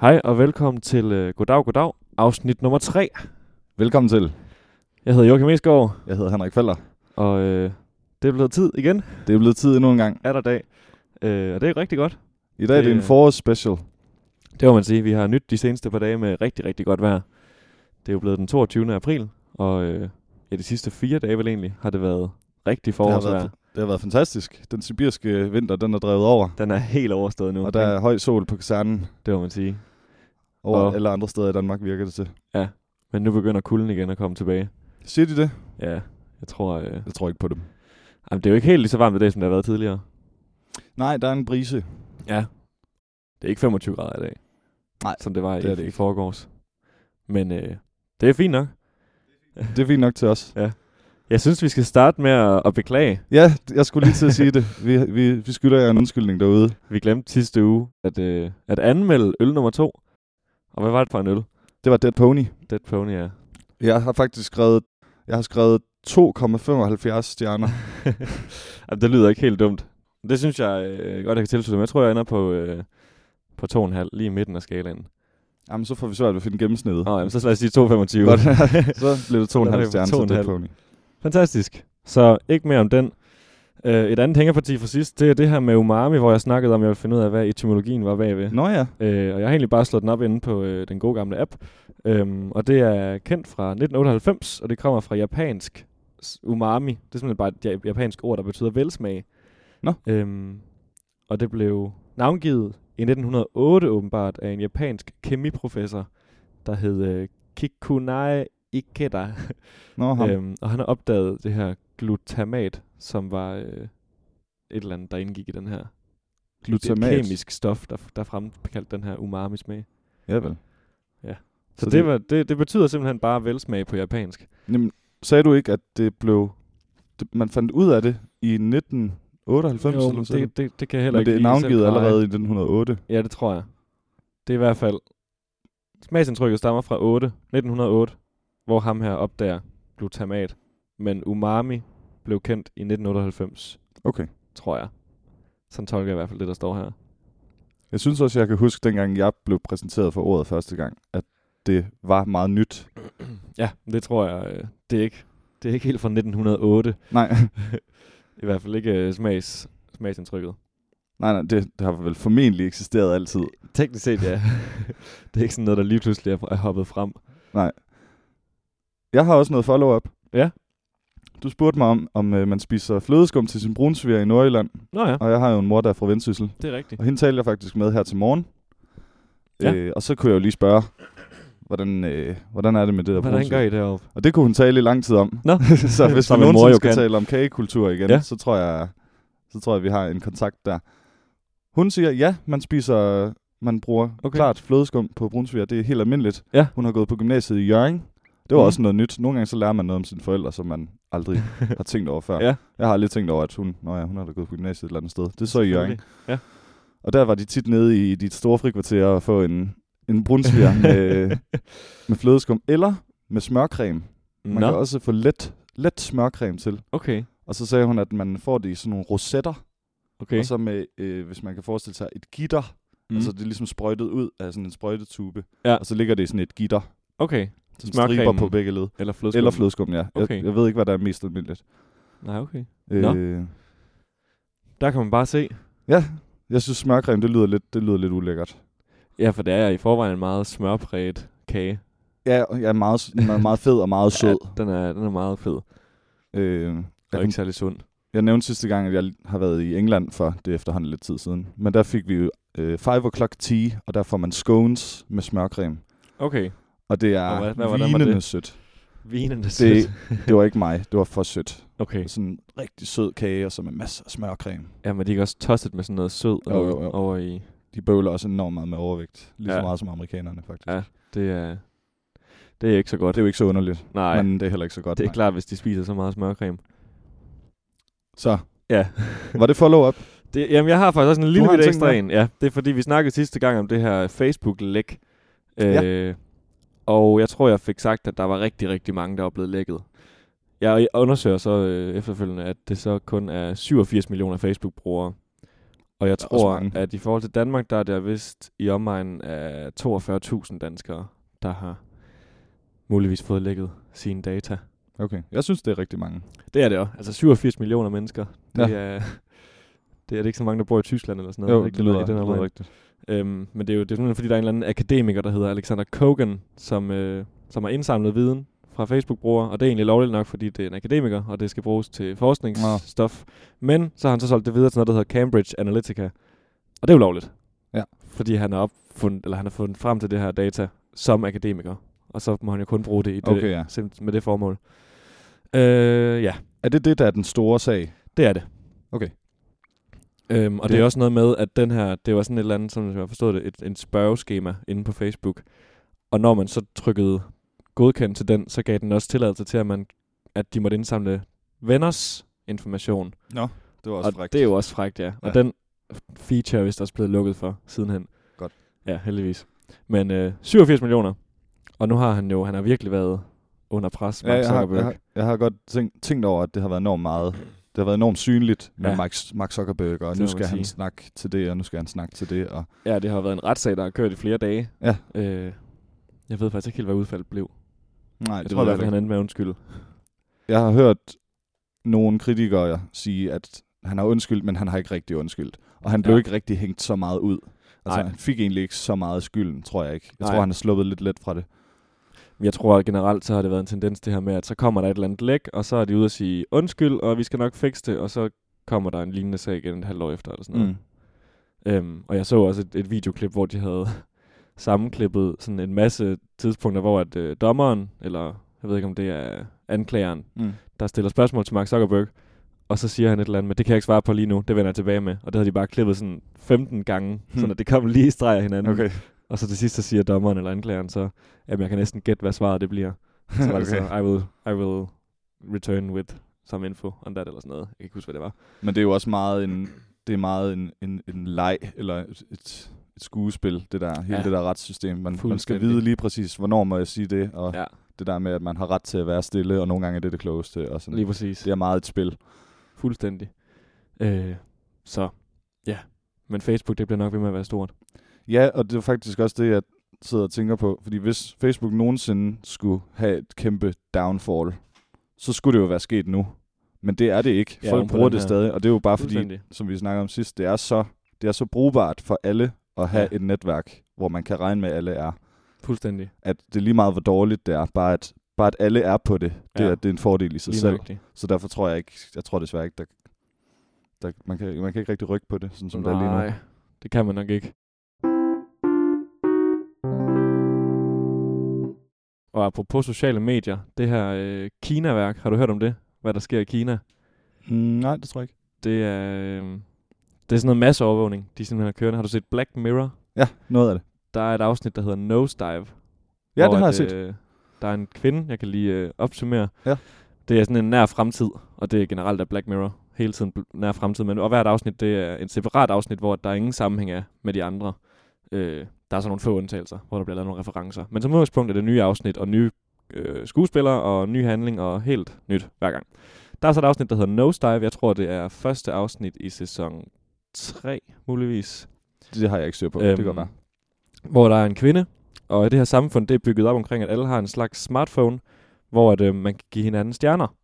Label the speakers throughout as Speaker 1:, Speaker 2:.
Speaker 1: Hej og velkommen til øh, Goddag, Goddag, afsnit nummer 3.
Speaker 2: Velkommen til.
Speaker 1: Jeg hedder Joachim Esgaard,
Speaker 2: Jeg hedder Henrik Felder.
Speaker 1: og øh, det er blevet tid igen,
Speaker 2: Det er blevet tid endnu en gang.
Speaker 1: er der dag. Øh, og det er rigtig godt.
Speaker 2: I dag det, er det en
Speaker 1: Det-
Speaker 2: forårsspecial.
Speaker 1: Det må man sige, vi har nyt de seneste par dage med rigtig, rigtig godt vejr. Det er jo blevet den 22. april, og øh, ja, de sidste fire dage vel egentlig har det været rigtig
Speaker 2: det, har
Speaker 1: forårsvejr.
Speaker 2: været, det har været fantastisk. Den sibirske vinter, den er drevet over.
Speaker 1: Den er helt overstået nu,
Speaker 2: Og der er høj sol på kasernen
Speaker 1: det må man sige.
Speaker 2: over
Speaker 1: Og-
Speaker 2: alle andre steder i Danmark, virker det til.
Speaker 1: Men nu begynder kulden igen at komme tilbage.
Speaker 2: Siger de det?
Speaker 1: Ja, jeg tror... Øh,
Speaker 2: Jeg tror ikke på dem.
Speaker 1: jamen, det er jo ikke helt lige så varmt i dag, som det har været tidligere.
Speaker 2: Nej, der er en brise.
Speaker 1: Ja. Det er ikke 25 grader i dag.
Speaker 2: Nej,
Speaker 1: Som det var
Speaker 2: det
Speaker 1: i,
Speaker 2: er
Speaker 1: det
Speaker 2: det
Speaker 1: i
Speaker 2: ikke.
Speaker 1: forgårs. Men øh, det er fint nok.
Speaker 2: Det er fint nok til os.
Speaker 1: Jeg synes, vi skal starte med at, at beklage.
Speaker 2: Ja, d- jeg skulle lige til at sige det. Vi, vi, vi skylder jer en undskyldning derude.
Speaker 1: Vi glemte sidste uge at, øh, at anmelde øl nummer to. Og hvad var det for en øl?
Speaker 2: Det var Dead Pony.
Speaker 1: Dead Pony, ja.
Speaker 2: Jeg har faktisk skrevet, jeg har skrevet 2,75 stjerner.
Speaker 1: Jamen, det lyder ikke helt dumt. Det synes jeg øh, godt, jeg kan tilslutte mig. Jeg tror, jeg ender på, øh, på 2,5, lige i midten af skalaen.
Speaker 2: Jamen, så får vi svært ved at finde gennemsnittet.
Speaker 1: Nå, jamen, så lad os sige 2,25.
Speaker 2: Godt. så blev det
Speaker 1: Der er
Speaker 2: 2,5
Speaker 1: vi på
Speaker 2: stjerner til Dead
Speaker 1: 2,5.
Speaker 2: Pony.
Speaker 1: Fantastisk. Så ikke mere om den. Øh, et andet hængerparti fra sidst, det er det her med umami, hvor jeg snakkede om, at jeg ville finde ud af, hvad etymologien var bagved.
Speaker 2: Nå ja.
Speaker 1: Øh, og jeg har egentlig bare slået den op inde på øh, den gode gamle app. Øhm, og det er kendt fra 1998, og det kommer fra japansk s- umami. Det er simpelthen bare et ja- japansk ord, der betyder velsmag.
Speaker 2: Nå.
Speaker 1: Øhm, og det blev navngivet i 1908 åbenbart af en japansk kemiprofessor, der hed øh, Kikunae Ikeda.
Speaker 2: Nå, ham.
Speaker 1: Øhm, og han har opdaget det her glutamat, som var øh, et eller andet, der indgik i den her
Speaker 2: Glutamat.
Speaker 1: Et kemisk stof, der, der fremkaldte den her umami-smag.
Speaker 2: Ja vel.
Speaker 1: Ja.
Speaker 2: Så,
Speaker 1: Så,
Speaker 2: så
Speaker 1: det, var, det, det betyder simpelthen bare velsmag på japansk.
Speaker 2: Jamen, sagde du ikke, at det blev... Det, man fandt ud af det i 1998? eller
Speaker 1: men
Speaker 2: sådan
Speaker 1: det,
Speaker 2: noget?
Speaker 1: det, det kan jeg heller
Speaker 2: men
Speaker 1: ikke
Speaker 2: det er
Speaker 1: lige selv
Speaker 2: navngivet
Speaker 1: pege.
Speaker 2: allerede i 1908.
Speaker 1: Ja, det tror jeg. Det er i hvert fald... Smagsindtrykket stammer fra 8, 1908, hvor ham her opdager glutamat. Men umami blev kendt i 1998,
Speaker 2: Okay.
Speaker 1: tror jeg. Sådan tolker jeg i hvert fald det, der står her.
Speaker 2: Jeg synes også, jeg kan huske, dengang jeg blev præsenteret for ordet første gang, at det var meget nyt.
Speaker 1: Ja, det tror jeg. øh, Det er ikke, det er ikke helt fra 1908.
Speaker 2: Nej,
Speaker 1: I hvert fald ikke øh, smags, smagsindtrykket.
Speaker 2: nej, nej det, det har vel formentlig eksisteret altid.
Speaker 1: Teknisk set, ja. det er ikke sådan noget, der lige pludselig er, er hoppet frem.
Speaker 2: Jeg har også noget follow-up.
Speaker 1: Ja.
Speaker 2: Du spurgte mig om, om øh, man spiser flødeskum til sin brunsviger i Nordjylland,
Speaker 1: Nå ja,
Speaker 2: og jeg har jo en mor, der er fra Vendsyssel.
Speaker 1: det er rigtigt.
Speaker 2: Og hende talte jeg faktisk med her til morgen.
Speaker 1: Ja.
Speaker 2: Ja. Øh, og så kunne jeg jo lige spørge, hvordan, øh, hvordan er det med det der
Speaker 1: Hvordan
Speaker 2: brunsvin?
Speaker 1: gør I deroppe?
Speaker 2: Og det kunne hun tale i lang tid om.
Speaker 1: Nå.
Speaker 2: så hvis
Speaker 1: Som
Speaker 2: vi
Speaker 1: en mor
Speaker 2: nogensinde
Speaker 1: jo
Speaker 2: skal
Speaker 1: kan.
Speaker 2: tale om kagekultur igen,
Speaker 1: Ja.
Speaker 2: ja. så, tror jeg, så tror jeg, vi har en kontakt der. Hun siger, ja, man spiser, man bruger
Speaker 1: Okay.
Speaker 2: okay. klart flødeskum på brunsviger. Det er helt almindeligt.
Speaker 1: Ja.
Speaker 2: Hun har gået på gymnasiet i Jørgen. Det var
Speaker 1: Mhm.
Speaker 2: også noget nyt. Nogle gange så lærer man noget om sine forældre, som man aldrig har tænkt over før.
Speaker 1: Ja.
Speaker 2: Jeg har aldrig tænkt over, at hun, nå ja, hun har da gået på gymnasiet et eller andet sted. Det er så i Jørgen.
Speaker 1: Selvfølgelig.
Speaker 2: Og der var de tit nede i dit store frikvarter og få en, en brunsviger med, med flødeskum. Eller med smørcreme. Man
Speaker 1: Nå,
Speaker 2: kan også få let, let smørcreme til.
Speaker 1: okay.
Speaker 2: Og så sagde hun, at man får det i sådan nogle rosetter.
Speaker 1: okay.
Speaker 2: Og så med, øh, hvis man kan forestille sig, et gitter. Mm. Altså det er ligesom sprøjtet ud af sådan en sprøjtetube.
Speaker 1: Ja.
Speaker 2: Og så ligger det i sådan et gitter.
Speaker 1: okay.
Speaker 2: Som
Speaker 1: Smørcremen.
Speaker 2: striber på begge led.
Speaker 1: Eller flødeskum.
Speaker 2: Eller flødeskum, ja.
Speaker 1: Okay.
Speaker 2: Jeg, jeg ved ikke, hvad der er mest almindeligt.
Speaker 1: Nej, okay. Nå.
Speaker 2: Øh,
Speaker 1: Der kan man bare se.
Speaker 2: ja, jeg synes smørcreme, det lyder lidt, det lyder lidt ulækkert.
Speaker 1: Ja, for det er i forvejen en meget smørpræget kage.
Speaker 2: Ja, og jeg er meget, s- den er meget fed og meget sød.
Speaker 1: Ja, den, er, den er meget fed.
Speaker 2: Øh,
Speaker 1: Og
Speaker 2: jeg,
Speaker 1: ikke særlig sund.
Speaker 2: jeg nævnte sidste gang, at jeg har været i England for det er efterhånden lidt tid siden. Men der fik vi jo øh, 5 o'clock tea, og der får man scones med smørcreme.
Speaker 1: Okay.
Speaker 2: Og det
Speaker 1: Og hvad-
Speaker 2: er
Speaker 1: hvad-
Speaker 2: hvad,
Speaker 1: hvordan var
Speaker 2: hvad, vinende
Speaker 1: det?
Speaker 2: sødt.
Speaker 1: Vinen er sød.
Speaker 2: Det, det var ikke mig, det var for sødt.
Speaker 1: Okay.
Speaker 2: Sådan en rigtig sød kage, og så med masser af smørcreme.
Speaker 1: Ja, men de er ikke også tosset med sådan noget sød
Speaker 2: Jo,
Speaker 1: over-
Speaker 2: jo, jo.
Speaker 1: over i...
Speaker 2: De bøvler også enormt meget med overvægt. Lige ja.
Speaker 1: Ja.
Speaker 2: så meget som amerikanerne, faktisk.
Speaker 1: Ja. Det er... Det er ikke så godt.
Speaker 2: Det er jo ikke så underligt,
Speaker 1: Nej,
Speaker 2: Ej. men det er heller ikke så godt.
Speaker 1: det er
Speaker 2: nej.
Speaker 1: klart, hvis de spiser så meget smørcreme.
Speaker 2: Så,
Speaker 1: Ja.
Speaker 2: var det follow-up?
Speaker 1: Det, jamen, jeg har faktisk også en
Speaker 2: har
Speaker 1: lille
Speaker 2: en
Speaker 1: bitte
Speaker 2: ting
Speaker 1: ekstra
Speaker 2: mere.
Speaker 1: en. Ja, det er fordi, vi snakkede sidste gang om det her Facebook-læk.
Speaker 2: Ja.
Speaker 1: Øh, og jeg tror, jeg fik sagt, at der var rigtig, rigtig mange, der var blevet lækket. Jeg undersøger så øh, efterfølgende, at det så kun er 87 millioner Facebook-brugere. Og jeg
Speaker 2: Der er også
Speaker 1: tror,
Speaker 2: mange.
Speaker 1: at i forhold til Danmark, der er der vist i omegnen af 42.000 danskere, der har muligvis fået lækket sine data.
Speaker 2: Okay, jeg synes, det er rigtig mange.
Speaker 1: Det er det jo. Altså 87 millioner mennesker. Det,
Speaker 2: Ja.
Speaker 1: ja. er, det er det ikke så mange, der bor i Tyskland eller sådan noget.
Speaker 2: Jo,
Speaker 1: ikke?
Speaker 2: det lyder,
Speaker 1: i
Speaker 2: det
Speaker 1: den
Speaker 2: lyder
Speaker 1: omegn.
Speaker 2: rigtigt.
Speaker 1: Øhm, men det er jo det er simpelthen, fordi der er en eller anden akademiker, der hedder Alexander Kogan, som, øh, som har indsamlet viden fra Facebook-brugere, og det er egentlig lovligt nok, fordi det er en akademiker, og det skal bruges til forskningsstof. Men så har han så solgt det videre til noget, der hedder Cambridge Analytica, og det er ulovligt.
Speaker 2: Ja.
Speaker 1: Fordi han har, opfundet, eller han har fundet frem til det her data som akademiker, og så må han jo kun bruge det, i det
Speaker 2: Okay, ja.
Speaker 1: simp- med det formål. Øh, ja,
Speaker 2: Er det det, der er den store sag?
Speaker 1: det er det.
Speaker 2: Okay.
Speaker 1: Øhm, og det,
Speaker 2: Det-
Speaker 1: det er også noget med, at den her, det var sådan et eller andet, som jeg har forstået det, et, en spørgeskema inde på Facebook. Og når man så trykkede godkendt til den, så gav den også tilladelse til, at, man, at de måtte indsamle venners information.
Speaker 2: Nå, det var også
Speaker 1: Og
Speaker 2: frækt.
Speaker 1: det er jo også frækt, ja. Og
Speaker 2: Ja.
Speaker 1: den feature er vist også blevet lukket for sidenhen.
Speaker 2: Godt.
Speaker 1: Ja, heldigvis. Men øh, 87 millioner. Og nu har han jo, han har virkelig været under pres,
Speaker 2: Ja,
Speaker 1: Mark
Speaker 2: jeg, har,
Speaker 1: Zuckerberg.
Speaker 2: jeg, har, jeg har godt tænkt, tænkt over, at det har været enormt meget. Det har været enormt synligt med ja.
Speaker 1: Ja.
Speaker 2: Mark, Mark Zuckerberg, og
Speaker 1: Det
Speaker 2: nu
Speaker 1: må
Speaker 2: skal
Speaker 1: man
Speaker 2: han
Speaker 1: sige.
Speaker 2: snakke til det, og nu skal han snakke til det. Og
Speaker 1: Ja, det har været en retssag, der har kørt i flere dage.
Speaker 2: Ja.
Speaker 1: Øh, jeg ved faktisk ikke helt, hvad udfaldet blev.
Speaker 2: nej,
Speaker 1: Jeg
Speaker 2: det
Speaker 1: tror i
Speaker 2: ved
Speaker 1: hvert
Speaker 2: jeg,
Speaker 1: fald,
Speaker 2: ikke.
Speaker 1: han endte med at undskylde.
Speaker 2: jeg har hørt nogle kritikere sige, at han har undskyldt, men han har ikke rigtig undskyldt. Og han blev
Speaker 1: Ja.
Speaker 2: ikke rigtig hængt så meget ud. Altså,
Speaker 1: Nej.
Speaker 2: han fik egentlig ikke så meget af skylden, tror jeg ikke. Jeg
Speaker 1: Nej.
Speaker 2: tror, han har sluppet lidt let fra det.
Speaker 1: Men Jeg tror at generelt, så har det været en tendens det her med, at så kommer der et eller andet læk, og så er de ude og sige undskyld, og vi skal nok fikse det, og så kommer der en lignende sag igen et halvt år efter eller sådan noget. Mm.
Speaker 2: Mm.
Speaker 1: Øhm, og jeg så også et, et videoklip, hvor de havde sammenklippet sådan en masse tidspunkter, hvor at øh, dommeren, eller jeg ved ikke om det er anklageren,
Speaker 2: Mm.
Speaker 1: der stiller spørgsmål til Mark Zuckerberg, og så siger han et eller andet, men det kan jeg ikke svare på lige nu, det vender jeg tilbage med. Og det havde de bare klippet sådan 15 gange,
Speaker 2: Hmm.
Speaker 1: hmm. sådan at det kom lige i streg af hinanden.
Speaker 2: Okay.
Speaker 1: Og så til sidst, så siger dommeren eller anklageren så, at jeg kan næsten gætte, hvad svaret det bliver. Så var okay. det
Speaker 2: Okay.
Speaker 1: så, I will, I will return with some info on that, eller sådan noget. Jeg kan ikke huske, hvad det var.
Speaker 2: Men det er jo også meget en, det er meget en, en, en leg, eller et, et, et skuespil, det der, hele ja.
Speaker 1: Ja.
Speaker 2: det der retssystem. Man, man skal
Speaker 1: Fuldstændig.
Speaker 2: vide lige præcis, hvornår må jeg sige det, og ja.
Speaker 1: Ja,
Speaker 2: det der med, at man har ret til at være stille, og nogle gange er det det klogeste. Og sådan.
Speaker 1: lige præcis.
Speaker 2: Det er meget et spil.
Speaker 1: Fuldstændig. Øh, så, ja. Men Facebook, det bliver nok ved med at være stort.
Speaker 2: Ja, og det er faktisk også det, jeg sidder og tænker på, fordi hvis Facebook nogensinde skulle have et kæmpe downfall, så skulle det jo være sket nu. Men det er det ikke.
Speaker 1: Ja,
Speaker 2: Folk
Speaker 1: oven på
Speaker 2: bruger
Speaker 1: den
Speaker 2: det
Speaker 1: her-
Speaker 2: stadig, og det er jo bare fordi,
Speaker 1: Fuldstændig.
Speaker 2: som vi snakkede om sidst, det er så, det er så brugbart for alle at have ja.
Speaker 1: Ja.
Speaker 2: et netværk, hvor man kan regne med, at alle er.
Speaker 1: Fuldstændig.
Speaker 2: At det er lige meget, hvor dårligt det er, bare at, bare at alle er på det, det,
Speaker 1: Ja.
Speaker 2: er, det er en fordel i sig
Speaker 1: Lige
Speaker 2: selv.
Speaker 1: nøjagtigt.
Speaker 2: Så derfor tror jeg ikke, jeg tror desværre ikke, der, der, man, kan, man kan ikke rigtig rykke på det, sådan som det er lige nu.
Speaker 1: Nej, det kan man nok ikke. Og apropos sociale medier, det her øh, Kina-værk, har du hørt om det? Hvad der sker i Kina?
Speaker 2: Mm, nej, det tror jeg ikke.
Speaker 1: Det er, øh, det er sådan noget masseovervågning, de simpelthen har kørende. Har du set Black Mirror?
Speaker 2: Ja, noget af det.
Speaker 1: Der er et afsnit, der hedder Nosedive. hvor
Speaker 2: Ja, det har jeg
Speaker 1: at,
Speaker 2: set.
Speaker 1: Øh, der er en kvinde, jeg kan lige øh, opsummere.
Speaker 2: Ja.
Speaker 1: Det er sådan en nær fremtid, og det er generelt af Black Mirror. Hele tiden bl- nær fremtid, men og hvert afsnit, det er en separat afsnit, hvor der ingen sammenhæng er med de andre. Øh, der er så nogle få undtagelser, hvor der bliver lavet nogle referencer. Men som udgangspunkt er det nye afsnit, og nye øh, skuespillere, og ny handling, og helt nyt hver gang. Der er så et afsnit, der hedder Nosedive. Jeg tror, det er første afsnit i sæson 3, muligvis øh,
Speaker 2: Det har jeg ikke styr på. Øhm, det kan godt være.
Speaker 1: hvor der er en kvinde, og det her samfund det er bygget op omkring, at alle har en slags smartphone, hvor at, øh, man kan give hinanden stjerner.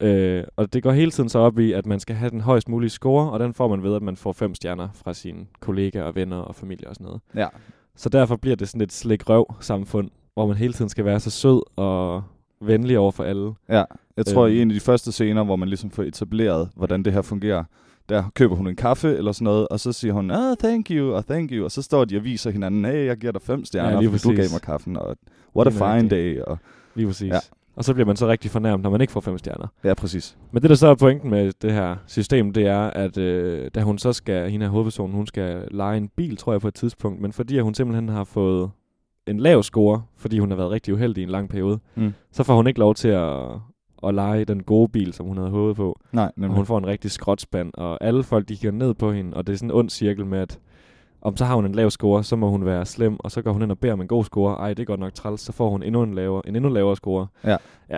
Speaker 1: Øh, og det går hele tiden så op i, at man skal have den højst mulige score, og den får man ved, at man får fem stjerner fra sine kollegaer og venner og familie og sådan noget.
Speaker 2: Ja.
Speaker 1: Så derfor bliver det sådan et slik røv samfund, hvor man hele tiden skal være så sød og venlig over for alle.
Speaker 2: Ja, jeg tror, i
Speaker 1: Øhm.
Speaker 2: en af de første scener, hvor man ligesom får etableret, hvordan det her fungerer, der køber hun en kaffe eller sådan noget, og så siger hun, ah, thank you, og thank you, og så står de og viser hinanden, hey, jeg giver dig fem stjerner, ja,
Speaker 1: lige
Speaker 2: fordi du gav
Speaker 1: præcis.
Speaker 2: mig kaffen, og what a
Speaker 1: Lige
Speaker 2: fine
Speaker 1: nøjagtigt.
Speaker 2: day, og
Speaker 1: Lige præcis.
Speaker 2: Ja.
Speaker 1: Ja. Og så bliver man så rigtig fornærmet, når man ikke får fem stjerner.
Speaker 2: ja, præcis.
Speaker 1: Men det, der så er pointen med det her system, det er, at øh, da hun så skal, hende her hovedpersonen, hun skal lege en bil, tror jeg, på et tidspunkt, men fordi at hun simpelthen har fået en lav score, fordi hun har været rigtig uheldig i en lang periode,
Speaker 2: Mm.
Speaker 1: så får hun ikke lov til at, at lege den gode bil, som hun havde håbet på.
Speaker 2: Nej,
Speaker 1: Og
Speaker 2: nemlig.
Speaker 1: hun får en rigtig skråtspand, og alle folk, de kigger ned på hende, og det er sådan en ond cirkel med, at om så har hun en lav score, så må hun være slem, og så går hun ind og beder om en god score. Ej, det er godt nok træls, så får hun endnu en, lavere, en endnu lavere score.
Speaker 2: Ja.
Speaker 1: Ja,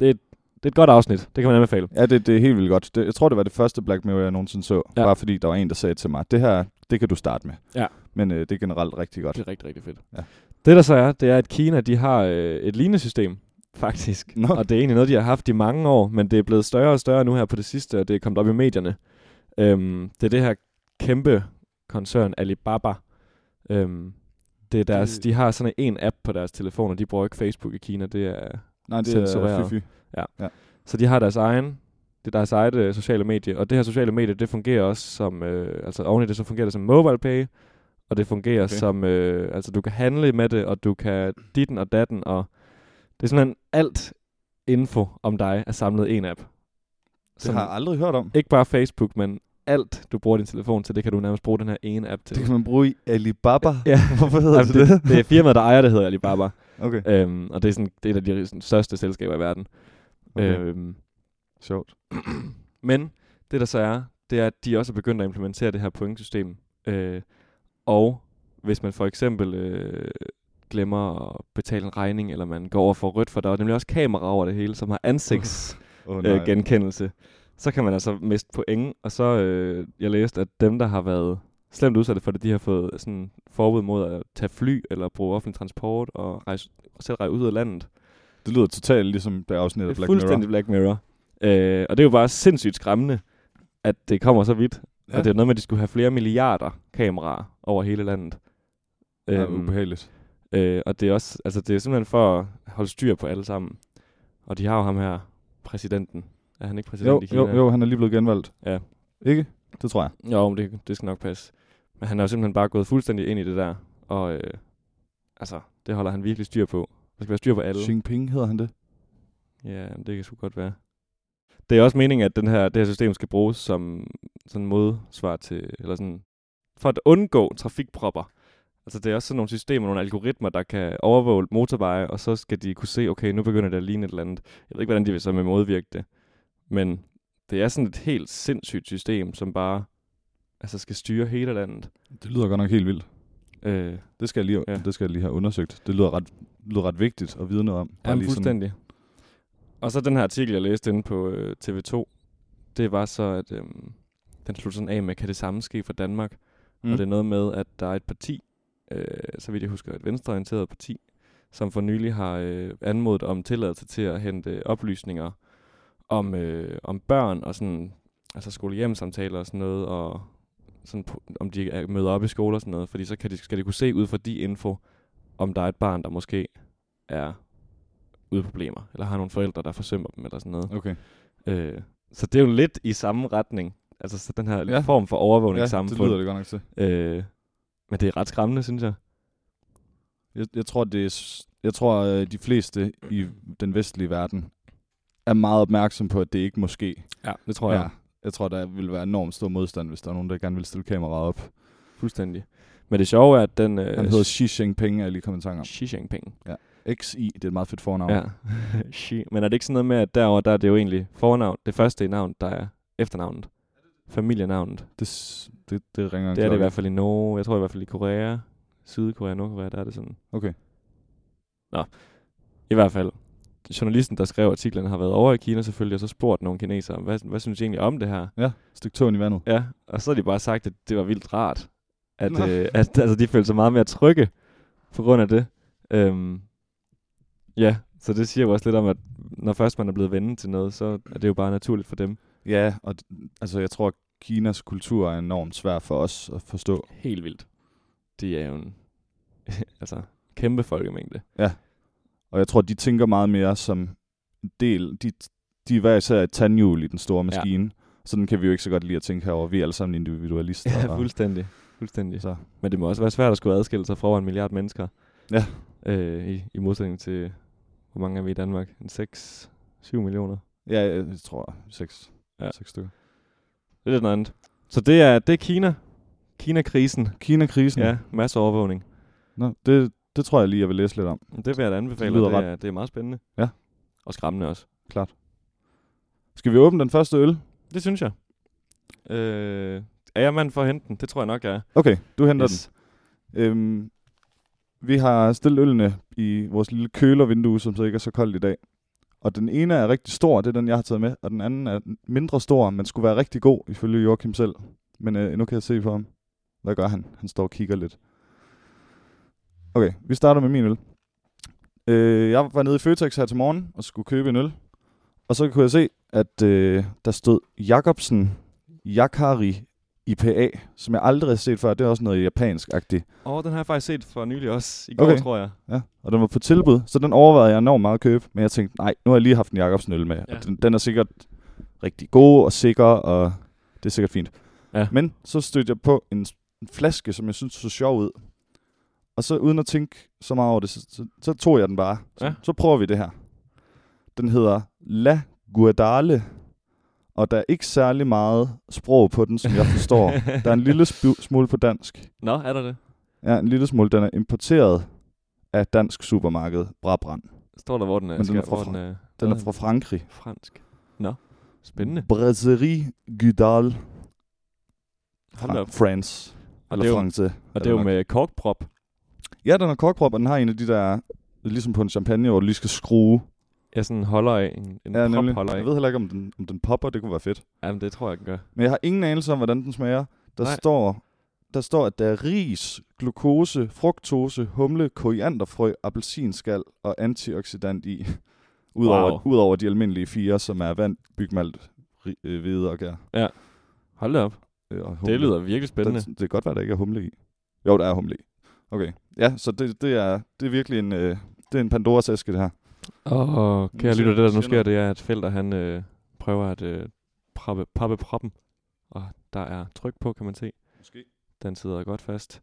Speaker 1: det, Det er et godt afsnit. Det kan man anbefale.
Speaker 2: Ja, det, det er helt vildt godt. Det, jeg tror, det var det første Black Mirror, jeg nogensinde så.
Speaker 1: Ja.
Speaker 2: Ja. Bare fordi der var en, der sagde til mig, det her, det kan du starte med.
Speaker 1: Ja.
Speaker 2: Men øh, det er generelt rigtig godt.
Speaker 1: Det er rigtig, rigtig fedt.
Speaker 2: Ja.
Speaker 1: Det der så er, det er, at Kina de har øh, et lignende system, faktisk.
Speaker 2: Nå.
Speaker 1: Og det er egentlig noget, de har haft i mange år, men det er blevet større og større nu her på det sidste, og det er kommet op i medierne. Øhm, det er det her kæmpe koncern Alibaba. Øhm, det er deres,
Speaker 2: Det-
Speaker 1: de har sådan en app på deres telefoner. De bruger ikke Facebook i Kina. Det er,
Speaker 2: Nej, det
Speaker 1: Censureret.
Speaker 2: er fy, fy.
Speaker 1: så de har deres egen, det er deres eget øh, sociale medie. Og det her sociale medie, det fungerer også som, øh, altså oven i det, så fungerer det som mobile pay. Og det fungerer okay.
Speaker 2: Okay.
Speaker 1: som, øh, altså du kan handle med det, og du kan ditten og datten. Og det er sådan alt info om dig er samlet i en app.
Speaker 2: Det har jeg aldrig hørt om.
Speaker 1: ikke bare Facebook, men alt du bruger din telefon til, det kan du nærmest bruge den her ene app til.
Speaker 2: Det kan man bruge i Alibaba.
Speaker 1: Ja,
Speaker 2: Hvorfor hedder
Speaker 1: Jamen,
Speaker 2: det det?
Speaker 1: det er firmaet, der ejer det, hedder Alibaba.
Speaker 2: Okay,
Speaker 1: øhm, og det er, sådan, det er et af de sådan, største selskaber i verden.
Speaker 2: okay. Øh.
Speaker 1: Øhm,
Speaker 2: sjovt.
Speaker 1: Men det der så er, det er, at de også er begyndt at implementere det her pointsystem. Øh, og hvis man for eksempel øh, glemmer at betale en regning, eller man går over for rødt, for der er nemlig også kameraer over det hele, som har ansigtsgenkendelse,
Speaker 2: Oh,
Speaker 1: øh, genkendelse, så kan man altså miste point. Og så, øh, jeg læste, at dem, der har været slemt udsatte for det, de har fået sådan forbud mod at tage fly, eller bruge offentlig transport, og rejse, selv rejse ud af landet.
Speaker 2: det lyder totalt ligesom det afsnit af
Speaker 1: Det er
Speaker 2: Black
Speaker 1: fuldstændig
Speaker 2: Mirror.
Speaker 1: Black Mirror. Øh, og det er jo bare sindssygt skræmmende, at det kommer så vidt. Ja.
Speaker 2: Ja.
Speaker 1: Og det er noget med, at de skulle have flere milliarder kameraer over hele landet.
Speaker 2: Ja,
Speaker 1: Øhm,
Speaker 2: ubehageligt.
Speaker 1: øh, og det er også, altså det er simpelthen for at holde styr på alle sammen. Og de har jo ham her, præsidenten. Er han ikke præsident
Speaker 2: Jo,
Speaker 1: i Kina?
Speaker 2: jo, jo, han er lige blevet genvalgt.
Speaker 1: Ja.
Speaker 2: Ikke? Det tror jeg.
Speaker 1: Jo, men det, det skal nok passe. Men han er jo simpelthen bare gået fuldstændig ind i det der. Og øh, altså, det holder han virkelig styr på. Der skal være styr på alle.
Speaker 2: Xi Jinping hedder han det.
Speaker 1: Ja, men det kan sgu godt være. Det er også meningen, at den her, det her system skal bruges som sådan modsvar til, eller sådan, for at undgå trafikpropper. Altså det er også sådan nogle systemer, nogle algoritmer, der kan overvåge motorveje, og så skal de kunne se, okay, nu begynder det at ligne et eller andet. Jeg ved ikke, hvordan de vil så med modvirke det. Men det er sådan et helt sindssygt system, som bare altså skal styre hele landet.
Speaker 2: Det lyder godt nok helt vildt.
Speaker 1: Øh,
Speaker 2: Det skal jeg lige,
Speaker 1: Ja.
Speaker 2: ja. det skal jeg lige have undersøgt. Det lyder ret, lyder ret vigtigt at vide noget om. Bare
Speaker 1: Ja,
Speaker 2: lige sådan-
Speaker 1: fuldstændig. Og så den her artikel, jeg læste inde på øh, TV2, det var så, at øh, den slutter sådan af med, kan det samme ske for Danmark? Mm. Og det er noget med, at der er et parti, øh, så vidt jeg husker, et venstreorienteret parti, som for nylig har øh, anmodet om tilladelse til at hente oplysninger om, øh, om børn og sådan, altså skolehjemsamtaler og sådan noget, og sådan, på- om de er- møder op i skole og sådan noget, fordi så kan de, skal de kunne se ud fra de info, om der er et barn, der måske er ude i problemer, eller har nogle forældre, der forsømmer dem, eller sådan noget.
Speaker 2: Okay.
Speaker 1: Øh, så det er jo lidt i samme retning, altså så den her
Speaker 2: Ja.
Speaker 1: ja. form for
Speaker 2: Ja, det
Speaker 1: overvågningssamfund.
Speaker 2: lyder det godt nok til.
Speaker 1: Øh, men det er ret skræmmende, synes jeg.
Speaker 2: Jeg, jeg tror, det er, s- jeg tror, øh, de fleste i den vestlige verden er meget opmærksom på, at det ikke må ske.
Speaker 1: Ja, det tror jeg. Ja.
Speaker 2: Jeg tror, der vil være enormt stor modstand, hvis der er nogen, der gerne vil stille kameraet op.
Speaker 1: Fuldstændig. Men det sjove er, at den... Øh,
Speaker 2: Han hedder Xi Jinping, er jeg lige kommet i tanke om.
Speaker 1: Xi Jinping.
Speaker 2: XI, det er et meget fedt fornavn.
Speaker 1: Ja. Xi. Men er det ikke sådan noget med, at derover der er det jo egentlig fornavn, det første i navn, der er efternavnet? Familienavnet.
Speaker 2: Det, s- det, det ringer en
Speaker 1: Det er det i
Speaker 2: klokke.
Speaker 1: hvert fald i Norge. Jeg tror i hvert fald i Korea, Sydkorea, Nordkorea, der er det sådan.
Speaker 2: Okay.
Speaker 1: Nå, i hvert fald. Journalisten, der skrev artiklen, har været over i Kina selvfølgelig, og så spurgt nogle kinesere, hvad, hvad synes I egentlig om det her?
Speaker 2: Ja, stik tåen i vandet.
Speaker 1: Ja, og så har de bare sagt, at det var vildt rart, at,
Speaker 2: Nå.
Speaker 1: øh, at altså, de følte sig meget mere trygge på grund af det. Øhm, ja, så det siger jo også lidt om, at når først man er blevet vennet til noget, så er det jo bare naturligt for dem.
Speaker 2: Ja, og d- altså, jeg tror, Kinas kultur er enormt svær for os at forstå.
Speaker 1: Helt vildt. Det er jo en altså, kæmpe folkemængde.
Speaker 2: Og jeg tror, de tænker meget mere som en del. De, de er hver især et tandhjul i den store maskine. Ja. Sådan kan vi jo ikke så godt lide at tænke herover. Vi er alle sammen individualister.
Speaker 1: Ja,
Speaker 2: og-
Speaker 1: fuldstændig. Fuldstændig.
Speaker 2: Så.
Speaker 1: Men det må også være svært at skulle adskille sig fra over en milliard mennesker.
Speaker 2: Ja.
Speaker 1: Øh, i, I modsætning til, hvor mange er vi i Danmark? En 6, 7 millioner.
Speaker 2: Ja, jeg jeg tror seks,
Speaker 1: Ja.
Speaker 2: ja. seks stykker.
Speaker 1: Det er lidt noget andet. Så det er, det er Kina. Kina-krisen.
Speaker 2: Kina-krisen.
Speaker 1: Ja, masse overvågning.
Speaker 2: Nå, det, det tror jeg lige, jeg vil læse lidt om.
Speaker 1: Det vil jeg da anbefale.
Speaker 2: Det lyder
Speaker 1: og
Speaker 2: ret-
Speaker 1: det, er, det er meget spændende.
Speaker 2: Ja.
Speaker 1: Og skræmmende også.
Speaker 2: Skal vi åbne den første øl?
Speaker 1: Det synes jeg. Øh, er jeg mand for at hente den? Det tror jeg nok, jeg er.
Speaker 2: Okay, du henter yes. den. Øhm, vi har stillet ølene i vores lille kølervindue, som så ikke er så koldt i dag. Og den ene er rigtig stor, det er den, jeg har taget med, og den anden er mindre stor, men skulle være rigtig god, ifølge Joachim selv. Men øh, nu kan jeg se på ham. Hvad gør han? Han står og kigger lidt. Okay, vi starter med min øl. Øh, jeg var nede i Føtex her til morgen og skulle købe en øl. Og så kunne jeg se, at øh, der stod Jacobsen Yakari IPA, som jeg aldrig har set før. Det er også noget japansk-agtigt.
Speaker 1: Åh, oh, den har jeg faktisk set for nylig også. I
Speaker 2: går,
Speaker 1: går,
Speaker 2: Okay.
Speaker 1: tror jeg.
Speaker 2: Ja, og den var på tilbud, så den overvejede jeg enormt meget at købe. Men jeg tænkte, nej, nu har jeg lige haft en Jacobsen øl med. Ja.
Speaker 1: Ja.
Speaker 2: Og den, den er sikkert rigtig god og sikker, og det er sikkert fint.
Speaker 1: Ja.
Speaker 2: Men så stødte jeg på en, s- en flaske, som jeg synes så sjov ud. Og så uden at tænke så meget over det, så, så, så tog jeg den bare. Så,
Speaker 1: Ja.
Speaker 2: så prøver vi det her. Den hedder La Guadale. Og der er ikke særlig meget sprog på den, som jeg forstår. Der er en lille spu- smule på dansk.
Speaker 1: Nå, er der det?
Speaker 2: Ja, en lille smule. Den er importeret af dansk supermarked Brabrand.
Speaker 1: Står der, hvor den er?
Speaker 2: Men den er
Speaker 1: skal- hvor
Speaker 2: fra-
Speaker 1: er,
Speaker 2: Den er
Speaker 1: hvad
Speaker 2: fra Frankrig.
Speaker 1: Fransk. Nå, spændende.
Speaker 2: Brasserie Gudal
Speaker 1: Hold da op.
Speaker 2: France.
Speaker 1: Og det, er
Speaker 2: eller
Speaker 1: jo,
Speaker 2: France.
Speaker 1: og det er jo med korkprop.
Speaker 2: Ja, den har korkprop, og den har en af de der... Ligesom på en champagne, hvor du lige skal skrue.
Speaker 1: Jeg sådan holder af. En, en
Speaker 2: ja,
Speaker 1: ja, prop holder
Speaker 2: Jeg
Speaker 1: af.
Speaker 2: ved heller ikke, om den, om den popper. Det kunne være fedt.
Speaker 1: Jamen, det tror jeg, den gør.
Speaker 2: Men jeg har ingen anelse om, hvordan den smager. Der
Speaker 1: Nej.
Speaker 2: står, der står, at der er ris, glukose, fruktose, humle, korianderfrø, appelsinskal og antioxidant i. Udover,
Speaker 1: Wow.
Speaker 2: udover de almindelige fire, som er vand, bygmalt, ri- øh, hvide og gær.
Speaker 1: Hold da op.
Speaker 2: Øh, og humle.
Speaker 1: Det lyder virkelig spændende.
Speaker 2: Det, det kan godt være, der ikke er humle i. Jo, der er humle i. Okay. Ja, så det, det, er, det er virkelig en, øh, det er en Pandoras æske, det her.
Speaker 1: Åh, oh,
Speaker 2: Nu
Speaker 1: kære
Speaker 2: siger-
Speaker 1: lytter, det der
Speaker 2: siger
Speaker 1: nu sker, det er, at Felter, han øh, prøver at øh, proppe, poppe proppen. Og der er tryk på, kan man se.
Speaker 2: Måske.
Speaker 1: Den sidder godt fast.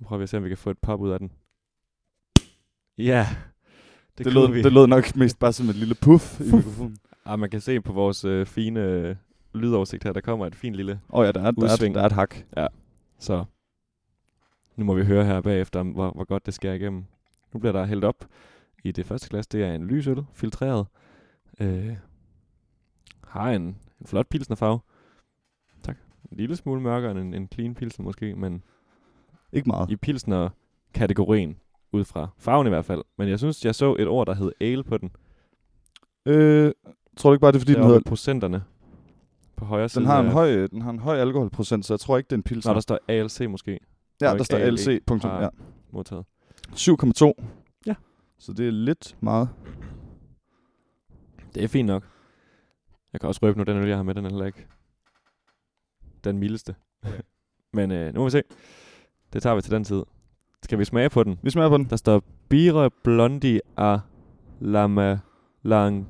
Speaker 1: Nu prøver vi at se, om vi kan få et pop ud af den. Ja,
Speaker 2: Det,
Speaker 1: det,
Speaker 2: det,
Speaker 1: kunne
Speaker 2: lød,
Speaker 1: vi.
Speaker 2: det lød nok mest bare som et lille puff i mikrofonen.
Speaker 1: Ah, man kan se på vores øh, fine øh, lydoversigt her, der kommer et fint lille...
Speaker 2: Åh oh, ja, der er, der, er,
Speaker 1: Udsving.
Speaker 2: der er et hak.
Speaker 1: Så nu må vi høre her bagefter, om hvor, hvor godt det skærer igennem. Nu bliver der hældt op i det første glas. Det er en lysøl, filtreret. Øh, har en, en flot pilsnerfarve. Tak. En lille smule mørkere end en, en clean pilsner måske, men
Speaker 2: Ikke meget.
Speaker 1: i pilsner-kategorien ud fra farven i hvert fald. Men jeg synes, jeg så et ord, der hed ale på den.
Speaker 2: Øh, tror du ikke bare, det er fordi, den,
Speaker 1: Deroppe i
Speaker 2: hedder,
Speaker 1: procenterne på højre side.
Speaker 2: den, har en
Speaker 1: af-
Speaker 2: høj, øh, den har en høj alkoholprocent, så jeg tror ikke, det er en pilsner.
Speaker 1: Nå, der står ALC måske
Speaker 2: ja,
Speaker 1: jo
Speaker 2: der
Speaker 1: ikke
Speaker 2: står
Speaker 1: ALE.
Speaker 2: LC. Punktum,
Speaker 1: Ah.
Speaker 2: ja.
Speaker 1: modtaget.
Speaker 2: 7,2.
Speaker 1: Ja.
Speaker 2: Så det er lidt meget.
Speaker 1: Det er fint nok. Jeg kan også røbe nu, den øl, jeg har med, den er heller ikke den mildeste. Men øh, nu må vi se. Det tager vi til den tid. Skal vi smage på den?
Speaker 2: Vi smager på den.
Speaker 1: Der står Bire Blondi a Lama Lange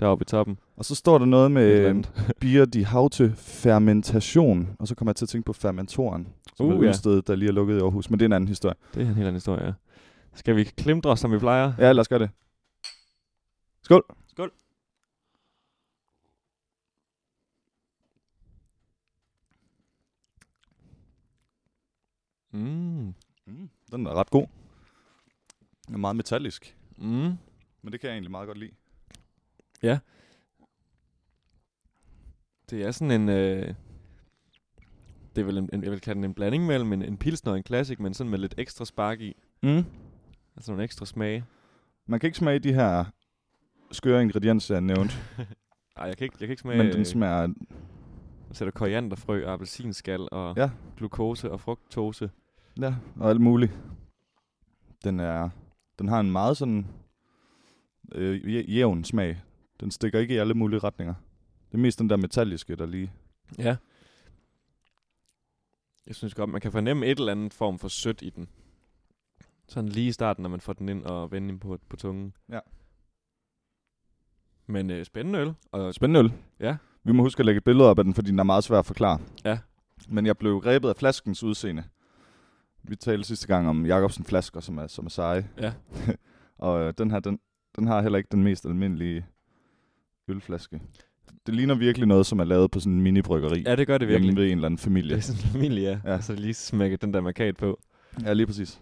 Speaker 1: deroppe i toppen.
Speaker 2: Og så står der noget
Speaker 1: Et
Speaker 2: med
Speaker 1: eller
Speaker 2: øh,
Speaker 1: andet.
Speaker 2: bier de haute fermentation. Og så kommer jeg til at tænke på fermentoren. Som
Speaker 1: Uh,
Speaker 2: uh, er et
Speaker 1: ja.
Speaker 2: ølsted, der lige er lukket i Aarhus. Men det er en anden historie.
Speaker 1: Det er en helt anden historie, ja. Skal vi klimtre, som vi plejer?
Speaker 2: Ja, lad os gøre det. Skål.
Speaker 1: Skål. Mm.
Speaker 2: Mm, den er ret god. Den er meget metallisk.
Speaker 1: Mm.
Speaker 2: Men det kan jeg egentlig meget godt lide.
Speaker 1: Det er sådan en... Øh, det er vel en, en, jeg vil kalde den en blanding mellem en, en pilsner og en classic, men sådan med lidt ekstra spark i.
Speaker 2: Mm.
Speaker 1: Altså nogle ekstra smage.
Speaker 2: Man kan ikke smage de her skøre ingredienser, jeg nævnte.
Speaker 1: Ej, jeg kan ikke, jeg kan ikke smage...
Speaker 2: men den smager...
Speaker 1: øh, sætter korianderfrø og appelsinskal og
Speaker 2: Ja.
Speaker 1: ja. glukose og frugtose.
Speaker 2: Ja, og alt muligt. Den er... Den har en meget sådan... Øh, jæ- jævn smag. Den stikker ikke i alle mulige retninger. Det er mest den der metalliske, der lige...
Speaker 1: Ja. Jeg synes godt, man kan fornemme et eller andet form for sødt i den. Sådan lige i starten, når man får den ind og vender den på, på tungen.
Speaker 2: Ja.
Speaker 1: Men øh, spændende øl. Og
Speaker 2: Spændende øl.
Speaker 1: Ja.
Speaker 2: Vi må huske at lægge billeder op af den, fordi den er meget svær at forklare.
Speaker 1: Ja.
Speaker 2: Men jeg blev grebet af flaskens udseende. Vi talte sidste gang om Jacobsen flasker, som er, som er seje.
Speaker 1: Ja.
Speaker 2: og øh, den her, den, den har heller ikke den mest almindelige ølflaske. Det ligner virkelig noget, som er lavet på sådan en mini-bryggeri.
Speaker 1: ja, det gør det virkelig.
Speaker 2: Hjemme ved en eller anden
Speaker 1: Det
Speaker 2: familie.
Speaker 1: er sådan en familie, ja.
Speaker 2: Ja.
Speaker 1: ja. Og så lige smække den der markat på.
Speaker 2: Ja, lige præcis.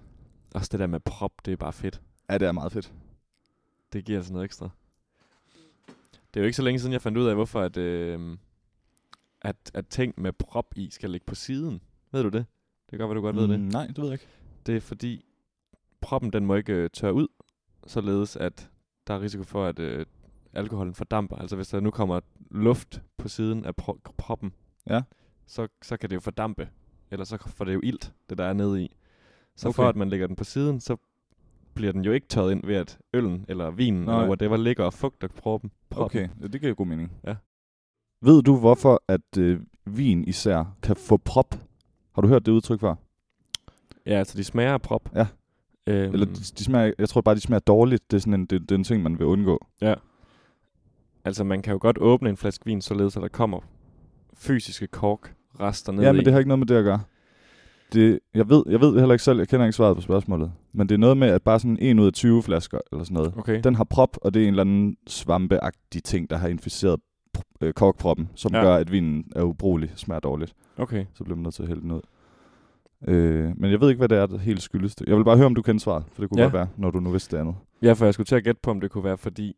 Speaker 1: Også det der med prop, det er bare fedt.
Speaker 2: Ja, det er meget fedt.
Speaker 1: Det giver altså noget ekstra. Det er jo ikke så længe siden, jeg fandt ud af, hvorfor at, øh, at, at ting med prop i skal ligge på siden. Ved du det? Det kan godt være, du godt mm. ved det.
Speaker 2: Nej, det ved jeg ikke.
Speaker 1: Det er fordi, proppen den må ikke øh, tørre ud, således at der er risiko for, at øh, alkoholen fordamper. Altså hvis der nu kommer luft på siden af pro- proppen,
Speaker 2: Ja.
Speaker 1: så, så kan det jo fordampe. Eller så får det jo ilt, det der er nede i. Så okay.
Speaker 2: Okay.
Speaker 1: for at man lægger den på siden, så bliver den jo ikke tørret ind ved, at øllen eller vinen
Speaker 2: Nej.
Speaker 1: Nej. eller whatever ligger og fugter proppen. proppen.
Speaker 2: Okay, ja, det giver god mening.
Speaker 1: Ja.
Speaker 2: Ved du, hvorfor at øh, vin især kan få prop? Har du hørt det udtryk før?
Speaker 1: Ja, altså de smager af prop.
Speaker 2: Ja.
Speaker 1: Øhm,
Speaker 2: Eller de, de smager, jeg tror bare, de smager dårligt. Det er sådan en, det, det er en ting, man vil undgå.
Speaker 1: Altså man kan jo godt åbne en flaske vin, således at der kommer fysiske korkrester ned
Speaker 2: ja,
Speaker 1: i.
Speaker 2: men det har ikke noget med det at gøre. Det, jeg, ved, jeg ved det heller ikke selv, jeg kender ikke svaret på spørgsmålet. Men det er noget med, at bare sådan en ud af 20 flasker eller sådan noget,
Speaker 1: Okay.
Speaker 2: den har prop, og det er en eller anden svampeagtig ting, der har inficeret pr- øh, korkproppen, som ja.
Speaker 1: Ja.
Speaker 2: gør, at vinen er ubrugelig, smager dårligt.
Speaker 1: Okay.
Speaker 2: Så bliver man nødt til at hælde den ud. Øh, men jeg ved ikke, hvad det er, der helt skyldes det. Jeg vil bare høre, om du kender svaret, for det kunne
Speaker 1: Ja.
Speaker 2: godt være, når du nu vidste det andet.
Speaker 1: Ja, for jeg skulle til at gætte på, om det kunne være, fordi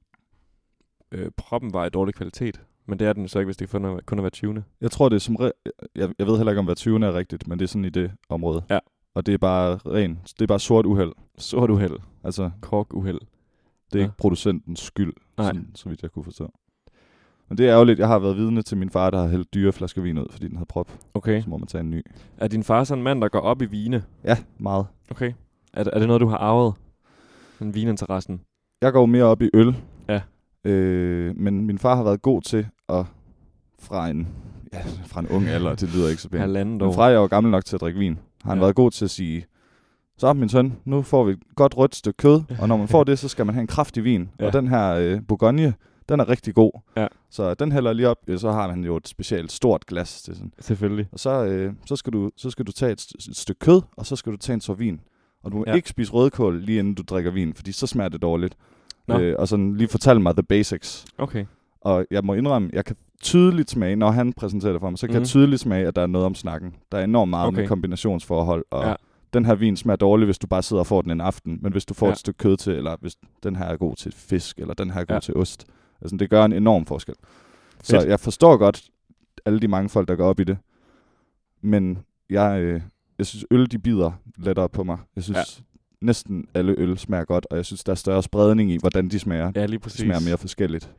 Speaker 1: øh, proppen var i dårlig kvalitet. Men det er den jo så ikke, hvis det kun er, kun er hver 20.
Speaker 2: Jeg tror, det er som... Re- jeg, jeg ved heller ikke, om hver 20. er rigtigt, men det er sådan i det område.
Speaker 1: Ja.
Speaker 2: Og det er bare ren, det er bare sort uheld.
Speaker 1: Sort uheld.
Speaker 2: Altså,
Speaker 1: Korkuheld.
Speaker 2: det er ja.
Speaker 1: Ja.
Speaker 2: ikke producentens skyld,
Speaker 1: Nej.
Speaker 2: sådan, så vidt jeg kunne forstå. Men det er ærgerligt. Jeg har været vidne til min far, der har hældt dyre flasker vin ud, fordi den havde prop.
Speaker 1: Okay.
Speaker 2: Så må man tage en ny.
Speaker 1: Er din far sådan en mand, der går op i vine?
Speaker 2: Ja, meget.
Speaker 1: Okay. Er, det- er det noget, du har arvet? Den vininteressen?
Speaker 2: Jeg går jo mere op i øl.
Speaker 1: Ja.
Speaker 2: Øh, men min far har været god til at fra en, ja, fra en ung alder, det lyder ikke så pænt.
Speaker 1: Halvandet
Speaker 2: Men
Speaker 1: år.
Speaker 2: fra jeg var gammel nok til at drikke vin, har han ja.
Speaker 1: Ja.
Speaker 2: været god til at sige, så min søn, nu får vi et godt rødt stykke kød, og når man får det, så skal man have en kraftig vin. Ja.
Speaker 1: Ja.
Speaker 2: Og den her øh, Bourgogne, den er rigtig god.
Speaker 1: Ja.
Speaker 2: Så den hælder jeg lige op, ja, så har man jo et specielt stort glas. Det er sådan.
Speaker 1: Selvfølgelig.
Speaker 2: Og så, øh, så, skal du, så skal du tage et, st- et stykke kød, og så skal du tage en tår vin. Og du må ja.
Speaker 1: Ja.
Speaker 2: ikke spise rødkål, lige inden du drikker vin, fordi så smager det dårligt.
Speaker 1: Nå.
Speaker 2: Øh, og sådan lige fortælle mig the basics.
Speaker 1: Okay.
Speaker 2: Og jeg må indrømme, jeg kan tydeligt smage, når han præsenterer det for mig, så kan mm.
Speaker 1: Mhm.
Speaker 2: jeg tydeligt smage, at der er noget om snakken. Der er enormt meget okay. med
Speaker 1: Okay.
Speaker 2: kombinationsforhold, og ja.
Speaker 1: Ja.
Speaker 2: den her vin smager dårligt, hvis du bare sidder og får den en aften, men hvis du får ja.
Speaker 1: Ja.
Speaker 2: et stykke kød til, eller hvis den her er god til fisk, eller den her er god ja.
Speaker 1: Ja.
Speaker 2: til ost. Altså, det gør en enorm forskel. Så
Speaker 1: Fedt.
Speaker 2: jeg forstår godt alle de mange folk, der går op i det, men jeg, øh, jeg synes, øl de bider lettere på mig. Jeg synes, ja. næsten alle øl smager godt, og jeg synes, der er større spredning i, hvordan de smager.
Speaker 1: Ja, lige
Speaker 2: De
Speaker 1: præcis.
Speaker 2: smager mere forskelligt.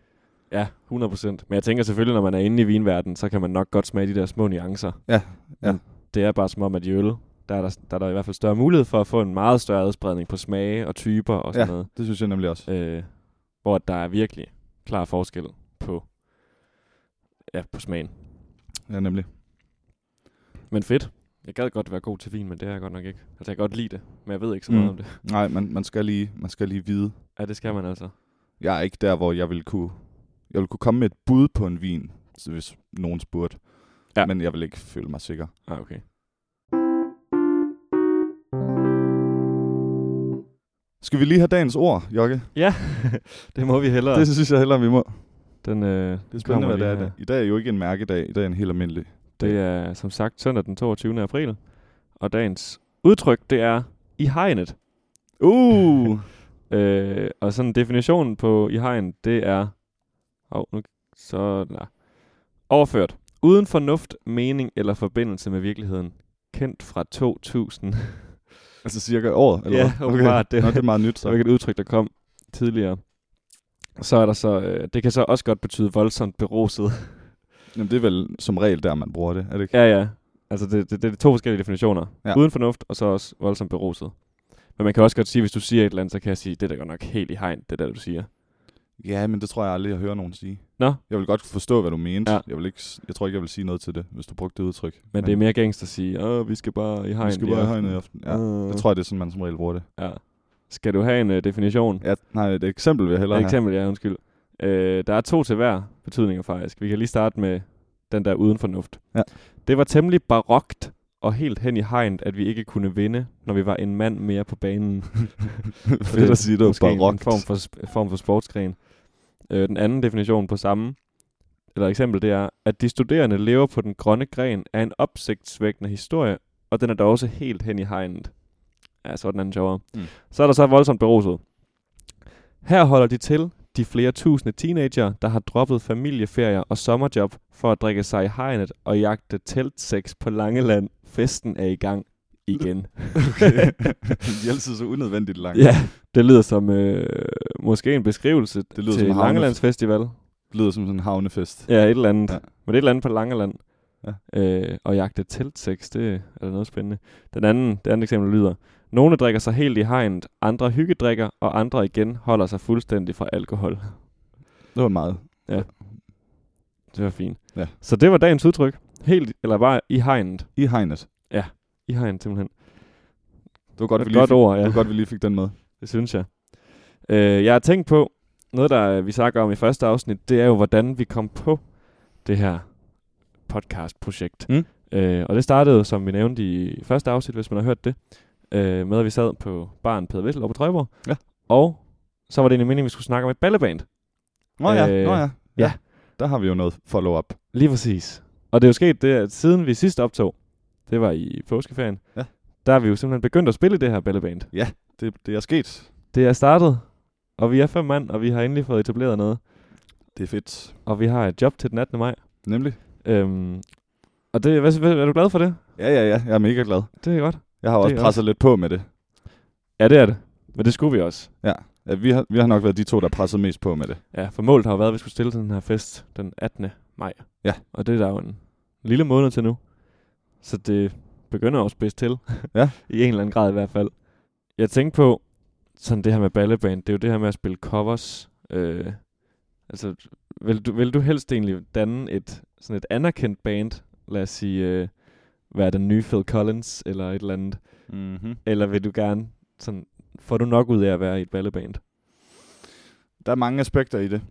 Speaker 1: Ja, 100%. Men jeg tænker selvfølgelig, når man er inde i vinverdenen, så kan man nok godt smage de der små nuancer.
Speaker 2: Ja, ja.
Speaker 1: Men det er bare som om, at i øl, der er der, der er der i hvert fald større mulighed for at få en meget større adspredning på smage og typer og sådan
Speaker 2: Ja.
Speaker 1: ja. noget.
Speaker 2: Det synes jeg nemlig også.
Speaker 1: Øh, hvor der er virkelig klar forskel på, ja, på smagen.
Speaker 2: Ja, nemlig.
Speaker 1: Men fedt. Jeg gad godt være god til vin, men det er jeg godt nok ikke. Altså, jeg kan godt lide det, men jeg ved ikke så meget
Speaker 2: Mm.
Speaker 1: mm. om det.
Speaker 2: Nej, man, man, skal lige, man skal lige vide.
Speaker 1: Ja, det skal man altså.
Speaker 2: Jeg er ikke der, hvor jeg vil kunne, jeg vil kunne komme med et bud på en vin, så hvis nogen spurgte. Ja.
Speaker 1: Ja.
Speaker 2: Men jeg vil ikke føle mig sikker.
Speaker 1: Ah, okay.
Speaker 2: Skal vi lige have dagens ord, Jokke?
Speaker 1: Ja, det må vi hellere.
Speaker 2: Det synes jeg hellere, vi må.
Speaker 1: Den, øh,
Speaker 2: Det er spændende,
Speaker 1: kommer
Speaker 2: hvad det
Speaker 1: lige
Speaker 2: er. i
Speaker 1: her.
Speaker 2: dag. I dag er jo ikke en mærkedag. I dag er en helt almindelig.
Speaker 1: Det er som sagt søndag den 22. april, og dagens udtryk, det er i hegnet.
Speaker 2: Uh!
Speaker 1: Øh, og sådan definitionen på i hegn, det er... Hov, nu, så, nej. Overført. Uden fornuft, mening eller forbindelse med virkeligheden. Kendt fra 2000.
Speaker 2: altså cirka et år, eller
Speaker 1: Ja,
Speaker 2: hvad?
Speaker 1: åbenbart. Det-
Speaker 2: Nå, det er meget nyt,
Speaker 1: Så er
Speaker 2: så.
Speaker 1: ikke et udtryk, der kom tidligere. Så er der så... Øh, det kan så også godt betyde voldsomt beruset.
Speaker 2: Jamen, det er vel som regel der, man bruger det, er det ikke?
Speaker 1: ja, ja. Altså, det, det, det er to forskellige definitioner.
Speaker 2: Ja.
Speaker 1: Ja. Uden fornuft, og så også voldsomt beruset. Men man kan også godt sige, hvis du siger et eller andet, så kan jeg sige, det er da godt nok helt i hegn, det der, du siger.
Speaker 2: Ja, men det tror jeg aldrig, jeg hører nogen sige.
Speaker 1: Nå.
Speaker 2: Jeg vil godt forstå, hvad du mente. Ja.
Speaker 1: Ja.
Speaker 2: Jeg, vil ikke, s- jeg tror ikke, jeg vil sige noget til det, hvis du brugte det udtryk.
Speaker 1: Men, Men det er mere gængst at sige, åh, vi skal bare i hegn.
Speaker 2: Vi skal
Speaker 1: i
Speaker 2: bare
Speaker 1: aften." Mm.
Speaker 2: højne i aften. Ja. Jeg tror, det er sådan, man som regel bruger det.
Speaker 1: Ja. Skal du have en øh, definition?
Speaker 2: Ja, nej, et eksempel vil jeg hellere
Speaker 1: Et
Speaker 2: have.
Speaker 1: eksempel, ja, undskyld. Øh, der er to til hver betydninger faktisk. Vi kan lige starte med den der uden fornuft.
Speaker 2: Ja.
Speaker 1: Det var temmelig barokt og helt hen i hegnet, at vi ikke kunne vinde, når vi var en mand mere på banen.
Speaker 2: Fedt at sige, det var
Speaker 1: Måske en
Speaker 2: barokt.
Speaker 1: form for, sp- form for sportsgren. Øh, den anden definition på samme, eller eksempel, det er, at de studerende lever på den grønne gren af en opsigtsvækkende historie, og den er da også helt hen i hegnet. Ja, så er den anden sjovere.
Speaker 2: Mm.
Speaker 1: Mm. Så er der så voldsomt beruset. Her holder de til, de flere tusinde teenager, der har droppet familieferier og sommerjob for at drikke sig i hegnet og jagte teltsex på Langeland. Festen er i gang. igen.
Speaker 2: Okay. de er altid så unødvendigt langt.
Speaker 1: ja, det lyder som øh, måske en beskrivelse det
Speaker 2: lyder
Speaker 1: lyder til
Speaker 2: som havne-
Speaker 1: Langelands Festival.
Speaker 2: Det lyder som sådan en havnefest.
Speaker 1: Ja, et eller andet.
Speaker 2: Ja.
Speaker 1: Ja. Men det er et eller andet på Langeland.
Speaker 2: Ja.
Speaker 1: Øh, og jagte teltseks, det er da noget spændende. Den anden, det andet eksempel lyder, nogle drikker sig helt i hegnet, andre hyggedrikker, og andre igen holder sig fuldstændig fra alkohol.
Speaker 2: Det var meget.
Speaker 1: Det var fint.
Speaker 2: Ja.
Speaker 1: Så det var dagens udtryk. Helt, eller bare i hegnet.
Speaker 2: I hegnet.
Speaker 1: I hegnet simpelthen.
Speaker 2: Det var godt,
Speaker 1: Et
Speaker 2: vi lige
Speaker 1: godt
Speaker 2: fik,
Speaker 1: ord, ja.
Speaker 2: det var godt, vi lige fik den med.
Speaker 1: Det synes jeg. Øh, jeg har tænkt på, noget der øh, vi snakker om i første afsnit, det er jo, hvordan vi kom på det her podcastprojekt.
Speaker 2: Mm.
Speaker 1: Øh, og det startede, jo, som vi nævnte i første afsnit, hvis man har hørt det, øh, med at vi sad på baren Peder Vissel oppe på Trøjborg.
Speaker 2: Ja.
Speaker 1: Og så var det egentlig meningen, at vi skulle snakke om et balleband.
Speaker 2: Nå ja,
Speaker 1: Øh,
Speaker 2: nå ja.
Speaker 1: ja.
Speaker 2: Der har vi jo noget follow-up.
Speaker 1: Lige præcis. Og det er jo sket det, at siden vi sidst optog, det var i påskeferien,
Speaker 2: Ja.
Speaker 1: der er vi jo simpelthen begyndt at spille det her balleband.
Speaker 2: Det, det er sket.
Speaker 1: Det er startet, og vi er fem mand, og vi har endelig fået etableret noget.
Speaker 2: Det er fedt.
Speaker 1: Og vi har et job til den 18. maj.
Speaker 2: Nemlig.
Speaker 1: Øhm, og det, hvad, hvad, er du glad for det?
Speaker 2: Ja, ja, ja. Jeg er mega glad.
Speaker 1: Det er godt.
Speaker 2: Jeg har
Speaker 1: Det
Speaker 2: også
Speaker 1: er
Speaker 2: presset lidt på med det.
Speaker 1: Ja, det er det. Men det skulle vi også.
Speaker 2: Ja. ja vi, har, vi har nok været de to, der har presset mest på med det.
Speaker 1: Ja, for målet har jo været, at vi skulle stille til den her fest den 18. maj.
Speaker 2: Ja.
Speaker 1: Og det er der jo en lille måned til nu. Så det begynder også bedst til.
Speaker 2: Ja.
Speaker 1: I en eller anden grad i hvert fald. Jeg tænkte på, sådan det her med balleband, det er jo det her med at spille covers. Øh, altså, vil du, vil du helst egentlig danne et, sådan et anerkendt band? Lad os sige, øh, være den nye Phil Collins eller et eller andet.
Speaker 2: Mm-hmm.
Speaker 1: Eller vil du gerne sådan, får du nok ud af at være i et balleband?
Speaker 2: Der er mange aspekter i det.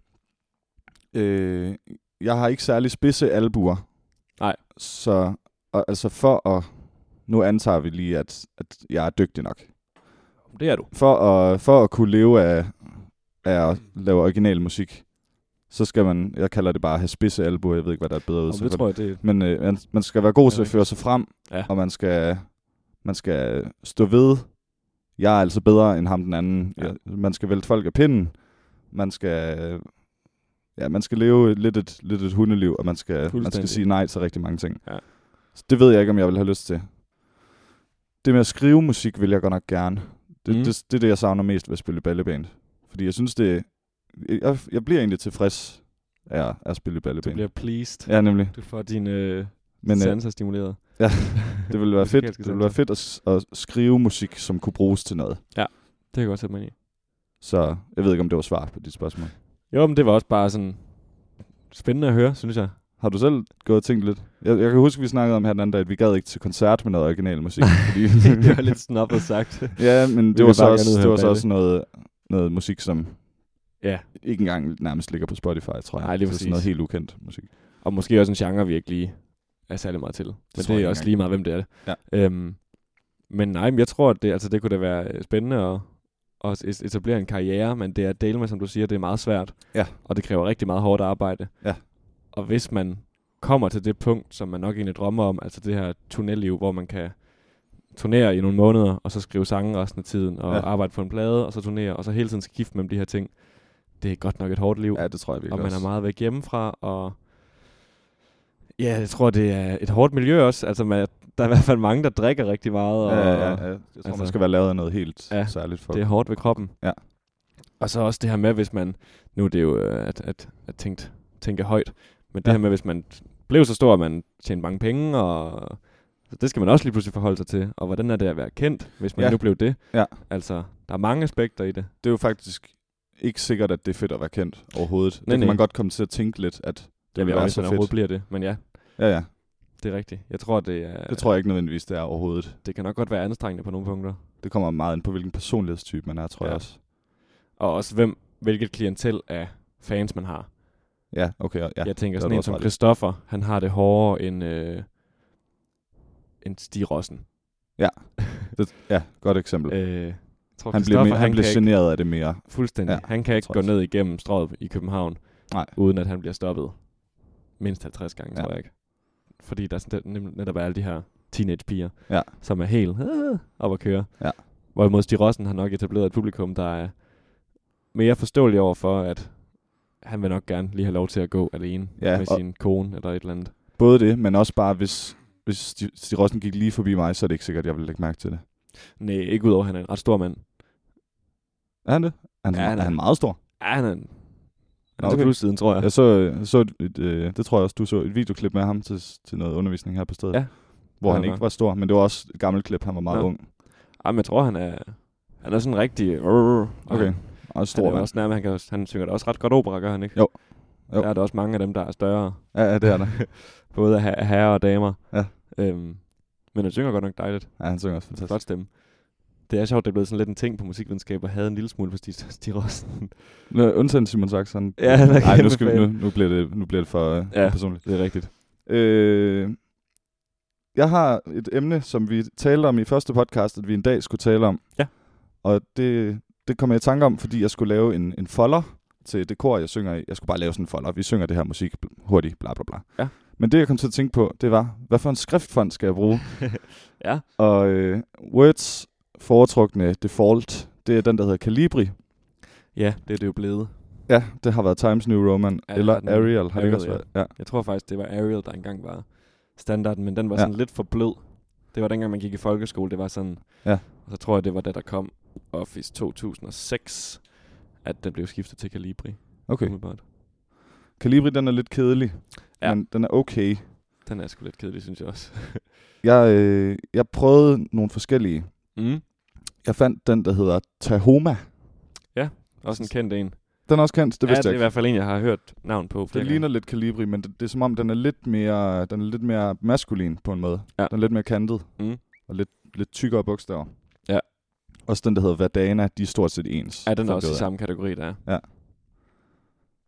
Speaker 2: Øh, jeg har ikke særlig spidse albuer.
Speaker 1: Nej.
Speaker 2: Så og, altså for at... Nu antager vi lige, at, at jeg er dygtig nok.
Speaker 1: Det er du.
Speaker 2: For at, for at kunne leve af, af at lave original musik, så skal man, jeg kalder det bare at have spidse albuer, jeg ved ikke, hvad der er et bedre
Speaker 1: Om
Speaker 2: udsæt
Speaker 1: det tror jeg, det er
Speaker 2: Men øh, man, man skal være god til at
Speaker 1: Ja.
Speaker 2: føre sig frem,
Speaker 1: Ja.
Speaker 2: og man skal, man skal stå ved, jeg er altså bedre end ham den anden.
Speaker 1: Ja.
Speaker 2: Ja. Man skal vælte folk af pinden. Man skal, øh, ja, man skal leve lidt et, lidt et hundeliv, og man skal, man skal
Speaker 1: Fuldstændig.
Speaker 2: sige nej til rigtig mange ting.
Speaker 1: Ja.
Speaker 2: Så det ved jeg ikke, om jeg vil have lyst til. Det med at skrive musik vil jeg godt nok gerne. Det,
Speaker 1: Mm.
Speaker 2: mm. det, det er det, jeg savner mest ved at spille i balleband. Fordi jeg synes, det jeg, jeg bliver egentlig tilfreds af, at- af at spille i
Speaker 1: Du
Speaker 2: balleband.
Speaker 1: bliver pleased. Ja.
Speaker 2: Ja, nemlig.
Speaker 1: Du får dine øh,
Speaker 2: Men, øh,
Speaker 1: sanser stimuleret.
Speaker 2: Ja, det ville være fedt,
Speaker 1: Musikalske
Speaker 2: det ville være
Speaker 1: sanser.
Speaker 2: fedt at, s- at skrive musik, som kunne bruges til noget.
Speaker 1: Det kan jeg godt sætte mig ind i.
Speaker 2: Så jeg ved ikke, om det var svar på dit spørgsmål.
Speaker 1: Jo, men det var også bare sådan spændende at høre, synes jeg.
Speaker 2: Har du selv gået og tænkt lidt? Jeg, jeg kan huske, vi snakkede om her den anden dag, at vi gad ikke til koncert med noget original musik. fordi,
Speaker 1: det var lidt snobbet sagt.
Speaker 2: ja, men
Speaker 1: vil
Speaker 2: det var så
Speaker 1: bare
Speaker 2: også,
Speaker 1: gerne ud og
Speaker 2: det var
Speaker 1: høre
Speaker 2: så
Speaker 1: Balle.
Speaker 2: også noget, noget musik, som
Speaker 1: ja,
Speaker 2: ikke engang nærmest ligger på Spotify, tror jeg.
Speaker 1: Nej, lige
Speaker 2: det er sådan
Speaker 1: præcis.
Speaker 2: noget helt ukendt musik.
Speaker 1: og måske også en genre, vi ikke lige er særlig meget til. Men det,
Speaker 2: tror jeg
Speaker 1: er
Speaker 2: ikke
Speaker 1: også
Speaker 2: engang.
Speaker 1: lige meget, hvem det er.
Speaker 2: Ja.
Speaker 1: Øhm, men nej, men jeg tror, at det, altså, det kunne da være øh, spændende at, at es- etablere en karriere, men det er at dele med, som du siger, det er meget svært.
Speaker 2: Ja.
Speaker 1: Og det kræver rigtig meget hårdt arbejde.
Speaker 2: Ja.
Speaker 1: Og hvis man kommer til det punkt, som man nok egentlig drømmer om, altså det her turneliv, hvor man kan turnere i nogle måneder, og så skrive sange resten af tiden, og
Speaker 2: Ja.
Speaker 1: ja. arbejde på en plade, og så turnere, og så hele tiden skal skifte mellem de her ting. Det er godt nok et hårdt liv.
Speaker 2: Ja, det tror jeg virkelig
Speaker 1: Og man er
Speaker 2: også.
Speaker 1: meget væk hjemmefra, og ja, jeg tror, det er et hårdt miljø også. Altså, man, der er i hvert fald mange, der drikker rigtig meget, og
Speaker 2: Ja, ja, ja. Jeg tror, altså,
Speaker 1: altså-
Speaker 2: man skal være lavet af noget helt
Speaker 1: Ja,
Speaker 2: ja, særligt for.
Speaker 1: det er hårdt ved kroppen.
Speaker 2: Ja.
Speaker 1: Og så også det her med, hvis man, nu er det jo øh, at, at, at tænkt, tænke højt, men det
Speaker 2: Ja.
Speaker 1: her med, hvis man blev så stor, at man tjente mange penge, og så det skal man også lige pludselig forholde sig til. Og hvordan er det at være kendt, hvis man
Speaker 2: Ja.
Speaker 1: ja. nu blev det?
Speaker 2: Ja.
Speaker 1: Altså, der er mange aspekter i det.
Speaker 2: det er jo faktisk ikke sikkert, at det er fedt at være kendt overhovedet. det
Speaker 1: Nej,
Speaker 2: kan
Speaker 1: nej.
Speaker 2: man godt komme til at tænke lidt, at det
Speaker 1: Det
Speaker 2: vil
Speaker 1: jeg
Speaker 2: være
Speaker 1: ved, hvis
Speaker 2: så
Speaker 1: man
Speaker 2: fedt.
Speaker 1: overhovedet bliver det. Men ja,
Speaker 2: Ja, ja.
Speaker 1: det er rigtigt. Jeg tror, det, er,
Speaker 2: Det tror jeg ikke nødvendigvis, det er overhovedet.
Speaker 1: det kan nok godt være anstrengende på nogle punkter.
Speaker 2: Det kommer meget ind på, hvilken personlighedstype man er, tror
Speaker 1: Ja.
Speaker 2: ja. jeg også.
Speaker 1: Og også hvem, hvilket klientel af fans man har.
Speaker 2: Ja, okay. Ja.
Speaker 1: Ja,
Speaker 2: ja.
Speaker 1: jeg tænker
Speaker 2: der er
Speaker 1: sådan
Speaker 2: du
Speaker 1: en
Speaker 2: også
Speaker 1: som
Speaker 2: ret i.
Speaker 1: Christoffer, han har det hårdere end, øh, end Stig Rossen.
Speaker 2: Det, ja godt eksempel. Øh,
Speaker 1: Øh, jeg tror,
Speaker 2: han bliver,
Speaker 1: Christoffer,
Speaker 2: mere, han bliver
Speaker 1: kan ikke,
Speaker 2: generet af det mere.
Speaker 1: fuldstændig,
Speaker 2: Ja,
Speaker 1: ja, han kan ikke
Speaker 2: tror
Speaker 1: gå
Speaker 2: jeg også.
Speaker 1: ned igennem strøget i København,
Speaker 2: Nej.
Speaker 1: uden at han bliver stoppet mindst 50 gange,
Speaker 2: Ja.
Speaker 1: ja. tror jeg ikke. Fordi der er sådan der- nem- netop er alle de her teenagepiger,
Speaker 2: Ja.
Speaker 1: som er helt øh, op at køre.
Speaker 2: Ja.
Speaker 1: Hvorimod Stig Rossen har nok etableret et publikum, der er mere forståelig over for, at han vil nok gerne lige have lov til at gå alene
Speaker 2: Ja,
Speaker 1: med
Speaker 2: og-
Speaker 1: sin kone eller et eller andet.
Speaker 2: Både det, men også bare, hvis, hvis Sti- Stig Rossen gik lige forbi mig, så er det ikke sikkert, at jeg ville lægge mærke til det.
Speaker 1: Nej, ikke udover, at han er en ret stor mand.
Speaker 2: Er han det? Er han,
Speaker 1: Ja,
Speaker 2: ja,
Speaker 1: han
Speaker 2: er
Speaker 1: er.
Speaker 2: han meget stor?
Speaker 1: Ja, han er en... Han er
Speaker 2: okay.
Speaker 1: okay. til siden, tror jeg.
Speaker 2: Jeg så, jeg så et, øh, det tror jeg også, du så et videoklip med ham til, til noget undervisning her på stedet.
Speaker 1: Ja.
Speaker 2: Hvor
Speaker 1: Ja,
Speaker 2: han
Speaker 1: det var.
Speaker 2: ikke var stor, men det var også et gammelt klip, han var meget
Speaker 1: Nå.
Speaker 2: ung.
Speaker 1: Ej, men jeg tror, han er... Han er sådan en rigtig... Okay.
Speaker 2: Okay,
Speaker 1: Han,
Speaker 2: og
Speaker 1: han
Speaker 2: stor
Speaker 1: er jo
Speaker 2: mand.
Speaker 1: også nærmest, han, kan, også- han synger da også ret godt opera, gør han ikke?
Speaker 2: Jo. Jo.
Speaker 1: Der er der også mange af dem, der er større.
Speaker 2: Ja, ja, det er det.
Speaker 1: Både af her- herrer og damer.
Speaker 2: Ja.
Speaker 1: Øhm, men han synger godt nok dejligt.
Speaker 2: Ja, han synger også fantastisk.
Speaker 1: Flot stemme. Det er sjovt, det er blevet sådan lidt en ting på musikvidenskab, at have en lille smule på Stig, Stig Rossen.
Speaker 2: Nu, undtagen Simon Sachs, han...
Speaker 1: Ja, han er
Speaker 2: Ej, nu,
Speaker 1: kæmpe
Speaker 2: skal vi,
Speaker 1: fan.
Speaker 2: nu, nu, bliver det, nu bliver det for øh,
Speaker 1: Ja.
Speaker 2: ja. personligt.
Speaker 1: Det er rigtigt.
Speaker 2: Øh, jeg har et emne, som vi talte om i første podcast, at vi en dag skulle tale om.
Speaker 1: Ja.
Speaker 2: Og det, det kom jeg i tanke om, fordi jeg skulle lave en, en folder til det kor, jeg synger i. Jeg skulle bare lave sådan en folder. Vi synger det her musik bl- hurtigt, bla bla bla.
Speaker 1: Ja.
Speaker 2: Men det, jeg kom til at tænke på, det var, hvad for en skriftfond skal jeg bruge?
Speaker 1: Ja.
Speaker 2: Og øh, Words foretrukne default, det er den, der hedder Calibri.
Speaker 1: Ja, det er det jo blevet.
Speaker 2: Ja, det har været Times New Roman,
Speaker 1: Ja,
Speaker 2: ja, eller
Speaker 1: den-
Speaker 2: Arial, har det
Speaker 1: Arial,
Speaker 2: ikke også
Speaker 1: ja.
Speaker 2: været? Ja.
Speaker 1: Jeg tror faktisk, det var Ariel, der engang var standarden, men den var
Speaker 2: Ja.
Speaker 1: sådan lidt for blød. Det var dengang, man gik i folkeskole, det var sådan...
Speaker 2: Ja.
Speaker 1: Og så tror jeg, det var da der kom Office 2006, at den blev skiftet til Calibri.
Speaker 2: Okay.
Speaker 1: umiddelbart.
Speaker 2: Calibri, den er lidt kedelig,
Speaker 1: Mm-hmm. Ja.
Speaker 2: ja. men den er okay.
Speaker 1: Den er sgu lidt kedelig, synes jeg også.
Speaker 2: Jeg, øh, jeg prøvede nogle forskellige.
Speaker 1: mm.
Speaker 2: Jeg fandt den, der hedder Tahoma.
Speaker 1: Også en kendt en.
Speaker 2: Den er også kendt, det
Speaker 1: ja,
Speaker 2: vidste
Speaker 1: det er i
Speaker 2: jeg ikke.
Speaker 1: hvert fald en, jeg har hørt navn på. flere
Speaker 2: Det
Speaker 1: gange.
Speaker 2: ligner lidt Calibri, men det, det er som om, den er lidt mere, den er lidt mere maskulin på en måde.
Speaker 1: Ja.
Speaker 2: Den er lidt mere kantet.
Speaker 1: Mm.
Speaker 2: Og lidt, lidt tykkere bogstaver.
Speaker 1: Ja.
Speaker 2: Også den, der hedder Verdana, de er stort set ens.
Speaker 1: Ja, den er
Speaker 2: fandt
Speaker 1: også i
Speaker 2: jeg ud af.
Speaker 1: samme kategori, der er.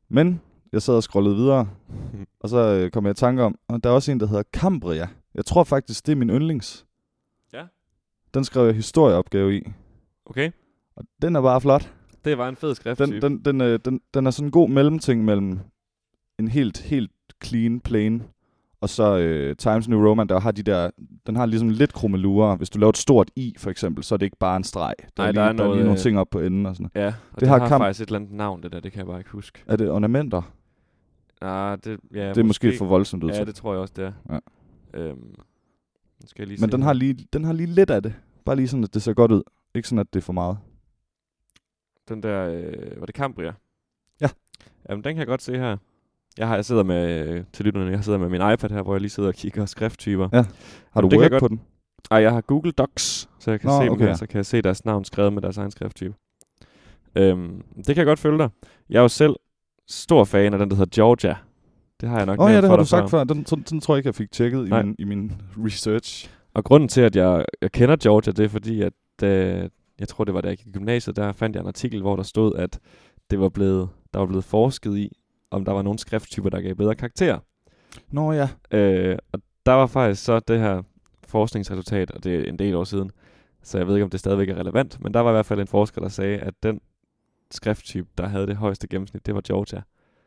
Speaker 2: Men jeg sad og scrollede videre, og så øh, kom jeg i tanke om, og der er også en, der hedder Cambria. Jeg tror faktisk, det er min yndlings.
Speaker 1: Ja.
Speaker 2: Den skrev jeg historieopgave i,
Speaker 1: Okay,
Speaker 2: og den er bare flot.
Speaker 1: det var en fed skrifttype.
Speaker 2: den, den, den, øh, den, den er sådan en god mellemting mellem en helt, helt clean plane, og så øh, Times New Roman, der har de der, den har ligesom lidt krummelurer. Hvis du laver et stort i, for eksempel, så er det ikke bare en streg. Der,
Speaker 1: Nej,
Speaker 2: er, lige,
Speaker 1: der er
Speaker 2: der er
Speaker 1: noget,
Speaker 2: lige nogle
Speaker 1: øh,
Speaker 2: ting op på enden og sådan
Speaker 1: Ja,
Speaker 2: noget.
Speaker 1: og det,
Speaker 2: Det
Speaker 1: det
Speaker 2: har
Speaker 1: har, har
Speaker 2: kamp-
Speaker 1: faktisk et eller andet navn, det der, det kan jeg bare ikke huske.
Speaker 2: Er det ornamenter? Ja,
Speaker 1: Ah, det, ja,
Speaker 2: det er måske, måske for voldsomt
Speaker 1: Ja,
Speaker 2: udtryk.
Speaker 1: det tror jeg også, det er.
Speaker 2: Ja.
Speaker 1: Øhm, nu skal jeg lige
Speaker 2: Men
Speaker 1: se
Speaker 2: den
Speaker 1: her.
Speaker 2: har, lige, den har lige lidt af det. Bare lige sådan, at det ser godt ud. Ikke sådan, at det er for meget.
Speaker 1: Den der, øh, var det Cambria?
Speaker 2: Ja.
Speaker 1: Jamen, den kan jeg godt se her. Jeg, har, jeg sidder med, øh, til lytterne, jeg sidder med min iPad her, hvor jeg lige sidder og kigger skrifttyper.
Speaker 2: Ja. Har du
Speaker 1: Det kan jeg godt-
Speaker 2: Word på den?
Speaker 1: Ej, jeg har Google Docs, så jeg kan
Speaker 2: Nå,
Speaker 1: se
Speaker 2: okay.
Speaker 1: dem her, så kan jeg se deres navn skrevet med deres egen skrifttype. Øhm, det kan jeg godt følge dig. Jeg er jo selv stor fan af den, der hedder Georgia. Det har jeg nok
Speaker 2: Åh oh, ja,
Speaker 1: nævnt
Speaker 2: det
Speaker 1: for
Speaker 2: har
Speaker 1: dig
Speaker 2: du
Speaker 1: før.
Speaker 2: sagt før. Den, den, den tror jeg ikke, jeg fik tjekket i
Speaker 1: Nej.
Speaker 2: min, i min research.
Speaker 1: Og grunden til, at jeg, jeg kender Georgia, det er fordi, at øh, jeg tror, det var da jeg gik i gymnasiet, der fandt jeg en artikel, hvor der stod, at det var blevet, der var blevet forsket i, om der var nogle skrifttyper, der gav bedre karakterer.
Speaker 2: Nå ja.
Speaker 1: Øh, og der var faktisk så det her forskningsresultat, og det er en del år siden, så jeg ved ikke, om det stadigvæk er relevant, men der var i hvert fald en forsker, der sagde, at den skrifttype, der havde det højeste gennemsnit, det var Georgia.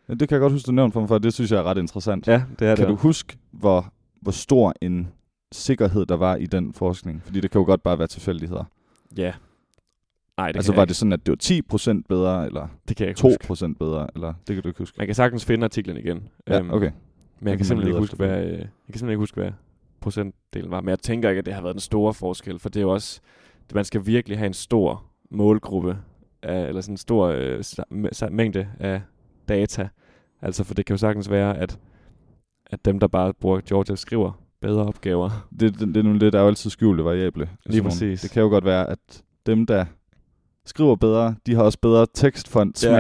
Speaker 2: Ja, Det kan jeg godt huske, du nævnte for mig, for det synes jeg er ret interessant.
Speaker 1: Ja, det er
Speaker 2: kan
Speaker 1: det.
Speaker 2: du huske, hvor, hvor stor en sikkerhed der var i den forskning? Fordi det kan jo godt bare være tilfældigheder.
Speaker 1: Ja. Nej, det,
Speaker 2: altså
Speaker 1: kan
Speaker 2: var
Speaker 1: jeg
Speaker 2: det sådan, at det var 10% bedre, eller
Speaker 1: ikke. det kan jeg ikke huske.
Speaker 2: 2% bedre, eller det kan du ikke huske?
Speaker 1: Man kan sagtens finde artiklen igen. Øhm,
Speaker 2: Ja, okay.
Speaker 1: Men jeg
Speaker 2: Det
Speaker 1: kan
Speaker 2: kan man
Speaker 1: simpelthen ikke
Speaker 2: lede
Speaker 1: huske,
Speaker 2: efter.
Speaker 1: hvad, øh, jeg kan simpelthen ikke huske, hvad procentdelen var. Men jeg tænker ikke, at det har været den store forskel, for det er jo også, at man skal virkelig have en stor målgruppe, af, eller sådan en stor øh, sa- mæ- sa- mængde af data. Altså, for det kan jo sagtens være, at, at dem, der bare bruger Georgia, skriver bedre opgaver.
Speaker 2: Det, det, det, er nu lidt, der er jo altid skjulte variable. i sådan nogle.
Speaker 1: præcis.
Speaker 2: Det kan jo godt være, at dem, der skriver bedre, de har også bedre tekstfont, smag,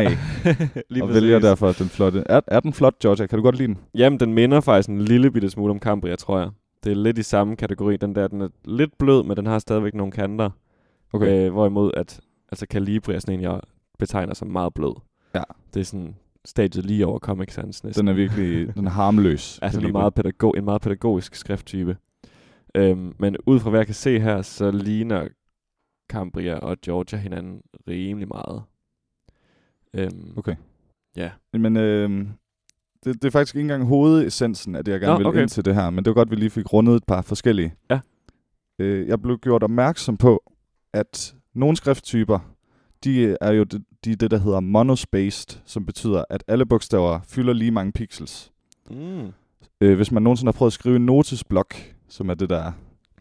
Speaker 2: ja,
Speaker 1: Lige
Speaker 2: og
Speaker 1: præcis.
Speaker 2: vælger derfor den flotte. Er, er den flot, Georgia? Kan du godt lide den?
Speaker 1: Jamen, den minder faktisk en lille bitte smule om Cambria, tror jeg. Det er lidt i samme kategori. Den der, den er lidt blød, men den har stadigvæk nogle kanter.
Speaker 2: Okay.
Speaker 1: Øh, hvorimod at altså Calibri er sådan en, jeg betegner som meget blød.
Speaker 2: Ja.
Speaker 1: Det er sådan stadiet lige over Comic Sans næsten.
Speaker 2: Den er virkelig den er harmløs.
Speaker 1: altså
Speaker 2: Kaliber.
Speaker 1: en meget, pædagog, en meget pædagogisk skrifttype. Øhm, men ud fra hvad jeg kan se her, så ligner Cambria og Georgia hinanden rimelig meget. Øhm,
Speaker 2: Okay.
Speaker 1: Ja.
Speaker 2: Men øh, det, det er faktisk ikke engang hovedessensen af det, jeg gerne
Speaker 1: Nå,
Speaker 2: Nå, ville
Speaker 1: okay.
Speaker 2: okay. ind til det her. Men det var godt, at vi lige fik rundet et par forskellige.
Speaker 1: Ja.
Speaker 2: Øh, jeg blev gjort opmærksom på, at nogle skrifttyper, de er jo det, de er det, der hedder monospaced, som betyder, at alle bogstaver fylder lige mange pixels.
Speaker 1: Mm.
Speaker 2: Øh, hvis man nogensinde har prøvet at skrive en notesblok, som er det der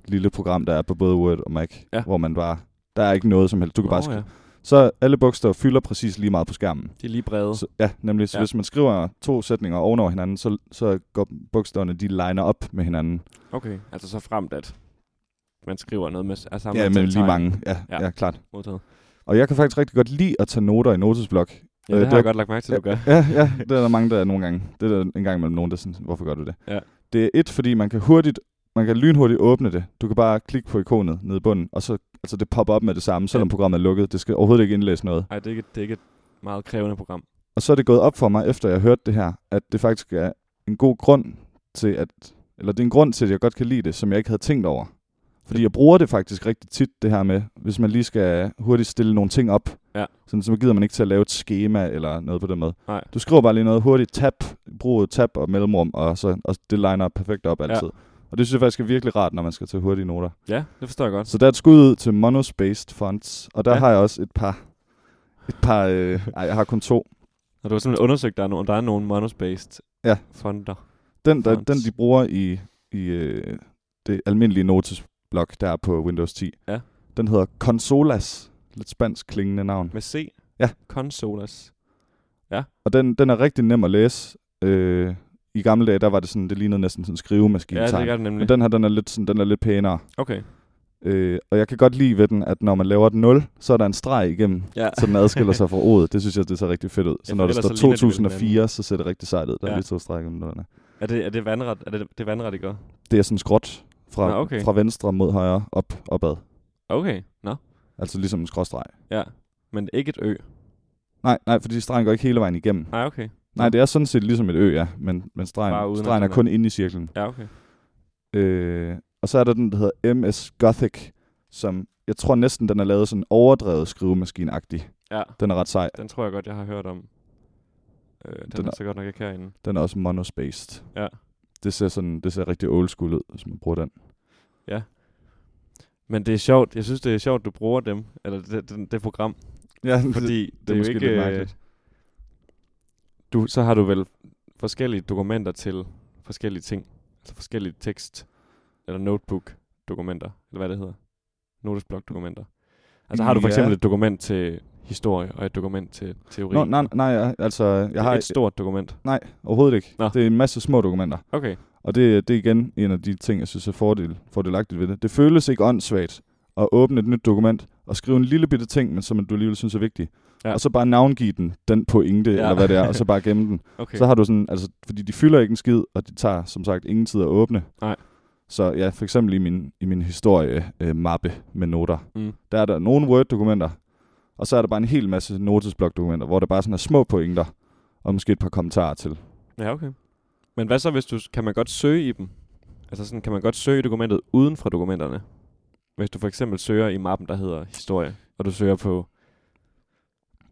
Speaker 2: lille program, der er på både Word og Mac,
Speaker 1: Ja.
Speaker 2: hvor man bare, der er ikke noget som helst, du kan bare skrive.
Speaker 1: ja.
Speaker 2: Så alle bogstaver fylder præcis lige meget på skærmen.
Speaker 1: De er lige brede.
Speaker 2: Så, ja, nemlig, så
Speaker 1: Ja.
Speaker 2: ja. hvis man skriver to sætninger ovenover hinanden, så, så går bogstaverne, de liner op med hinanden.
Speaker 1: Okay. Altså så fremt, at man skriver noget med s- af samme
Speaker 2: Ja,
Speaker 1: antal
Speaker 2: men lige
Speaker 1: tegn
Speaker 2: mange. Ja,
Speaker 1: Ja.
Speaker 2: ja. ja, klart.
Speaker 1: modtaget.
Speaker 2: Og jeg kan faktisk rigtig godt lide at tage noter i notesblok.
Speaker 1: Ja, det,
Speaker 2: Øh,
Speaker 1: har jeg
Speaker 2: det var-
Speaker 1: godt lagt mærke til, at du gør.
Speaker 2: Ja, ja, det er der mange, der er nogle gange. Det er der en gang imellem nogen, der er sådan, hvorfor gør du det?
Speaker 1: Ja.
Speaker 2: Det er et, fordi man kan hurtigt, man kan lynhurtigt åbne det. Du kan bare klikke på ikonet nede i bunden, og så altså det popper op med det samme, selvom
Speaker 1: Ja.
Speaker 2: programmet er lukket. Det skal overhovedet ikke indlæse noget.
Speaker 1: Nej, det, er ikke- det er ikke et meget krævende program.
Speaker 2: Og så er det gået op for mig, efter jeg hørte det her, at det faktisk er en god grund til, at, eller det er en grund til, at jeg godt kan lide det, som jeg ikke havde tænkt over. Fordi jeg bruger det faktisk rigtig tit, det her med, hvis man lige skal hurtigt stille nogle ting op.
Speaker 1: Ja.
Speaker 2: Sådan, så gider man ikke til at lave et schema eller noget på den måde.
Speaker 1: Nej.
Speaker 2: Du skriver bare lige noget hurtigt, tab, brug tab og mellemrum, og, så, og det liner perfekt op altid. Og det synes jeg faktisk er virkelig rart, når man skal tage hurtige noter.
Speaker 1: Ja, det forstår jeg godt.
Speaker 2: Så der er et skud ud til monospaced fonts, og der
Speaker 1: Ja.
Speaker 2: ja. har jeg også et par, et par, øh, ej, jeg har kun to,
Speaker 1: Og du har simpelthen undersøgt, der er nogen, der er nogle monospaced
Speaker 2: Ja.
Speaker 1: fonder.
Speaker 2: Den, der,
Speaker 1: Fonts.
Speaker 2: den de bruger i, i øh, det almindelige notesblok, der er på Windows 10,
Speaker 1: Ja.
Speaker 2: den hedder Consolas. Lidt spansk klingende navn.
Speaker 1: Med C.
Speaker 2: Ja.
Speaker 1: Consolas.
Speaker 2: Og den, den er rigtig nem at læse. Øh, I gamle dage, der var det sådan, det lignede næsten sådan en skrivemaskine.
Speaker 1: Ja, det gør det nemlig.
Speaker 2: Men den her, den er lidt, sådan, den er lidt pænere.
Speaker 1: Okay.
Speaker 2: Øh, og jeg kan godt lide ved den, at når man laver et 0, så er der en streg igennem,
Speaker 1: Ja.
Speaker 2: så den adskiller sig fra O'et. Det synes jeg, det ser rigtig fedt ud.
Speaker 1: Ja,
Speaker 2: Så
Speaker 1: for
Speaker 2: når der
Speaker 1: ellers
Speaker 2: står
Speaker 1: så ligner det vel hinanden.
Speaker 2: 2004, så ser det rigtig sejt ud. Der
Speaker 1: Ja.
Speaker 2: er lige to streger igennem nullerne.
Speaker 1: Er det, er det vandret, er det, det er vandret, I gør?
Speaker 2: Det er sådan skråt fra,
Speaker 1: Nå, okay.
Speaker 2: fra venstre mod højre, op, opad.
Speaker 1: Okay, nå.
Speaker 2: Altså ligesom en skråstreg.
Speaker 1: Ja. Men ikke et ø.
Speaker 2: Nej, nej, fordi stregen går ikke hele vejen igennem.
Speaker 1: Nej, okay.
Speaker 2: Nej, det er sådan set ligesom et ø, ja, men, men
Speaker 1: Bare
Speaker 2: stregen,
Speaker 1: uden at
Speaker 2: stregen er
Speaker 1: den er-
Speaker 2: kun inde i cirklen.
Speaker 1: Ja, okay.
Speaker 2: Øh, og så er der den, der hedder MS Gothic, som jeg tror næsten, den er lavet sådan overdrevet skrivemaskinagtig.
Speaker 1: Ja,
Speaker 2: Den er ret sej.
Speaker 1: den tror jeg godt, jeg har hørt om. Øh, den,
Speaker 2: Den
Speaker 1: er
Speaker 2: er-
Speaker 1: så godt nok ikke herinde.
Speaker 2: Den er også monospaced.
Speaker 1: Ja.
Speaker 2: Det ser, sådan, det ser rigtig old school ud, hvis man bruger den.
Speaker 1: Men det er sjovt. Jeg synes, det er sjovt, du bruger dem. Eller det, det, det program.
Speaker 2: Ja,
Speaker 1: Fordi det, det,
Speaker 2: er
Speaker 1: er jo
Speaker 2: måske
Speaker 1: ikke...
Speaker 2: lidt
Speaker 1: øh,
Speaker 2: mærkeligt.
Speaker 1: du, så har du vel forskellige dokumenter til forskellige ting. Altså forskellige tekst- eller notebook-dokumenter, eller hvad det hedder. Notesblok-dokumenter. Altså har du for
Speaker 2: Ja.
Speaker 1: eksempel et dokument til historie, og et dokument til teori.
Speaker 2: Nå, nej, nej, jeg- altså, jeg har
Speaker 1: et stort dokument.
Speaker 2: nej, overhovedet ikke.
Speaker 1: Nå.
Speaker 2: Det er en masse små dokumenter.
Speaker 1: Okay,
Speaker 2: Og det, det er igen en af de ting, jeg synes er fordel, fordelagtigt ved det. Det føles ikke åndssvagt at åbne et nyt dokument og skrive en lille bitte ting, men som du alligevel synes er vigtig.
Speaker 1: Ja.
Speaker 2: Ja. Og så bare navngive den, den pointe,
Speaker 1: Ja.
Speaker 2: ja. eller hvad det er, og så bare gemme den.
Speaker 1: okay.
Speaker 2: Okay. Så har du sådan, altså, fordi de fylder ikke en skid, og de tager som sagt ingen tid at åbne.
Speaker 1: Nej.
Speaker 2: Så ja, for eksempel i min, i min historiemappe med noter,
Speaker 1: Mm.
Speaker 2: der er der nogle Word-dokumenter, og så er der bare en hel masse notesblok-dokumenter, hvor der bare sådan er små pointer, og måske et par kommentarer til.
Speaker 1: Ja, okay. Men hvad så, hvis du... Kan man godt søge i dem? Altså sådan, kan man godt søge i dokumentet uden for dokumenterne? Hvis du for eksempel søger i mappen, der hedder historie, og du søger på...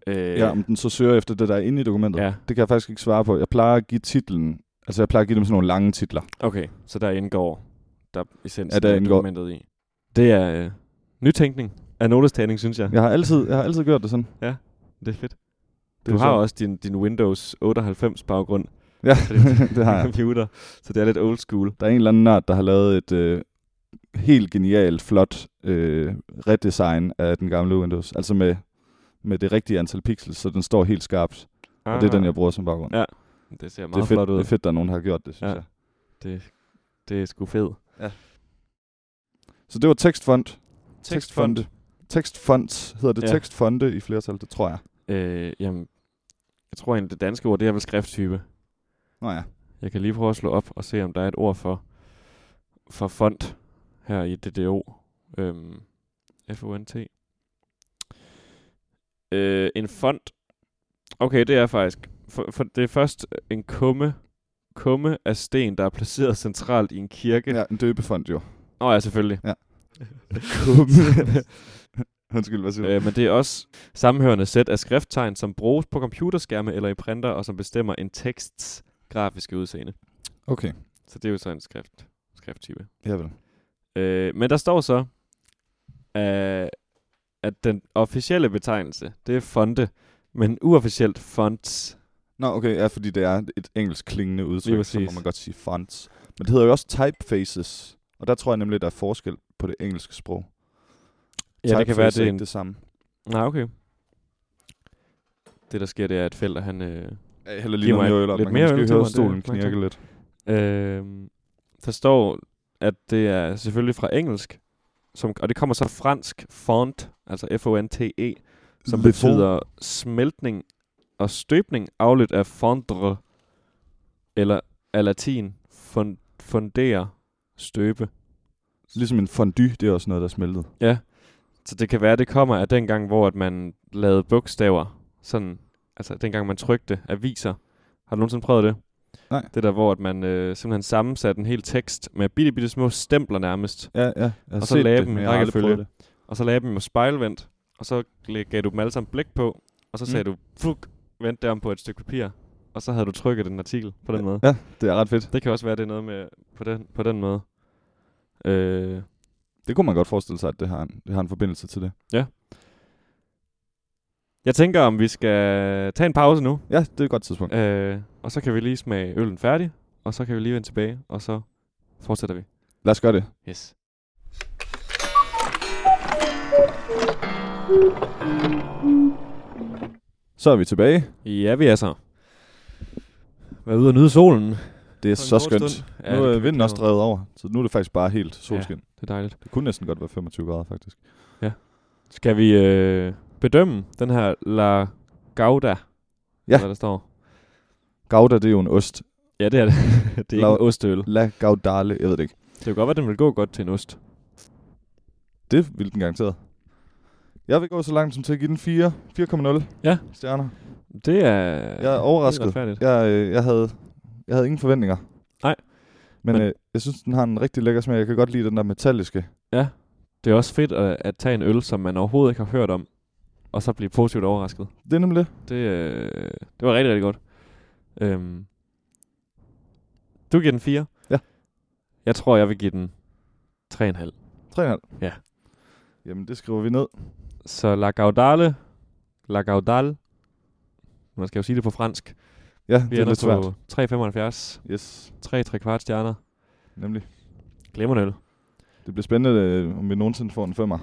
Speaker 1: Øh,
Speaker 2: Ja, om den så søger efter det, der er inde i dokumentet.
Speaker 1: ja,
Speaker 2: Det kan jeg faktisk ikke svare på. Jeg plejer at give titlen, altså jeg plejer at give dem sådan nogle lange titler.
Speaker 1: Okay, så der indgår der essensen
Speaker 2: Ja, der
Speaker 1: af
Speaker 2: indgår-
Speaker 1: dokumentet i. Det er øh, nytænkning af notestagning, synes jeg.
Speaker 2: Jeg har altid, jeg har altid gjort det sådan.
Speaker 1: Det er fedt.
Speaker 2: Det
Speaker 1: Du
Speaker 2: er
Speaker 1: har
Speaker 2: sjovt.
Speaker 1: også din, din Windows 98 baggrund
Speaker 2: Ja,
Speaker 1: på din
Speaker 2: det har jeg.
Speaker 1: computer, så det er lidt old school.
Speaker 2: Der er en eller anden nørd, der har lavet et øh, helt genialt, flot øh, redesign af den gamle Windows. Altså med, med det rigtige antal pixels, så den står helt skarpt. Ah. Og det er den, jeg bruger som baggrund.
Speaker 1: Ja, Ah, Det ser meget
Speaker 2: det, er fedt,
Speaker 1: flot ud.
Speaker 2: det er fedt, der er nogen, der har gjort det, synes
Speaker 1: Ja.
Speaker 2: ja. jeg.
Speaker 1: Det, det er sgu fedt.
Speaker 2: Så det var tekstfont.
Speaker 1: Tekstfond.
Speaker 2: Tekstfont hedder det
Speaker 1: Ja.
Speaker 2: ja. tekstfonte i flertal, det tror jeg.
Speaker 1: Øh, jamen, jeg tror egentlig, det danske ord, det er vel skrifttype.
Speaker 2: Nå ja.
Speaker 1: Jeg kan lige prøve at slå op og se, om der er et ord for, for font her i DDO. Øhm, F-O-N-T. Øh, en font. Okay, det er faktisk. For, for det er først en kumme, kumme af sten, der er placeret centralt i en kirke. Ja.
Speaker 2: ja, en døbefont jo.
Speaker 1: Nå ja, selvfølgelig.
Speaker 2: Ja. Kumme. Undskyld, hvad siger du?
Speaker 1: Øh, men det er også sammenhørende sæt af skrifttegn, som bruges på computerskærme eller i printer, og som bestemmer en teksts grafiske udseende.
Speaker 2: Okay,
Speaker 1: Så det er jo så en skrift, skrifttype.
Speaker 2: ja vel.
Speaker 1: Øh, men der står så, øh, at den officielle betegnelse, det er fonte, men uofficielt fonts.
Speaker 2: Nå, okay, ja, fordi det er et engelsk klingende udtryk, så må
Speaker 1: præcis.
Speaker 2: man godt sige fonts. Men det hedder jo også typefaces, og der tror jeg nemlig, der er forskel på det engelske sprog.
Speaker 1: Ja, det kan være,
Speaker 2: Typeface
Speaker 1: det er
Speaker 2: ikke
Speaker 1: en...
Speaker 2: det samme.
Speaker 1: Nej, okay. Det, der sker, det er, at Felter, han... Øh,
Speaker 2: Jeg
Speaker 1: Giv
Speaker 2: hælder lige noget
Speaker 1: mig
Speaker 2: øl op.
Speaker 1: lidt
Speaker 2: Man
Speaker 1: mere
Speaker 2: kan
Speaker 1: øl
Speaker 2: måske
Speaker 1: til
Speaker 2: høre
Speaker 1: mig, det-
Speaker 2: stolen
Speaker 1: mange tak.
Speaker 2: knirke lidt.
Speaker 1: øh, der står, at det er selvfølgelig fra engelsk, som, og det kommer så fransk font, altså F-O-N-T-E, som
Speaker 2: Le fond.
Speaker 1: betyder smeltning og støbning, afledt af fondre, eller af latin, fund, fundere, støbe.
Speaker 2: Ligesom en fondue, det er også noget, der er smeltet.
Speaker 1: Ja, så det kan være, det kommer af dengang, hvor at man lavede bogstaver, sådan, altså dengang man trykte aviser. Har du nogensinde prøvet det?
Speaker 2: Nej.
Speaker 1: Det der, hvor at man øh, simpelthen sammensatte en hel tekst med bitte, bitte små stempler nærmest,
Speaker 2: Ja, ja. Jeg har
Speaker 1: Og så
Speaker 2: set
Speaker 1: lagde
Speaker 2: det,
Speaker 1: dem i
Speaker 2: men jeg har aldrig
Speaker 1: rækkefølge.
Speaker 2: prøvet det.
Speaker 1: og så lagde dem jo spejlvendt, og så læg- gav du dem alle sammen blik på, og så
Speaker 2: Mm.
Speaker 1: sagde du, fuk, vendt derom på et stykke papir, og så havde du trykket en artikel på den måde.
Speaker 2: Ja, det er ret fedt.
Speaker 1: Det kan også være, det er noget med på den, på den måde. Øh,
Speaker 2: Det kunne man godt forestille sig, at det har en, det har en forbindelse til det.
Speaker 1: jeg tænker, om vi skal tage en pause nu,
Speaker 2: Ja, det er et godt tidspunkt.
Speaker 1: Øh, og så kan vi lige smage øllen færdig, og så kan vi lige vende tilbage, og så fortsætter vi.
Speaker 2: Lad os gøre det.
Speaker 1: Yes.
Speaker 2: Så er vi tilbage.
Speaker 1: Ja, vi er så. Vær ude og nyde solen.
Speaker 2: Det er så skønt.
Speaker 1: Ja,
Speaker 2: nu
Speaker 1: det
Speaker 2: er
Speaker 1: kan
Speaker 2: vinden
Speaker 1: vi
Speaker 2: også
Speaker 1: klare.
Speaker 2: drevet over, så nu er det faktisk bare helt solskin.
Speaker 1: Det er dejligt.
Speaker 2: Det kunne næsten godt være 25 grader, faktisk.
Speaker 1: Skal vi øh, bedømme den her La Gouda?
Speaker 2: Ja.
Speaker 1: Hvad der står?
Speaker 2: Gouda, det er jo en ost.
Speaker 1: Ja, det er det. det er
Speaker 2: La-
Speaker 1: ikke en ostøl.
Speaker 2: La Gaudale, jeg ved det ikke.
Speaker 1: Det kan godt være, at den vil gå godt til en ost.
Speaker 2: Det ville den garanteret. Jeg vil gå så langt som til at give den 4, 4,0
Speaker 1: Ja.
Speaker 2: stjerner.
Speaker 1: Det er...
Speaker 2: Jeg er overrasket.
Speaker 1: Det er
Speaker 2: Jeg, øh, jeg, havde, jeg havde ingen forventninger.
Speaker 1: Nej.
Speaker 2: Men,
Speaker 1: Men-
Speaker 2: Men øh, jeg synes, den har en rigtig lækker smag. Jeg kan godt lide den der metalliske.
Speaker 1: det er også fedt at, at tage en øl, som man overhovedet ikke har hørt om, og så blive positivt overrasket.
Speaker 2: Det er nemlig det.
Speaker 1: Det, øh, det var rigtig, rigtig godt. Øhm, du giver den 4.
Speaker 2: Ja.
Speaker 1: Jeg tror, jeg vil give den 3,5.
Speaker 2: 3,5.
Speaker 1: Ja.
Speaker 2: Jamen, det skriver vi ned.
Speaker 1: Så La Gaudale, La Gaudale, man skal jo sige det på fransk.
Speaker 2: Ja,
Speaker 1: Vi
Speaker 2: det er lidt svært.
Speaker 1: på 3,75,
Speaker 2: Yes,
Speaker 1: 3, 3 kvart stjerner.
Speaker 2: nemlig.
Speaker 1: Glemmer øl.
Speaker 2: Det bliver spændende, øh, om vi nogensinde får en femmer.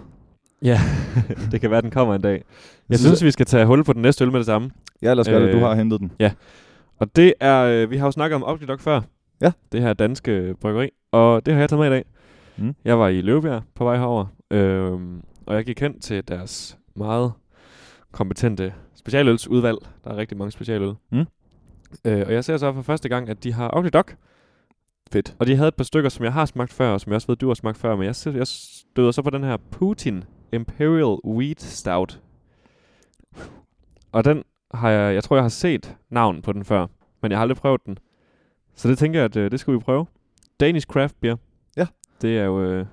Speaker 1: Ja, det kan være, den kommer en dag. Jeg synes, vi skal tage hul på den næste øl med det samme.
Speaker 2: Ja, lad os gøre øh, det. Du
Speaker 1: Øh,
Speaker 2: har hentet den.
Speaker 1: Og det er, øh, vi har jo snakket om Ugly Dog før.
Speaker 2: Ja.
Speaker 1: Det her danske øh, bryggeri. Og det har jeg taget med i dag.
Speaker 2: Mm.
Speaker 1: Jeg var i Løvebjerg på vej herover. Øhm, og jeg gik hen til deres meget kompetente specialølsudvalg. Der er rigtig mange specialøl.
Speaker 2: Mm.
Speaker 1: Øh, og jeg ser så for første gang, at de har Ugly Dog.
Speaker 2: Fedt.
Speaker 1: Og de havde et par stykker, som jeg har smagt før, og som jeg også ved, du har smagt før. Men jeg, ser- jeg støder så på den her Putin Imperial Wheat Stout. Og den har jeg, jeg tror, jeg har set navnet på den før, men jeg har aldrig prøvet den. Så det tænker jeg, at øh, det skal vi prøve. Danish Craft Beer.
Speaker 2: Ja.
Speaker 1: Det er jo øh,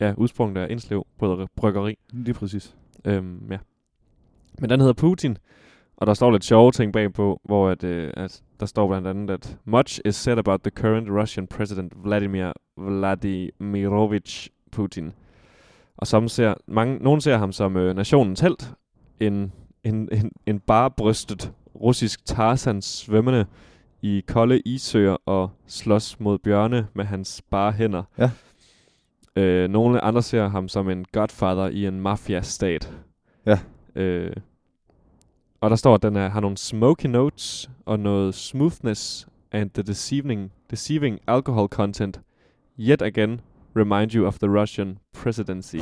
Speaker 1: ja, udsprunget af Indslev Bryggeri- Bryggeri.
Speaker 2: Lige præcis.
Speaker 1: Øhm, ja. Men den hedder Putin, og der står lidt sjove ting bagpå, hvor at, øh, at der står blandt andet, at much is said about the current Russian president Vladimir Vladimirovich Putin. Og som ser, mange, nogen ser ham som øh, nationens held, en, en, en, en barbrystet russisk Tarzan svømmende i kolde isøer og slås mod bjørne med hans bare hænder.
Speaker 2: Ja.
Speaker 1: Øh, nogle andre ser ham som en godfather i en mafiastat.
Speaker 2: Ja.
Speaker 1: Øh, og der står, at den er, har nogle smoky notes og noget smoothness and the deceiving, deceiving alcohol content yet again remind you of the Russian presidency.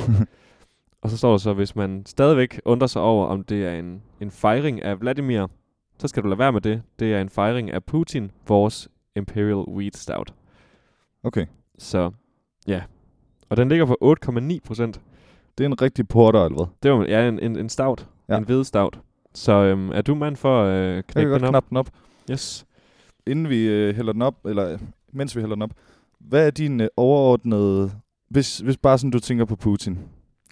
Speaker 1: og så står der så, at hvis man stadigvæk undrer sig over, om det er en, en fejring af Vladimir, så skal du lade være med det. Det er en fejring af Putin, vores Imperial Wheat Stout.
Speaker 2: Okay.
Speaker 1: Så ja. Og den ligger på 8,9 procent.
Speaker 2: Det er en rigtig porter, eller hvad?
Speaker 1: Det var ja, en, en, en stout.
Speaker 2: Ja.
Speaker 1: Ja. En hvid stout. Så øhm, er du mand for at øh,
Speaker 2: Jeg kan
Speaker 1: knække den
Speaker 2: godt
Speaker 1: op?
Speaker 2: knappe den op.
Speaker 1: Yes.
Speaker 2: Inden vi øh, hælder den op, eller øh, mens vi hælder den op, hvad er din øh, overordnede... Hvis, hvis bare sådan, du tænker på Putin.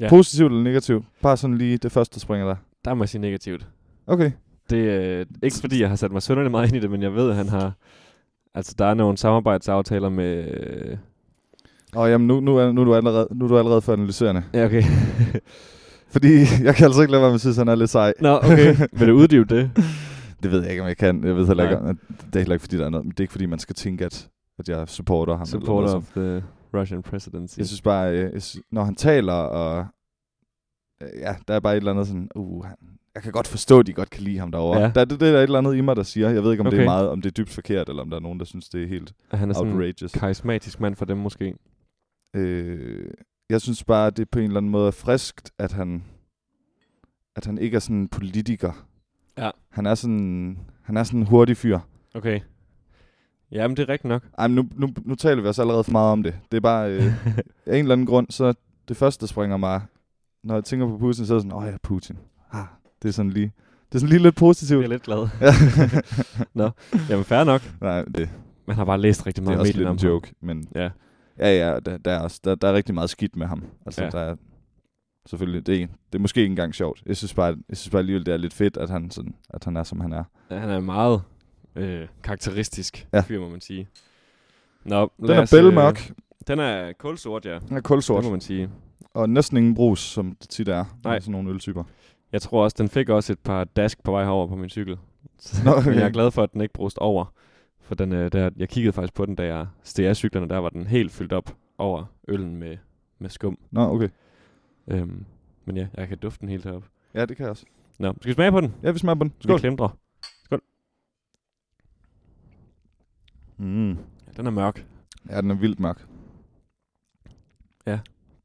Speaker 2: Ja.
Speaker 1: Ja.
Speaker 2: Positivt eller negativt? Bare sådan lige det første, der springer der.
Speaker 1: Der må jeg sige negativt.
Speaker 2: Okay.
Speaker 1: Det er øh, ikke fordi, jeg har sat mig sønderlig meget ind i det, men jeg ved, at han har... Altså, der er nogle samarbejdsaftaler med... Øh,
Speaker 2: Og jamen, nu, nu, er, nu, er du allerede, nu er du allerede for analyserende.
Speaker 1: ja, okay.
Speaker 2: Fordi jeg kan altså ikke lade være med at synes, at han er lidt sej.
Speaker 1: Nå, okay. Vil du uddybe det?
Speaker 2: Det ved jeg ikke, om jeg kan. Jeg ved heller ikke,
Speaker 1: Nej.
Speaker 2: om- det er heller ikke, fordi der er noget. Det er ikke, fordi man skal tænke, at, at jeg supporter ham. eller
Speaker 1: Supporter
Speaker 2: noget som-
Speaker 1: of the Russian presidency.
Speaker 2: Jeg synes bare, øh, jeg synes, når han taler, og øh, ja, der er bare et eller andet sådan, uh, han- jeg kan godt forstå, at de godt kan lide ham derovre.
Speaker 1: Ja.
Speaker 2: Ja. Der, det, det er der et eller andet i mig, der siger, jeg ved ikke, om okay. det
Speaker 1: Okay.
Speaker 2: er meget, om det er dybt forkert, eller om der er nogen, der synes, det er helt
Speaker 1: At han er sådan en
Speaker 2: outrageous.
Speaker 1: karismatisk mand for dem måske.
Speaker 2: Øh, jeg synes bare, det på en eller anden måde er friskt, at han, at han ikke er sådan en politiker.
Speaker 1: Ja.
Speaker 2: Han er sådan, han er sådan en hurtig fyr.
Speaker 1: Okay. Jamen, det er rigtigt nok.
Speaker 2: Ej, men nu, nu, nu taler vi også allerede for meget om det. Det er bare, øh, af en eller anden grund, så er det første, der springer mig, når jeg tænker på Putin, så er det sådan, åh ja, Putin. Ah, det er sådan lige, det er sådan lige lidt
Speaker 1: Jeg
Speaker 2: positivt.
Speaker 1: er lidt glad.
Speaker 2: Ja.
Speaker 1: Jamen, fair nok.
Speaker 2: Nej, det,
Speaker 1: Man har bare læst rigtig
Speaker 2: det
Speaker 1: meget
Speaker 2: er også
Speaker 1: medier
Speaker 2: lidt
Speaker 1: om
Speaker 2: en
Speaker 1: ham.
Speaker 2: joke, men
Speaker 1: Ja.
Speaker 2: ja, ja der, der, er også, der, der er rigtig meget skidt med ham. Altså,
Speaker 1: Ja.
Speaker 2: ja. der er, selvfølgelig, det er, det er måske ikke engang sjovt. Jeg synes bare, jeg synes bare alligevel, det er lidt fedt, at han, sådan, at han er, som han er.
Speaker 1: Ja, Han er en meget øh, karakteristisk
Speaker 2: Ja.
Speaker 1: fyr, må man sige. Nå, øh,
Speaker 2: Den er bælmørk,
Speaker 1: Den er kulsort, ja.
Speaker 2: den er
Speaker 1: Det
Speaker 2: kulsort,
Speaker 1: må man sige.
Speaker 2: og næsten ingen brus, som det tit er
Speaker 1: Nej.
Speaker 2: med sådan nogle øltyper.
Speaker 1: Jeg tror også, den fik også et par dask på vej herover på min cykel. Så
Speaker 2: Nå,
Speaker 1: okay.
Speaker 2: okay.
Speaker 1: jeg er glad for, at den ikke bruste over. For den, øh, der, jeg kiggede faktisk på den, da jeg steg af cyklerne, der var den helt fyldt op over øllen med, med skum.
Speaker 2: Nå, okay.
Speaker 1: Øhm, men ja, jeg kan dufte den helt heroppe.
Speaker 2: Ja, det kan jeg også.
Speaker 1: Nå, skal vi smage på den?
Speaker 2: Ja, vi smager på den.
Speaker 1: Skål. Vi
Speaker 2: Skål.
Speaker 1: klemdrer.
Speaker 2: Mm.
Speaker 1: Ja, den er mørk.
Speaker 2: Ja, den er vildt mørk.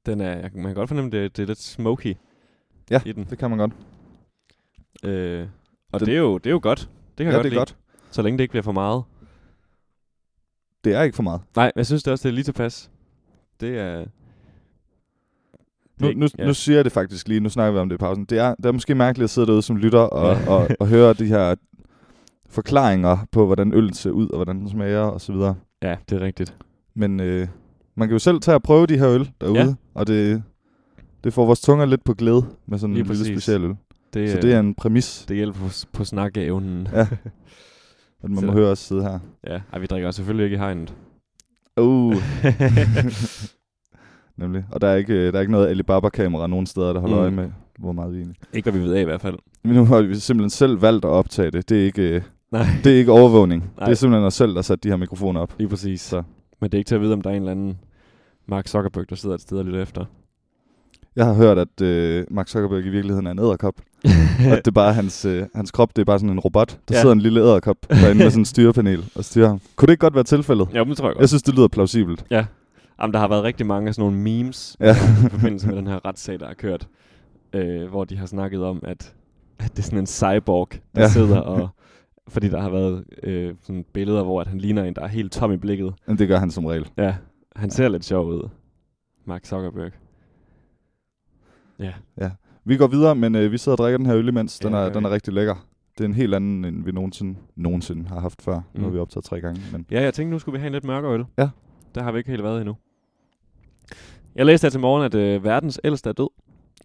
Speaker 1: Den er, jeg, man kan godt fornemme, det, det er lidt smoky
Speaker 2: Ja.
Speaker 1: i den.
Speaker 2: Det kan man godt.
Speaker 1: Øh, og
Speaker 2: Den-
Speaker 1: det er, jo, det er jo godt. Det kan jeg
Speaker 2: ja,
Speaker 1: godt
Speaker 2: det er
Speaker 1: lide.
Speaker 2: godt.
Speaker 1: Så længe det ikke bliver for meget.
Speaker 2: Det er ikke for meget.
Speaker 1: Nej, jeg synes det også, det er lige tilpas. Det er... det er
Speaker 2: Nu,
Speaker 1: ikke-
Speaker 2: nu,
Speaker 1: ja.
Speaker 2: ja. nu siger jeg det faktisk lige, nu snakker vi om det i pausen. Det er, det er måske mærkeligt at sidde derude som lytter og,
Speaker 1: Ja.
Speaker 2: og, og høre de her forklaringer på, hvordan øl ser ud og hvordan den smager og så videre.
Speaker 1: Ja, det er rigtigt.
Speaker 2: Men øh, man kan jo selv tage og prøve de her øl derude,
Speaker 1: Ja.
Speaker 2: ja. og det, det får vores tunger lidt på glæde med sådan
Speaker 1: Lige
Speaker 2: en lille
Speaker 1: præcis.
Speaker 2: speciel øl.
Speaker 1: Det, øh,
Speaker 2: Så det er en præmis,
Speaker 1: det hjælper på, på snakkeevnen.
Speaker 2: Ja. at man
Speaker 1: Så-
Speaker 2: må høre os sidde her.
Speaker 1: ja. Ej, vi drikker selvfølgelig ikke i hegnet.
Speaker 2: Uh. Nemlig. Og der er ikke, øh, der er ikke noget Alibaba-kamera nogen steder, der holder
Speaker 1: Mm.
Speaker 2: mm. øje med, hvor meget vi egentlig
Speaker 1: Ikke hvad vi ved af i hvert fald.
Speaker 2: Men nu har vi simpelthen selv valgt at optage det. Det er ikke, øh,
Speaker 1: Nej.
Speaker 2: det er ikke overvågning. Nej.
Speaker 1: Nej.
Speaker 2: Det er simpelthen os selv, der satte de her mikrofoner op.
Speaker 1: Lige præcis.
Speaker 2: Så.
Speaker 1: Men det er ikke til at vide, om der er en eller anden Mark Zuckerberg, der sidder et sted og lytter efter.
Speaker 2: Jeg har hørt, at øh, Mark Zuckerberg i virkeligheden er en æderkop. og at det er bare hans, øh, hans krop, det er bare sådan en robot. Der
Speaker 1: Ja.
Speaker 2: ja. sidder en lille æderkop derinde med sådan en styrepanel og styrer ham. Kunne det ikke godt være tilfældet?
Speaker 1: ja, men det tror jeg
Speaker 2: Jeg
Speaker 1: godt.
Speaker 2: synes, det lyder plausibelt.
Speaker 1: Jamen, der har været rigtig mange af sådan nogle memes
Speaker 2: Ja.
Speaker 1: i forbindelse med den her retssag, der har kørt. Øh, hvor de har snakket om, at, at det er sådan en cyborg, der ja.
Speaker 2: Ja.
Speaker 1: sidder og... Fordi der har været øh, sådan billeder, hvor at han ligner en, der er helt tom i blikket.
Speaker 2: Men det gør han som regel.
Speaker 1: Ja, han ser lidt sjov ud. Mark Zuckerberg. Ja,
Speaker 2: Vi går videre, men øh, vi sidder og drikker den her øl imens. Den,
Speaker 1: Ja,
Speaker 2: ja,
Speaker 1: det
Speaker 2: er,
Speaker 1: gør
Speaker 2: den
Speaker 1: vi.
Speaker 2: er rigtig lækker. Det er en helt anden, end vi nogensinde, nogensinde har haft før. Mm.
Speaker 1: Mm.
Speaker 2: Nu har vi optaget tre gange. Men
Speaker 1: ja jeg tænkte, nu skulle vi have en lidt mørkere øl.
Speaker 2: Ja.
Speaker 1: Der har vi ikke helt været endnu. Jeg læste her til morgen, at øh, verdens ældste er død.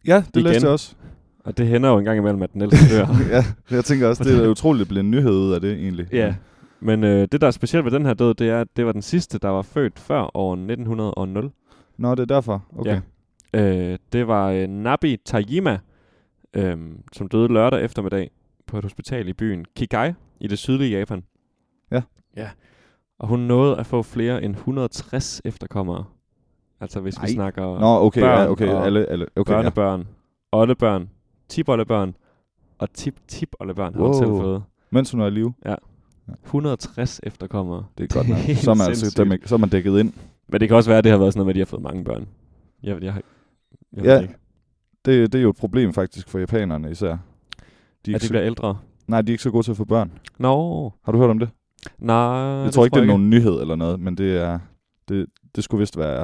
Speaker 2: ja, det
Speaker 1: Igen.
Speaker 2: læste jeg også.
Speaker 1: Og det hænder jo en gang imellem, at den ældste dør.
Speaker 2: ja, jeg tænker også, det er utroligt, at blive en nyhed ud af det egentlig.
Speaker 1: ja.
Speaker 2: Mm.
Speaker 1: Men øh, det, der er specielt ved den her død, det er, at det var den sidste, der var født før år 1900.
Speaker 2: Nå, det er derfor. Okay.
Speaker 1: Ja. Øh, det var øh, Nabi Tajima, øh, som døde lørdag eftermiddag på et hospital i byen Kikai i det sydlige Japan.
Speaker 2: Ja.
Speaker 1: Ja. Og hun nåede at få flere end 160 efterkommere. Altså hvis
Speaker 2: Ej.
Speaker 1: vi snakker
Speaker 2: Nå, okay,
Speaker 1: børn
Speaker 2: ja, okay,
Speaker 1: og
Speaker 2: alle, alle, okay, ja.
Speaker 1: børnebørn, oldebørn, tipoldebørn og tip-tip-oldebørn har hun selv
Speaker 2: Wow.
Speaker 1: fået.
Speaker 2: Mens hun er i live,
Speaker 1: 160 efterkommere.
Speaker 2: det er godt nok.
Speaker 1: helt
Speaker 2: så, er man altså,
Speaker 1: sindssygt.
Speaker 2: dem, så er man dækket ind.
Speaker 1: Men det kan også være, at det har været sådan noget med, at de har fået mange børn. Jeg, jeg, jeg, jeg ved
Speaker 2: Ja,
Speaker 1: det ikke.
Speaker 2: Det, det er jo et problem faktisk for japanerne især. De er
Speaker 1: At
Speaker 2: ikke
Speaker 1: de
Speaker 2: så,
Speaker 1: bliver ældre.
Speaker 2: nej, de er ikke så gode til at få børn.
Speaker 1: Nå,
Speaker 2: Har du hørt om det?
Speaker 1: nej.
Speaker 2: jeg tror ikke, det er nogen nyhed eller noget, men det er det, det skulle vist være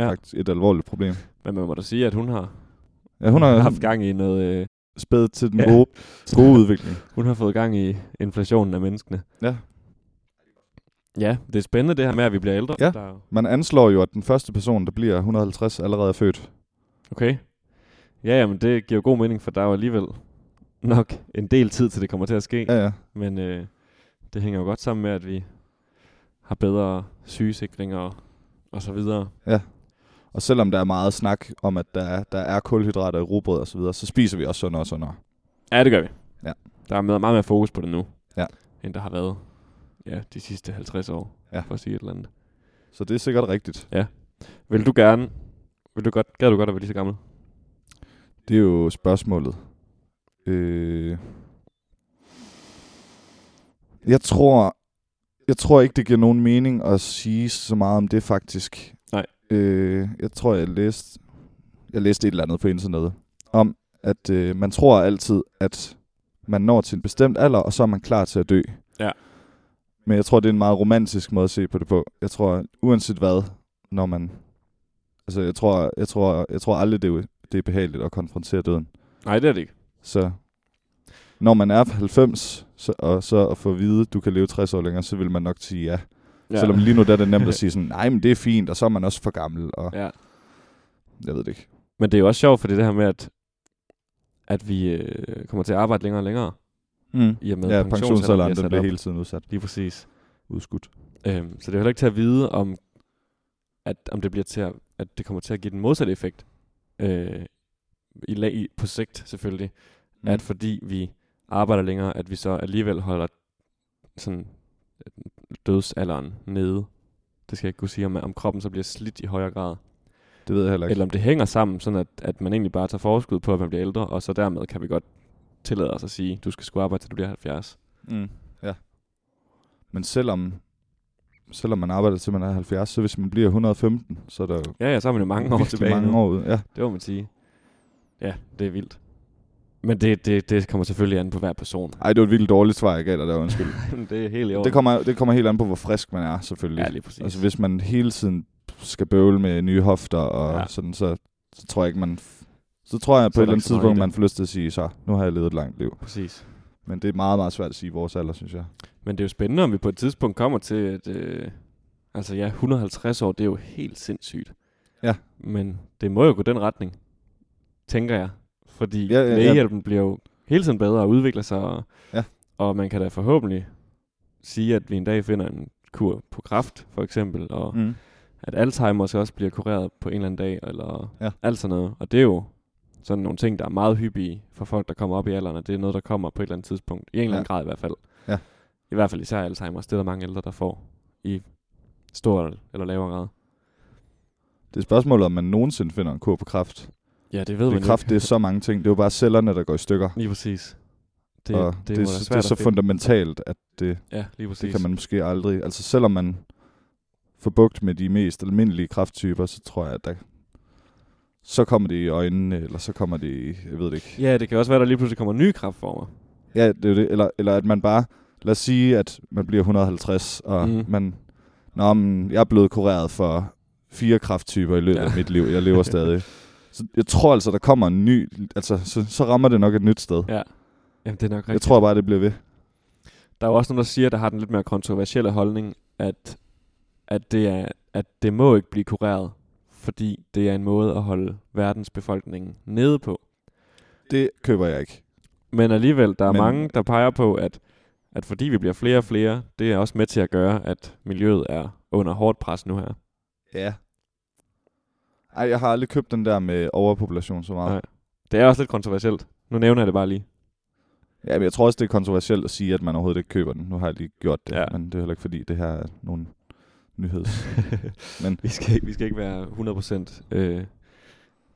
Speaker 1: Ja.
Speaker 2: ja. faktisk et alvorligt problem.
Speaker 1: Men man må da sige, at hun har,
Speaker 2: Ja, hun har
Speaker 1: haft gang i noget... Øh,
Speaker 2: spædet til den
Speaker 1: Ja.
Speaker 2: gode, gode udvikling.
Speaker 1: hun har fået gang i inflationen af menneskene.
Speaker 2: Ja.
Speaker 1: Ja, det er spændende det her med, at vi bliver ældre.
Speaker 2: Ja.
Speaker 1: Der,
Speaker 2: Man anslår jo, at den første person, der bliver 150, allerede er født.
Speaker 1: okay. Ja, jamen det giver jo god mening, for der er jo alligevel nok en del tid, til det kommer til at ske.
Speaker 2: Ja, ja.
Speaker 1: Men øh, det hænger jo godt sammen med, at vi har bedre sygesikringer og, og så videre.
Speaker 2: Og selvom der er meget snak om, at der er, der er kulhydrater i rugbrød og så videre, så spiser vi også sundere og sundere.
Speaker 1: Ja, det gør vi.
Speaker 2: Ja.
Speaker 1: Der er meget meget mere fokus på det nu.
Speaker 2: Ja.
Speaker 1: end der har været ja, de sidste 50 år,
Speaker 2: Ja.
Speaker 1: ja. for at sige et eller andet.
Speaker 2: Så det er sikkert rigtigt.
Speaker 1: Vil du gerne, vil du godt, gad du godt at være lige så gammel?
Speaker 2: Det er jo spørgsmålet. Øh, jeg tror, jeg tror ikke, det giver nogen mening at sige så meget om det faktisk.
Speaker 1: Nej.
Speaker 2: Øh, jeg tror, jeg læste, jeg læste et eller andet på internettet om, at øh, man tror altid, at man når til en bestemt alder, og så er man klar til at dø.
Speaker 1: Ja.
Speaker 2: Men jeg tror, det er en meget romantisk måde at se på det på. Jeg tror, uanset hvad, når man... Altså, jeg tror, jeg tror, jeg tror aldrig, det er, det er behageligt at konfrontere døden.
Speaker 1: Nej, det er det ikke.
Speaker 2: Så når man er 90, så, og så at få at vide, at du kan leve 60 år længere, så vil man nok sige ja. ja. Selvom lige nu der er det nemt at sige sådan, nej, men det er fint, og så er man også for gammel, og
Speaker 1: Ja.
Speaker 2: jeg ved det ikke.
Speaker 1: Men det er jo også sjovt, fordi det her med, at, at vi øh, kommer til at arbejde længere og længere,
Speaker 2: Mm.
Speaker 1: i og med
Speaker 2: Ja,
Speaker 1: pensionsalderen
Speaker 2: pensionsalderen, den
Speaker 1: sat
Speaker 2: bliver
Speaker 1: op.
Speaker 2: hele tiden udsat,
Speaker 1: Lige præcis.
Speaker 2: udskudt.
Speaker 1: Øhm, så det er heller ikke til at vide, om, at, om det bliver til at, at det kommer til at give den modsatte effekt. Øh, i, lag- i, på sigt selvfølgelig. Mm. At fordi vi arbejder længere, at vi så alligevel holder sådan øh, dødsalderen nede. Det skal jeg ikke kunne sige, om, om kroppen så bliver slidt i højere grad.
Speaker 2: Det ved jeg heller ikke.
Speaker 1: Eller om det hænger sammen, sådan at, at man egentlig bare tager forskud på, at man bliver ældre, og så dermed kan vi godt tillade os at sige, du skal sgu arbejde, til du bliver 70.
Speaker 2: Mm. Ja. Men selvom, selvom man arbejder til man er 70, så hvis man bliver 115, så er der jo
Speaker 1: Ja, ja, så er man jo mange år
Speaker 2: virkelig
Speaker 1: tilbage. nu.
Speaker 2: mange år ud. Ja.
Speaker 1: Det må man sige. Ja, det er vildt. Men det, det, det kommer selvfølgelig an på hver person.
Speaker 2: Ej, det var et virkelig dårligt svar, jeg gav dig der, undskyld.
Speaker 1: det er helt i orden.
Speaker 2: det, kommer, det kommer helt an på, hvor frisk man er, selvfølgelig.
Speaker 1: Ja, lige præcis.
Speaker 2: Altså hvis man hele tiden skal bøvle med nye hofter og ja.
Speaker 1: Ja.
Speaker 2: sådan, så, så tror jeg ikke, man... f- Så tror jeg
Speaker 1: Så
Speaker 2: på
Speaker 1: er
Speaker 2: et
Speaker 1: der
Speaker 2: eller andet
Speaker 1: ikke så meget i
Speaker 2: tidspunkt,
Speaker 1: det.
Speaker 2: man får lyst til at sige, så nu har jeg levet et langt liv.
Speaker 1: præcis.
Speaker 2: Men det er meget, meget svært at sige i vores alder, synes jeg.
Speaker 1: Men det er jo spændende, om vi på et tidspunkt kommer til, at... Øh, altså ja, 150 år, det er jo helt sindssygt.
Speaker 2: Ja.
Speaker 1: Men det må jo gå den retning, tænker jeg. Fordi
Speaker 2: Ja,
Speaker 1: ja,
Speaker 2: ja, ja.
Speaker 1: ja, lægehjælpen bliver jo hele tiden bedre og udvikler sig. Og,
Speaker 2: Ja.
Speaker 1: og man kan da forhåbentlig sige, at vi en dag finder en kur på kraft, for eksempel. Og
Speaker 2: Mm.
Speaker 1: at Alzheimer så også bliver kureret på en eller anden dag, eller
Speaker 2: Ja.
Speaker 1: ja. alt sådan noget. Og det er jo sådan nogle ting, der er meget hyppige for folk, der kommer op i alderen, og det er noget, der kommer på et eller andet tidspunkt. I en eller anden grad i hvert fald.
Speaker 2: Ja.
Speaker 1: I hvert fald især Alzheimer, det er der mange ældre, der får i stor eller lavere grad.
Speaker 2: Det er spørgsmålet, om man nogensinde finder en kur på kraft.
Speaker 1: Ja, det ved
Speaker 2: Det
Speaker 1: man
Speaker 2: kraft, det er så mange ting. Det er jo bare cellerne, der går i stykker.
Speaker 1: Lige præcis. Det,
Speaker 2: og
Speaker 1: det, det,
Speaker 2: det,
Speaker 1: må
Speaker 2: er,
Speaker 1: være
Speaker 2: s-
Speaker 1: svært
Speaker 2: det er så
Speaker 1: at finde.
Speaker 2: fundamentalt, at det,
Speaker 1: Ja, lige præcis.
Speaker 2: det kan man måske aldrig... Altså selvom man får bugt med de mest almindelige krafttyper, så tror jeg, at der, så kommer det i øjnene, eller så kommer det i, jeg ved det ikke,
Speaker 1: Ja, det kan også være, der lige pludselig kommer nye kraftformer.
Speaker 2: Ja, det er jo det. Eller, eller at man bare, lad os sige, at man bliver 150, og mm.
Speaker 1: Mm.
Speaker 2: man, nå, men jeg er blevet kureret for fire krafttyper i løbet ja.
Speaker 1: Ja.
Speaker 2: af mit liv, jeg lever stadig. Så jeg tror altså, der kommer en ny, altså så, så rammer det nok et nyt sted. Rigtigt.
Speaker 1: Ja. Jamen, det er nok rigtigt.
Speaker 2: Jeg tror bare, det bliver ved.
Speaker 1: Der er jo også nogen, der siger, der har den lidt mere kontroversielle holdning, at, at, det er, at det må ikke blive kureret, fordi det er en måde at holde verdensbefolkningen nede på.
Speaker 2: Det køber jeg ikke.
Speaker 1: Men alligevel, der er
Speaker 2: Men-
Speaker 1: Men... mange, der peger på, at, at fordi vi bliver flere og flere, det er også med til at gøre, at miljøet er under hårdt pres nu her.
Speaker 2: Ja. Ej, jeg har aldrig købt den der med overpopulation så meget.
Speaker 1: Nej. Det er også lidt kontroversielt. Nu nævner jeg det bare lige.
Speaker 2: Ja, men jeg tror også, det er kontroversielt at sige, at man overhovedet ikke køber den. Nu har jeg lige gjort det, ja.
Speaker 1: Ja.
Speaker 2: men det er heller ikke fordi, det her er nogen nyheds. Men-
Speaker 1: vi, skal, ikke- vi skal ikke være 100% øh,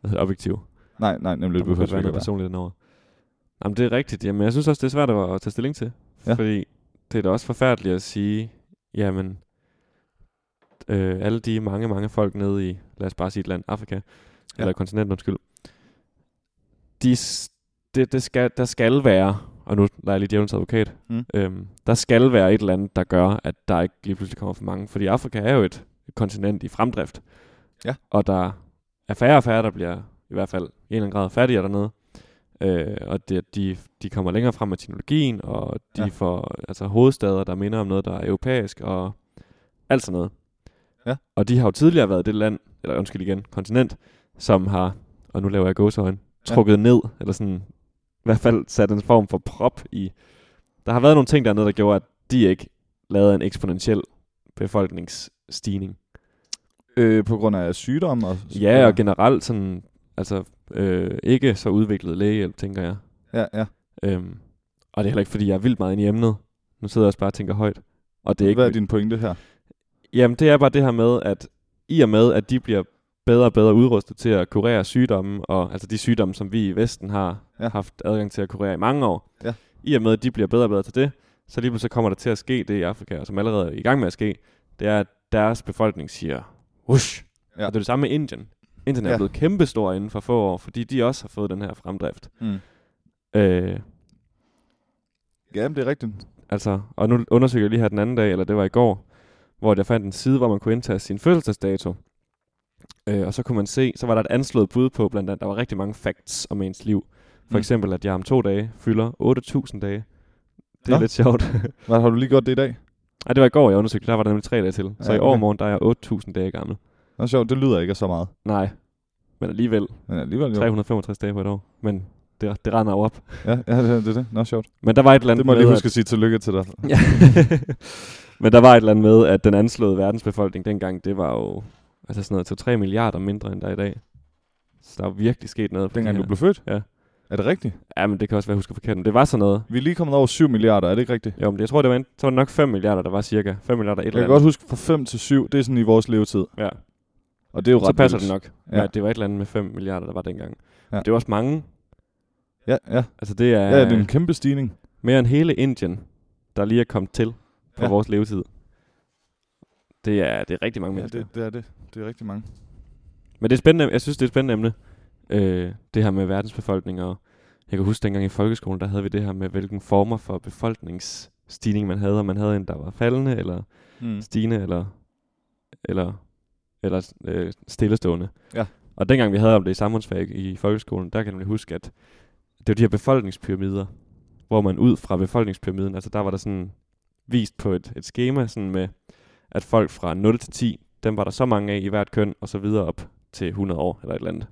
Speaker 1: hvad hedder, objektive.
Speaker 2: nej, nej,
Speaker 1: Det
Speaker 2: nemlig det
Speaker 1: behøver
Speaker 2: behøver
Speaker 1: godt
Speaker 2: vi
Speaker 1: være
Speaker 2: ikke at
Speaker 1: noget
Speaker 2: være.
Speaker 1: personligt over. Jamen, det er rigtigt. Jamen, jeg synes også, det er svært at at tage stilling til.
Speaker 2: Ja.
Speaker 1: Ja. Fordi det er da også forfærdeligt at sige, jamen, øh, alle de mange, mange folk nede i, lad os bare sige et land, Afrika, ja. eller kontinent, undskyld, de, s- det, det skal, der skal være, og nu er jeg lige djævelens advokat,
Speaker 2: Mm.
Speaker 1: mm. øhm, der skal være et eller andet, der gør, at der ikke lige pludselig kommer for mange. Fordi Afrika er jo et, et kontinent i fremdrift.
Speaker 2: Ja.
Speaker 1: Og der er færre og færre, der bliver i hvert fald i en eller anden grad fattigere dernede. Øh, og det, de, de kommer længere frem med teknologien, og de
Speaker 2: Ja.
Speaker 1: ja. får altså, hovedstader, der minder om noget, der er europæisk, og alt sådan noget.
Speaker 2: Ja.
Speaker 1: Og de har jo tidligere været det land, eller undskyld igen, kontinent, som har, og nu laver jeg gåsehøjen,
Speaker 2: Ja.
Speaker 1: trukket ned, eller sådan, i hvert fald sat en form for prop i. Der har været nogle ting dernede, der gjorde, at de ikke lavede en eksponentiel befolkningsstigning.
Speaker 2: Øh, på grund af sygdom og
Speaker 1: Ja, og generelt sådan, altså øh, ikke så udviklet lægehjælp, tænker jeg.
Speaker 2: ja, ja.
Speaker 1: Øhm, og det er heller ikke, fordi jeg er vildt meget inde i emnet, Nu sidder jeg også bare og tænker højt. Og det er ikke
Speaker 2: Hvad er din pointe her?
Speaker 1: Jamen, det er bare det her med, at i og med, at de bliver bedre og bedre udrustet til at kurere sygdomme, og altså de sygdomme, som vi i Vesten har
Speaker 2: Ja.
Speaker 1: ja. haft adgang til at kurere i mange år,
Speaker 2: Ja.
Speaker 1: i og med, at de bliver bedre og bedre til det, så lige pludselig kommer der til at ske det i Afrika, og som allerede er i gang med at ske, det er, at deres befolkning siger, whoosh,
Speaker 2: Ja.
Speaker 1: ja. og det er det samme med Indien. Indien er
Speaker 2: Ja.
Speaker 1: ja. blevet kæmpestor inden for få år, fordi de også har fået den her fremdrift.
Speaker 2: Mm.
Speaker 1: Øh,
Speaker 2: Ja, men det er rigtigt.
Speaker 1: Altså, og nu undersøgte jeg lige her den anden dag, eller det var i går, hvor jeg fandt en side, hvor man kunne indtaste sin fødselsdato. Øh, og så kunne man se, så var der et anslået bud på, blandt andet, der var rigtig mange facts om ens liv. For
Speaker 2: Mm.
Speaker 1: mm. eksempel, at jeg om to dage fylder 8.000 dage. Det er
Speaker 2: Nå.
Speaker 1: Nå. lidt sjovt.
Speaker 2: Hvad, har du lige gjort det i dag?
Speaker 1: Ej, det var i går, jeg undersøgte. Der var der nemlig tre dage til. Så
Speaker 2: Ja,
Speaker 1: i
Speaker 2: okay.
Speaker 1: år morgen, der er jeg 8.000 dage gammel.
Speaker 2: Nå, sjovt, det lyder ikke af så meget.
Speaker 1: Nej, men alligevel
Speaker 2: Men alligevel jo.
Speaker 1: 365 dage på et år. Men det, det render jo op.
Speaker 2: Ja, ja det, det, er det. Nå, sjovt.
Speaker 1: Men der var et eller andet
Speaker 2: Det må jeg lige
Speaker 1: med,
Speaker 2: huske at sige tillykke til dig.
Speaker 1: Ja. Men der var et eller andet med, at den anslåede verdensbefolkning dengang, det var jo altså sådan noget 3 milliarder mindre end der er i dag. Så der er virkelig sket noget. på
Speaker 2: Dengang
Speaker 1: de
Speaker 2: du
Speaker 1: her-
Speaker 2: blev født?
Speaker 1: Ja.
Speaker 2: Er det rigtigt?
Speaker 1: Ja, men det kan også være, jeg husker forkert. Men det var sådan noget.
Speaker 2: Vi er lige kommet over 7 milliarder, er det ikke rigtigt?
Speaker 1: Jo, men jeg tror, det var, en, så var det nok 5 milliarder, der var cirka. 5 milliarder et
Speaker 2: Jeg
Speaker 1: eller
Speaker 2: kan
Speaker 1: andet.
Speaker 2: godt huske, fra 5 til 7, det er sådan i vores levetid.
Speaker 1: Ja.
Speaker 2: Og det er jo
Speaker 1: Så
Speaker 2: ret
Speaker 1: passer
Speaker 2: vildt.
Speaker 1: det nok.
Speaker 2: Ja.
Speaker 1: Ja. Men at det var et eller andet med 5 milliarder, der var dengang.
Speaker 2: Ja.
Speaker 1: Ja. Det er jo også mange.
Speaker 2: Ja, ja.
Speaker 1: Altså det er,
Speaker 2: ja, det er en kæmpe stigning.
Speaker 1: mere end hele Indien, der lige er kommet til på
Speaker 2: Ja.
Speaker 1: ja. vores levetid. Det er, det er rigtig mange
Speaker 2: Ja,
Speaker 1: mennesker.
Speaker 2: det, det er det. Det er rigtig mange.
Speaker 1: Men det er spændende, jeg synes, det er et spændende emne, øh, det her med verdensbefolkning, og jeg kan huske dengang i folkeskolen, der havde vi det her med, hvilken former for befolkningsstigning man havde, om man havde en, der var faldende, eller
Speaker 2: Mm.
Speaker 1: stigende, eller, eller, eller øh, stillestående.
Speaker 2: Ja.
Speaker 1: Og dengang vi havde om det i samfundsfag i folkeskolen, der kan man huske, at det var de her befolkningspyramider, hvor man ud fra befolkningspyramiden, altså der var der sådan vist på et, et schema, sådan med, at folk fra 0 til 10, dem var der så mange af i hvert køn, og så videre op til 100 år eller et eller andet.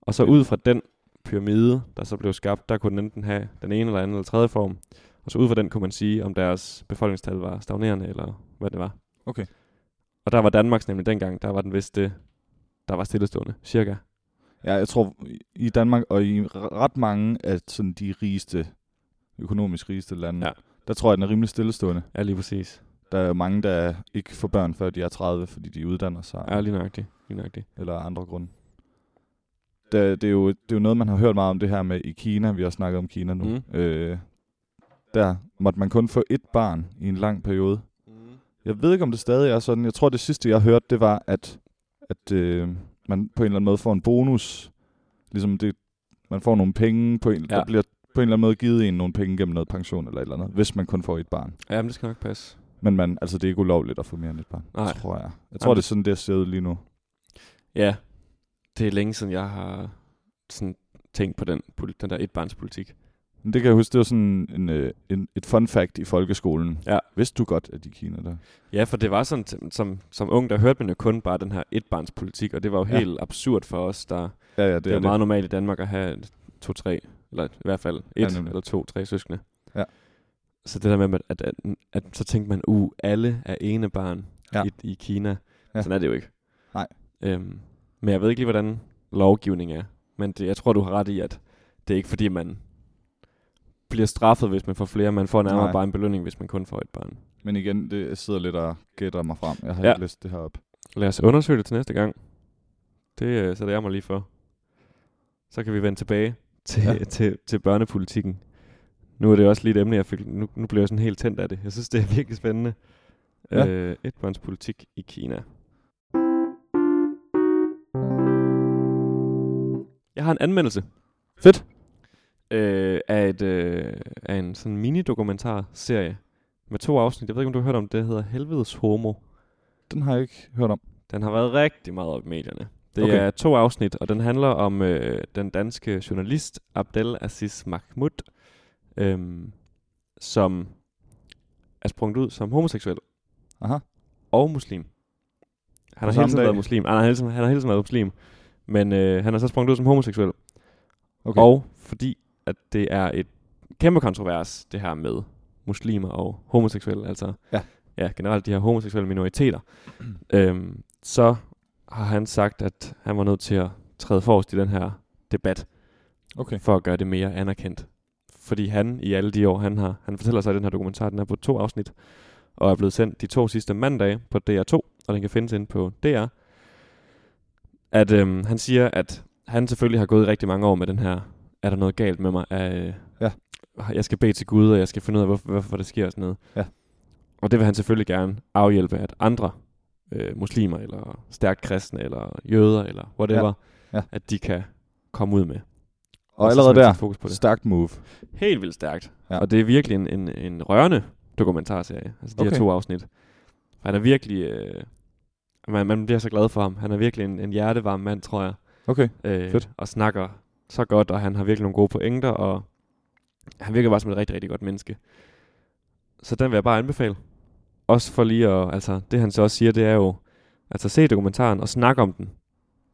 Speaker 1: Og så ud fra den pyramide, der så blev skabt, der kunne den enten have den ene eller anden eller tredje form. Og så ud fra den kunne man sige, om deres befolkningstal var stagnerende eller hvad det var.
Speaker 2: Okay.
Speaker 1: Og der var Danmarks nemlig dengang, der var den vist det, der var stillestående, cirka.
Speaker 2: Ja, jeg tror i- i Danmark og i r- ret mange af sådan de rigeste, økonomisk rigeste lande,
Speaker 1: Ja.
Speaker 2: der tror jeg, den er rimelig stillestående.
Speaker 1: Ja, lige præcis.
Speaker 2: Der er mange, der ikke får børn, før de er 30, fordi de uddanner sig,
Speaker 1: Ja, lige nøjagtigt. Lige nøjagtigt.
Speaker 2: eller af andre grunde. Der, det, er jo, det er jo noget, man har hørt meget om det her med i Kina. Vi har snakket om Kina nu.
Speaker 1: Mm.
Speaker 2: Øh, der måtte man kun få et barn i en lang periode.
Speaker 1: Mm.
Speaker 2: Jeg ved ikke, om det stadig er sådan. Jeg tror, det sidste, jeg hørte, det var, at, at øh, man på en eller anden måde får en bonus. Ligesom det, man får nogle penge, på en, ja.
Speaker 1: Ja.
Speaker 2: der bliver på en eller anden måde givet en nogle penge gennem noget pension eller et eller andet, hvis man kun får et barn.
Speaker 1: Ja, men det skal nok passe.
Speaker 2: Men man, altså, det er ikke ulovligt at få mere end et barn,
Speaker 1: Nej.
Speaker 2: tror jeg. Jeg tror,
Speaker 1: Jamen,
Speaker 2: det er sådan, det er ser ud lige nu.
Speaker 1: Ja, det er længe siden, jeg har sådan tænkt på den, poli- den der etbarnspolitik.
Speaker 2: Men det kan jeg huske, det var sådan en, øh, en, et fun fact i folkeskolen.
Speaker 1: Ja.
Speaker 2: Vidste du godt, at de kiner der?
Speaker 1: Ja, for det var sådan, t- som, som ung, der hørte man jo kun bare den her etbarnspolitik, og det var jo
Speaker 2: Ja.
Speaker 1: ja. helt absurd for os, der det,
Speaker 2: Ja, ja, det,
Speaker 1: det
Speaker 2: er
Speaker 1: er meget normalt i Danmark at have et- to, tre, eller i hvert fald et
Speaker 2: nemlig.
Speaker 1: eller to, tre søskende.
Speaker 2: Ja.
Speaker 1: Så det der med, at, at, at, at så tænkte man, uh, alle er ene barn
Speaker 2: Ja.
Speaker 1: ja. i, i Kina.
Speaker 2: Ja.
Speaker 1: Ja. Sådan er det jo ikke.
Speaker 2: Nej.
Speaker 1: Øhm, men jeg ved ikke lige, hvordan lovgivning er. Men det, jeg tror, du har ret i, at det er ikke fordi, man bliver straffet, hvis man får flere. Man får nærmere
Speaker 2: Nej.
Speaker 1: Nej. bare en belønning, hvis man kun får et barn.
Speaker 2: Men igen, det jeg sidder lidt og gætter mig frem. Jeg har ja.
Speaker 1: Ja.
Speaker 2: ikke læst det her op.
Speaker 1: Lad os undersøge det til næste gang. Det øh, sætter jeg mig lige for. Så kan vi vende tilbage til,
Speaker 2: Ja.
Speaker 1: ja. til, til børnepolitikken. Nu er det også lige et emne, jeg fik, nu, nu bliver jeg sådan helt tændt af det. Jeg synes, det er virkelig spændende.
Speaker 2: Ja.
Speaker 1: Ja. Øh, etbørnspolitik i Kina. Jeg har en anmeldelse.
Speaker 2: Fedt.
Speaker 1: Øh, af, et, øh, af en sådan mini-dokumentarserie med to afsnit. Jeg ved ikke, om du har hørt om det. Det hedder Helvedes Homo.
Speaker 2: Den har jeg ikke hørt om.
Speaker 1: Den har været rigtig meget op i medierne. Det
Speaker 2: Okay.
Speaker 1: okay. er to afsnit, og den handler om øh, den danske journalist Abdel Aziz Mahmoud, øhm, som er sprunget ud som homoseksuel
Speaker 2: Aha.
Speaker 1: og muslim. Han har
Speaker 2: samme
Speaker 1: hele tiden
Speaker 2: dag?
Speaker 1: været muslim. Ah, nej, han har hele tiden- han har hele tiden været muslim. Men øh, han er så sprunget ud som homoseksuel.
Speaker 2: Okay.
Speaker 1: Okay. Og fordi at det er et kæmpe kontrovers, det her med muslimer og homoseksuelle, altså
Speaker 2: Ja.
Speaker 1: ja generelt de her homoseksuelle minoriteter, øhm, så har han sagt, at han var nødt til at træde forrest i den her debat,
Speaker 2: okay.
Speaker 1: for at gøre det mere anerkendt fordi han i alle de år, han har, han fortæller sig i den her dokumentar, den er på to afsnit, og er blevet sendt de to sidste mandage på DR2, og den kan findes inde på DR, at øhm, han siger, at han selvfølgelig har gået i rigtig mange år med den her, er der noget galt med mig? Er, øh,
Speaker 2: Ja.
Speaker 1: Jeg skal bede til Gud, og jeg skal finde ud af, hvorfor, hvorfor det sker og sådan noget.
Speaker 2: Ja.
Speaker 1: Og det vil han selvfølgelig gerne afhjælpe, at andre øh, muslimer, eller stærkt kristne, eller jøder, eller whatever,
Speaker 2: Ja. Ja.
Speaker 1: at de kan komme ud med. så
Speaker 2: Og allerede
Speaker 1: skal man
Speaker 2: der,
Speaker 1: sætte Fokus på det.
Speaker 2: stærkt move.
Speaker 1: Helt vildt stærkt.
Speaker 2: Ja.
Speaker 1: Ja. Og det er virkelig en, en, en rørende dokumentarserie. Altså de okay.
Speaker 2: Okay.
Speaker 1: her to afsnit. For han er virkelig... Øh, man, man bliver så glad for ham. Han er virkelig en, en hjertevarm mand, tror jeg.
Speaker 2: Okay,
Speaker 1: Øh,
Speaker 2: Fedt.
Speaker 1: Og snakker så godt, og han har virkelig nogle gode pointer, og han virker bare som et rigtig, rigtig godt menneske. Så den vil jeg bare anbefale. Også for lige at... Altså, det han så også siger, det er jo... Altså, se dokumentaren og snak om den.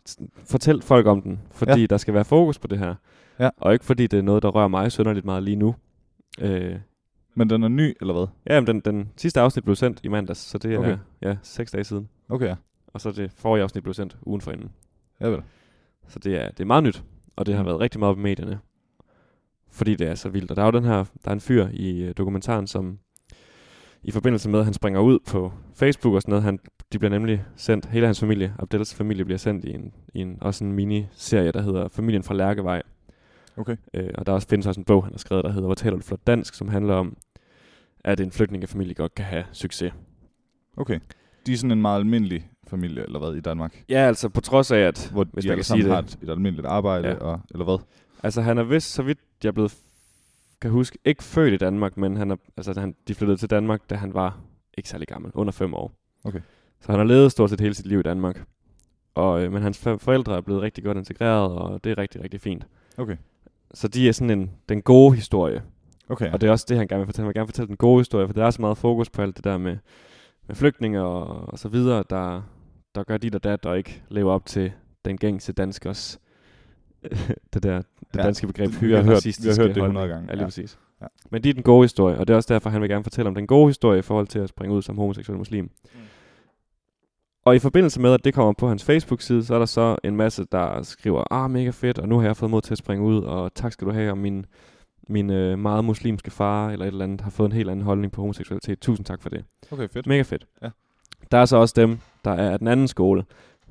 Speaker 1: S- Fortæl folk om den, fordi ja. der skal være fokus på det her.
Speaker 2: Ja.
Speaker 1: Og ikke fordi det er noget, der rører mig synderligt meget lige nu. Øh,
Speaker 2: men den er ny, eller hvad?
Speaker 1: ja, men den, den sidste afsnit blev sendt i mandags, så det er
Speaker 2: Okay.
Speaker 1: okay. ja, seks dage siden.
Speaker 2: Okay, ja.
Speaker 1: Og så det forrige afsnit blev sendt ugen for inden.
Speaker 2: Ja, vel.
Speaker 1: Så det er, det er meget nyt, og det har været rigtig meget op i medierne. Fordi det er så vildt. Og der er jo den her, der er en fyr i øh, dokumentaren, som i forbindelse med, at han springer ud på Facebook og sådan noget, han, de bliver nemlig sendt, hele hans familie, Abdels familie bliver sendt i en, i en også en miniserie, der hedder Familien fra Lærkevej.
Speaker 2: Okay.
Speaker 1: Øh, og der også, findes også en bog, han har skrevet, der hedder Hvor taler du flot dansk, som handler om, at en flygtningefamilie godt kan have succes.
Speaker 2: Okay. De er sådan en meget almindelig familie, eller hvad, i Danmark?
Speaker 1: Ja, altså på trods af, at...
Speaker 2: Hvor
Speaker 1: Hvis
Speaker 2: de
Speaker 1: man
Speaker 2: alle
Speaker 1: kan
Speaker 2: sammen
Speaker 1: sige det.
Speaker 2: har et, et almindeligt arbejde,
Speaker 1: Ja.
Speaker 2: ja. og, eller hvad?
Speaker 1: Altså han er vist, så vidt jeg er blevet, kan huske, ikke født i Danmark, men han er, altså, han, de flyttede til Danmark, da han var ikke særlig gammel, under fem år.
Speaker 2: Okay.
Speaker 1: Så han har levet stort set hele sit liv i Danmark. Og, øh, men hans for- forældre er blevet rigtig godt integreret, og det er rigtig, rigtig fint.
Speaker 2: Okay.
Speaker 1: Så de er sådan en, den gode historie.
Speaker 2: Okay,
Speaker 1: Ja.
Speaker 2: ja.
Speaker 1: Og det er også det, han gerne vil fortælle. Han vil gerne fortælle den gode historie, for der er så meget fokus på alt det der med, med flygtninge og, og så videre, der, der gør dit og dat, og ikke lever op til den gængse danskers, det der det
Speaker 2: Ja.
Speaker 1: ja. danske begreb
Speaker 2: vi,
Speaker 1: hyre
Speaker 2: har hørt, vi
Speaker 1: racistiske
Speaker 2: har hørt det
Speaker 1: holdning.
Speaker 2: 100 gange.
Speaker 1: Ja, lige præcis.
Speaker 2: Ja.
Speaker 1: Ja. Men det er den gode historie, og det er også derfor, han vil gerne fortælle om den gode historie i forhold til at springe ud som homoseksuel muslim. Mm. Og i forbindelse med, at det kommer på hans Facebook-side, så er der så en masse, der skriver, ah, mega fedt, og nu har jeg fået mod til at springe ud, og tak skal du have, og min, min øh, meget muslimske far eller et eller andet har fået en helt anden holdning på homoseksualitet. Tusind tak for det.
Speaker 2: Okay, fedt.
Speaker 1: Mega fedt.
Speaker 2: Ja.
Speaker 1: Der er så også dem, der er af den anden skole,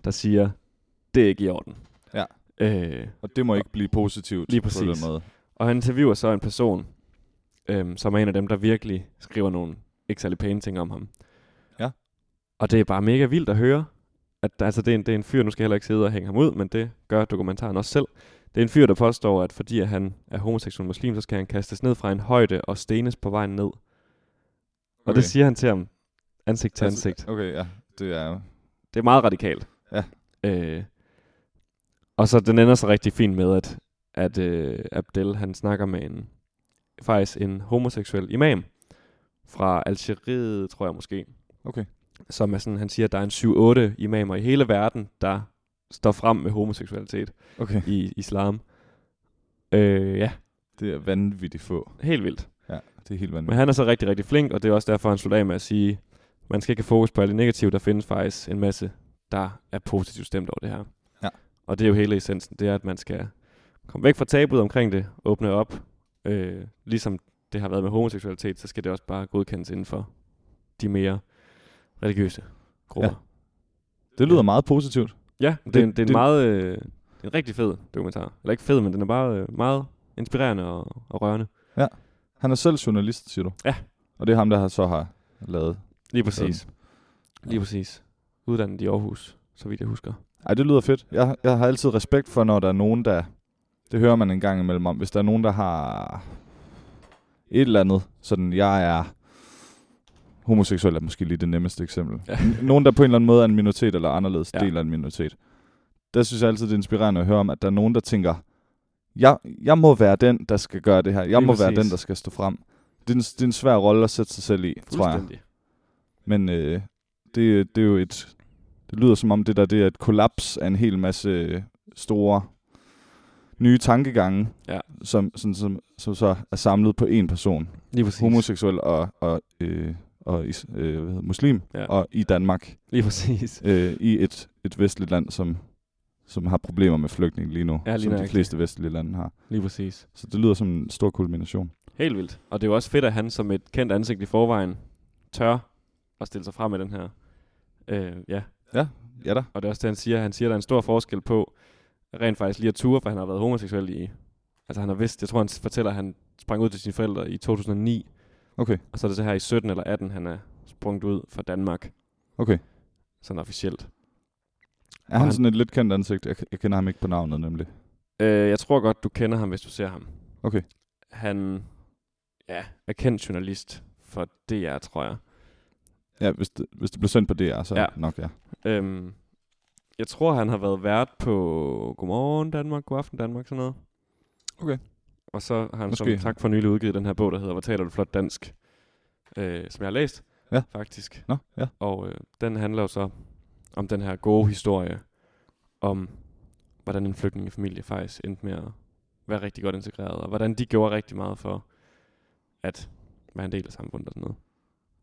Speaker 1: der siger, det er ikke i orden.
Speaker 2: Ja.
Speaker 1: Øh,
Speaker 2: Og det må ikke blive positivt
Speaker 1: Lige
Speaker 2: på den
Speaker 1: præcis.
Speaker 2: måde.
Speaker 1: og han interviewer så en person, øhm, som er en af dem, der virkelig skriver nogle ikke særlig pæne ting om ham.
Speaker 2: Ja.
Speaker 1: Og det er bare mega vildt at høre. At, der- altså, det er, en, det er en fyr, nu skal jeg heller ikke sidde og hænge ham ud, men det gør dokumentaren også selv. Det er en fyr, der påstår, at fordi at han er homoseksuel muslim, så skal han kastes ned fra en højde og stenes på vejen ned. Okay. Og det siger han til ham ansigt til ansigt.
Speaker 2: Altså, okay, ja. Det er
Speaker 1: Det er meget radikalt.
Speaker 2: Ja.
Speaker 1: Øh, og så den ender så rigtig fint med, at, at øh, Abdel han snakker med en, faktisk en homoseksuel imam fra Algeriet, tror jeg måske.
Speaker 2: Okay.
Speaker 1: Som er sådan, han siger, at der er en 7-8 imamer i hele verden, der står frem med homoseksualitet
Speaker 2: Okay.
Speaker 1: i islam. Øh, ja,
Speaker 2: Det er vanvittigt få.
Speaker 1: helt vildt.
Speaker 2: Ja, det er helt
Speaker 1: Men
Speaker 2: vanvittigt.
Speaker 1: han er så rigtig, rigtig flink, og det er også derfor, han slutter af med at sige, man skal ikke have fokus på alt det negative, der findes faktisk en masse, der er positivt stemt over det her.
Speaker 2: Ja.
Speaker 1: Og det er jo hele essensen, det er, at man skal komme væk fra tabuet omkring det, åbne op, øh, ligesom det har været med homoseksualitet, så skal det også bare godkendes inden for de mere religiøse grupper.
Speaker 2: Det lyder meget positivt.
Speaker 1: Ja, ja det,
Speaker 2: Det-
Speaker 1: det, det er en
Speaker 2: det-
Speaker 1: meget, øh, en rigtig fed dokumentar. Eller ikke fed, men den er bare øh, meget inspirerende og, og rørende.
Speaker 2: Han er selv journalist, siger du?
Speaker 1: Ja.
Speaker 2: Og det er ham, der har så har lavet.
Speaker 1: Lige
Speaker 2: præcis.
Speaker 1: præcis. Lige præcis. Uddannet i Aarhus, så vidt jeg husker.
Speaker 2: Ej, det lyder fedt. Jeg, jeg har altid respekt for, når der er nogen, der... Det hører man en gang imellem om. Hvis der er nogen, der har et eller andet, sådan, jeg er homoseksuel er måske lige det nemmeste eksempel.
Speaker 1: Ja.
Speaker 2: N- Nogen, der på en eller anden måde er en minoritet eller anderledes ja.
Speaker 1: Ja.
Speaker 2: del af en minoritet. Der synes jeg altid, det er inspirerende at høre om, at der er nogen, der tænker, jeg, jeg må være den, der skal gøre det her. Jeg
Speaker 1: Lige
Speaker 2: må være
Speaker 1: præcis.
Speaker 2: den, der skal stå frem. Det er en, det er en svær rolle at sætte sig selv i, tror jeg. Men øh, det, det er jo et... Det lyder som om det der det er et kollaps af en hel masse øh, store nye tankegange,
Speaker 1: Ja.
Speaker 2: som, som, som, som så er samlet på én person.
Speaker 1: Lige præcis.
Speaker 2: Homoseksuel og, og, øh, og is, øh, hvad hedder, det, muslim,
Speaker 1: Ja.
Speaker 2: og i Danmark,
Speaker 1: Lige præcis.
Speaker 2: øh, i et, et vestligt land som som har problemer med flygtninge lige nu,
Speaker 1: Ja, lige
Speaker 2: som de
Speaker 1: nøjagtigt.
Speaker 2: fleste vestlige lande har.
Speaker 1: Lige præcis.
Speaker 2: Så det lyder som en stor kulmination.
Speaker 1: Helt vildt. Og det er jo også fedt, at han som et kendt ansigt i forvejen tør at stille sig frem med den her. Øh, ja,
Speaker 2: Ja da.
Speaker 1: og det er også det, han siger. Han siger, at der er en stor forskel på rent faktisk lige at ture, for han har været homoseksuel i... Altså han har vidst, jeg tror han fortæller, at han sprang ud til sine forældre i 2009,
Speaker 2: Okay,
Speaker 1: og så er det så her i 17 eller 18, han er sprunget ud fra Danmark,
Speaker 2: okay.
Speaker 1: sådan officielt.
Speaker 2: Er
Speaker 1: han-
Speaker 2: han sådan et lidt kendt ansigt? Jeg, jeg kender ham ikke på navnet nemlig.
Speaker 1: Øh, jeg tror godt, du kender ham, hvis du ser ham.
Speaker 2: Okay.
Speaker 1: Han ja, er kendt journalist for DR, tror jeg.
Speaker 2: Ja, hvis det, hvis det blev sendt på DR, så
Speaker 1: Ja.
Speaker 2: ja. nok ja.
Speaker 1: Øhm, jeg tror, han har været vært på Godmorgen Danmark, Godaften Danmark, sådan noget.
Speaker 2: Okay.
Speaker 1: Og så har han Måske.
Speaker 2: Måske.
Speaker 1: som tak for nylig udgivet den her bog, der hedder Hvor taler du flot dansk? Øh, som jeg har læst,
Speaker 2: Ja.
Speaker 1: faktisk.
Speaker 2: Nå, ja.
Speaker 1: Og øh, den handler jo så om den her gode historie, om hvordan en flygtningefamilie faktisk endte med at være rigtig godt integreret, og hvordan de gjorde rigtig meget for at være en del af samfundet og sådan noget.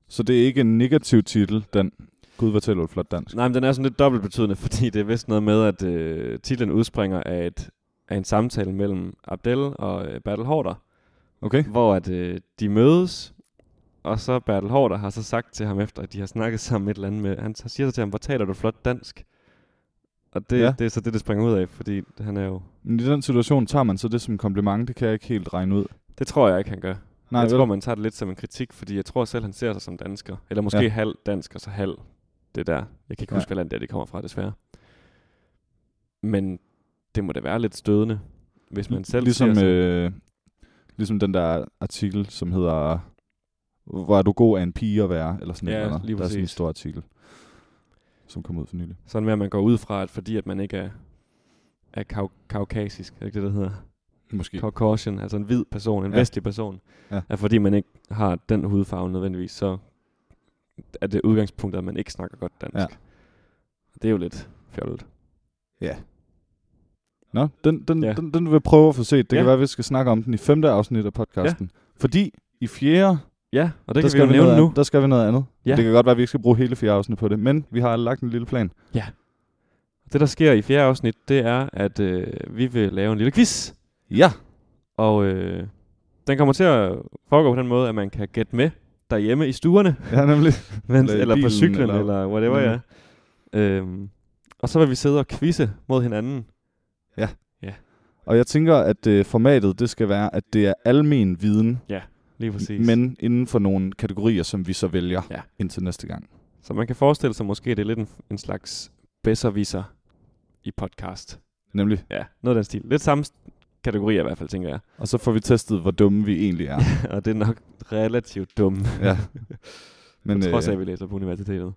Speaker 2: Så det er ikke en negativ titel, den Gud var til flot dansk.
Speaker 1: Nej, men den er sådan lidt dobbeltbetydende, fordi det er vist noget med, at øh, titlen udspringer af, et, af en samtale mellem Abdel og øh, Bertel Hårder,
Speaker 2: Okay,
Speaker 1: hvor at, øh, de mødes, og så Bertel Hårder har så sagt til ham efter, at de har snakket sammen et eller andet med, han så siger så til ham, hvor taler du flot dansk? Og det, ja.
Speaker 2: Ja.
Speaker 1: det er så det, det springer ud af, fordi han er jo...
Speaker 2: men i den situation tager man så det som en kompliment, det kan jeg ikke helt regne ud.
Speaker 1: Det tror jeg ikke, han gør. Nej,
Speaker 2: Nej,
Speaker 1: jeg
Speaker 2: vel?
Speaker 1: tror, man tager det lidt som en kritik, fordi jeg tror selv, han ser sig som dansker. Eller måske ja.
Speaker 2: Ja.
Speaker 1: halv dansk, og så halv det der. Jeg kan ikke
Speaker 2: Ja.
Speaker 1: huske, hvad land det er, det kommer fra, desværre. Men det må da være lidt stødende, hvis man selv
Speaker 2: ligesom,
Speaker 1: ser
Speaker 2: øh, ligesom den der artikel, som hedder, hvor er du god af en pige at være, eller sådan
Speaker 1: Ja,
Speaker 2: noget.
Speaker 1: lige
Speaker 2: Der er sådan en
Speaker 1: præcis.
Speaker 2: stor artikel, som kom ud for nylig.
Speaker 1: sådan med, at man går ud fra, at fordi at man ikke er, er kau- kaukasisk, er det ikke det, der hedder?
Speaker 2: Måske.
Speaker 1: Caucasian, altså en hvid person, en ja.
Speaker 2: Ja.
Speaker 1: vestlig person. Ja.
Speaker 2: Ja.
Speaker 1: At fordi man ikke har den hudfarve nødvendigvis, så er det udgangspunktet, at man ikke snakker godt dansk.
Speaker 2: Ja.
Speaker 1: Ja. Det er jo lidt fjollet.
Speaker 2: Ja. Nå, den, den,
Speaker 1: Ja.
Speaker 2: ja. den, den vil jeg prøve at få set. Det
Speaker 1: Ja.
Speaker 2: kan være, at vi skal snakke om den i femte afsnit af podcasten. Ja. Fordi i fjerde,
Speaker 1: Ja, og det
Speaker 2: der
Speaker 1: kan vi jo
Speaker 2: skal,
Speaker 1: nævne
Speaker 2: noget,
Speaker 1: nu.
Speaker 2: an- der skal vi noget andet.
Speaker 1: Ja.
Speaker 2: Ja. Det kan godt være, at vi ikke skal bruge hele fjerde afsnit på det, men vi har lagt en lille plan.
Speaker 1: Det, der sker i fjerde afsnit, det er, at øh, vi vil lave en lille quiz.
Speaker 2: Ja.
Speaker 1: Og øh, den kommer til at foregå på den måde, at man kan gætte med derhjemme i stuerne,
Speaker 2: Ja, nemlig.
Speaker 1: mens,
Speaker 2: Eller i
Speaker 1: eller, på
Speaker 2: bilen,
Speaker 1: cyklen, eller,
Speaker 2: eller- Mhm.
Speaker 1: eller whatever, ja. Øhm, og så vil vi sidde og quizze mod hinanden.
Speaker 2: Og jeg tænker, at øh, formatet, det skal være, at det er almen viden,
Speaker 1: Lige præcis.
Speaker 2: men inden for nogle kategorier, som vi så vælger
Speaker 1: Ja.
Speaker 2: ja. indtil næste gang.
Speaker 1: Så man kan forestille sig måske, at det er lidt en, en slags bedserviser i podcast.
Speaker 2: Nemlig.
Speaker 1: Ja, noget af den stil. Lidt samme kategori i hvert fald, tænker jeg.
Speaker 2: Og så får vi testet, hvor dumme vi egentlig er.
Speaker 1: og det er nok relativt dumt,
Speaker 2: ja.
Speaker 1: men,
Speaker 2: Men,
Speaker 1: på trods af,
Speaker 2: øh,
Speaker 1: at vi læser på universitetet.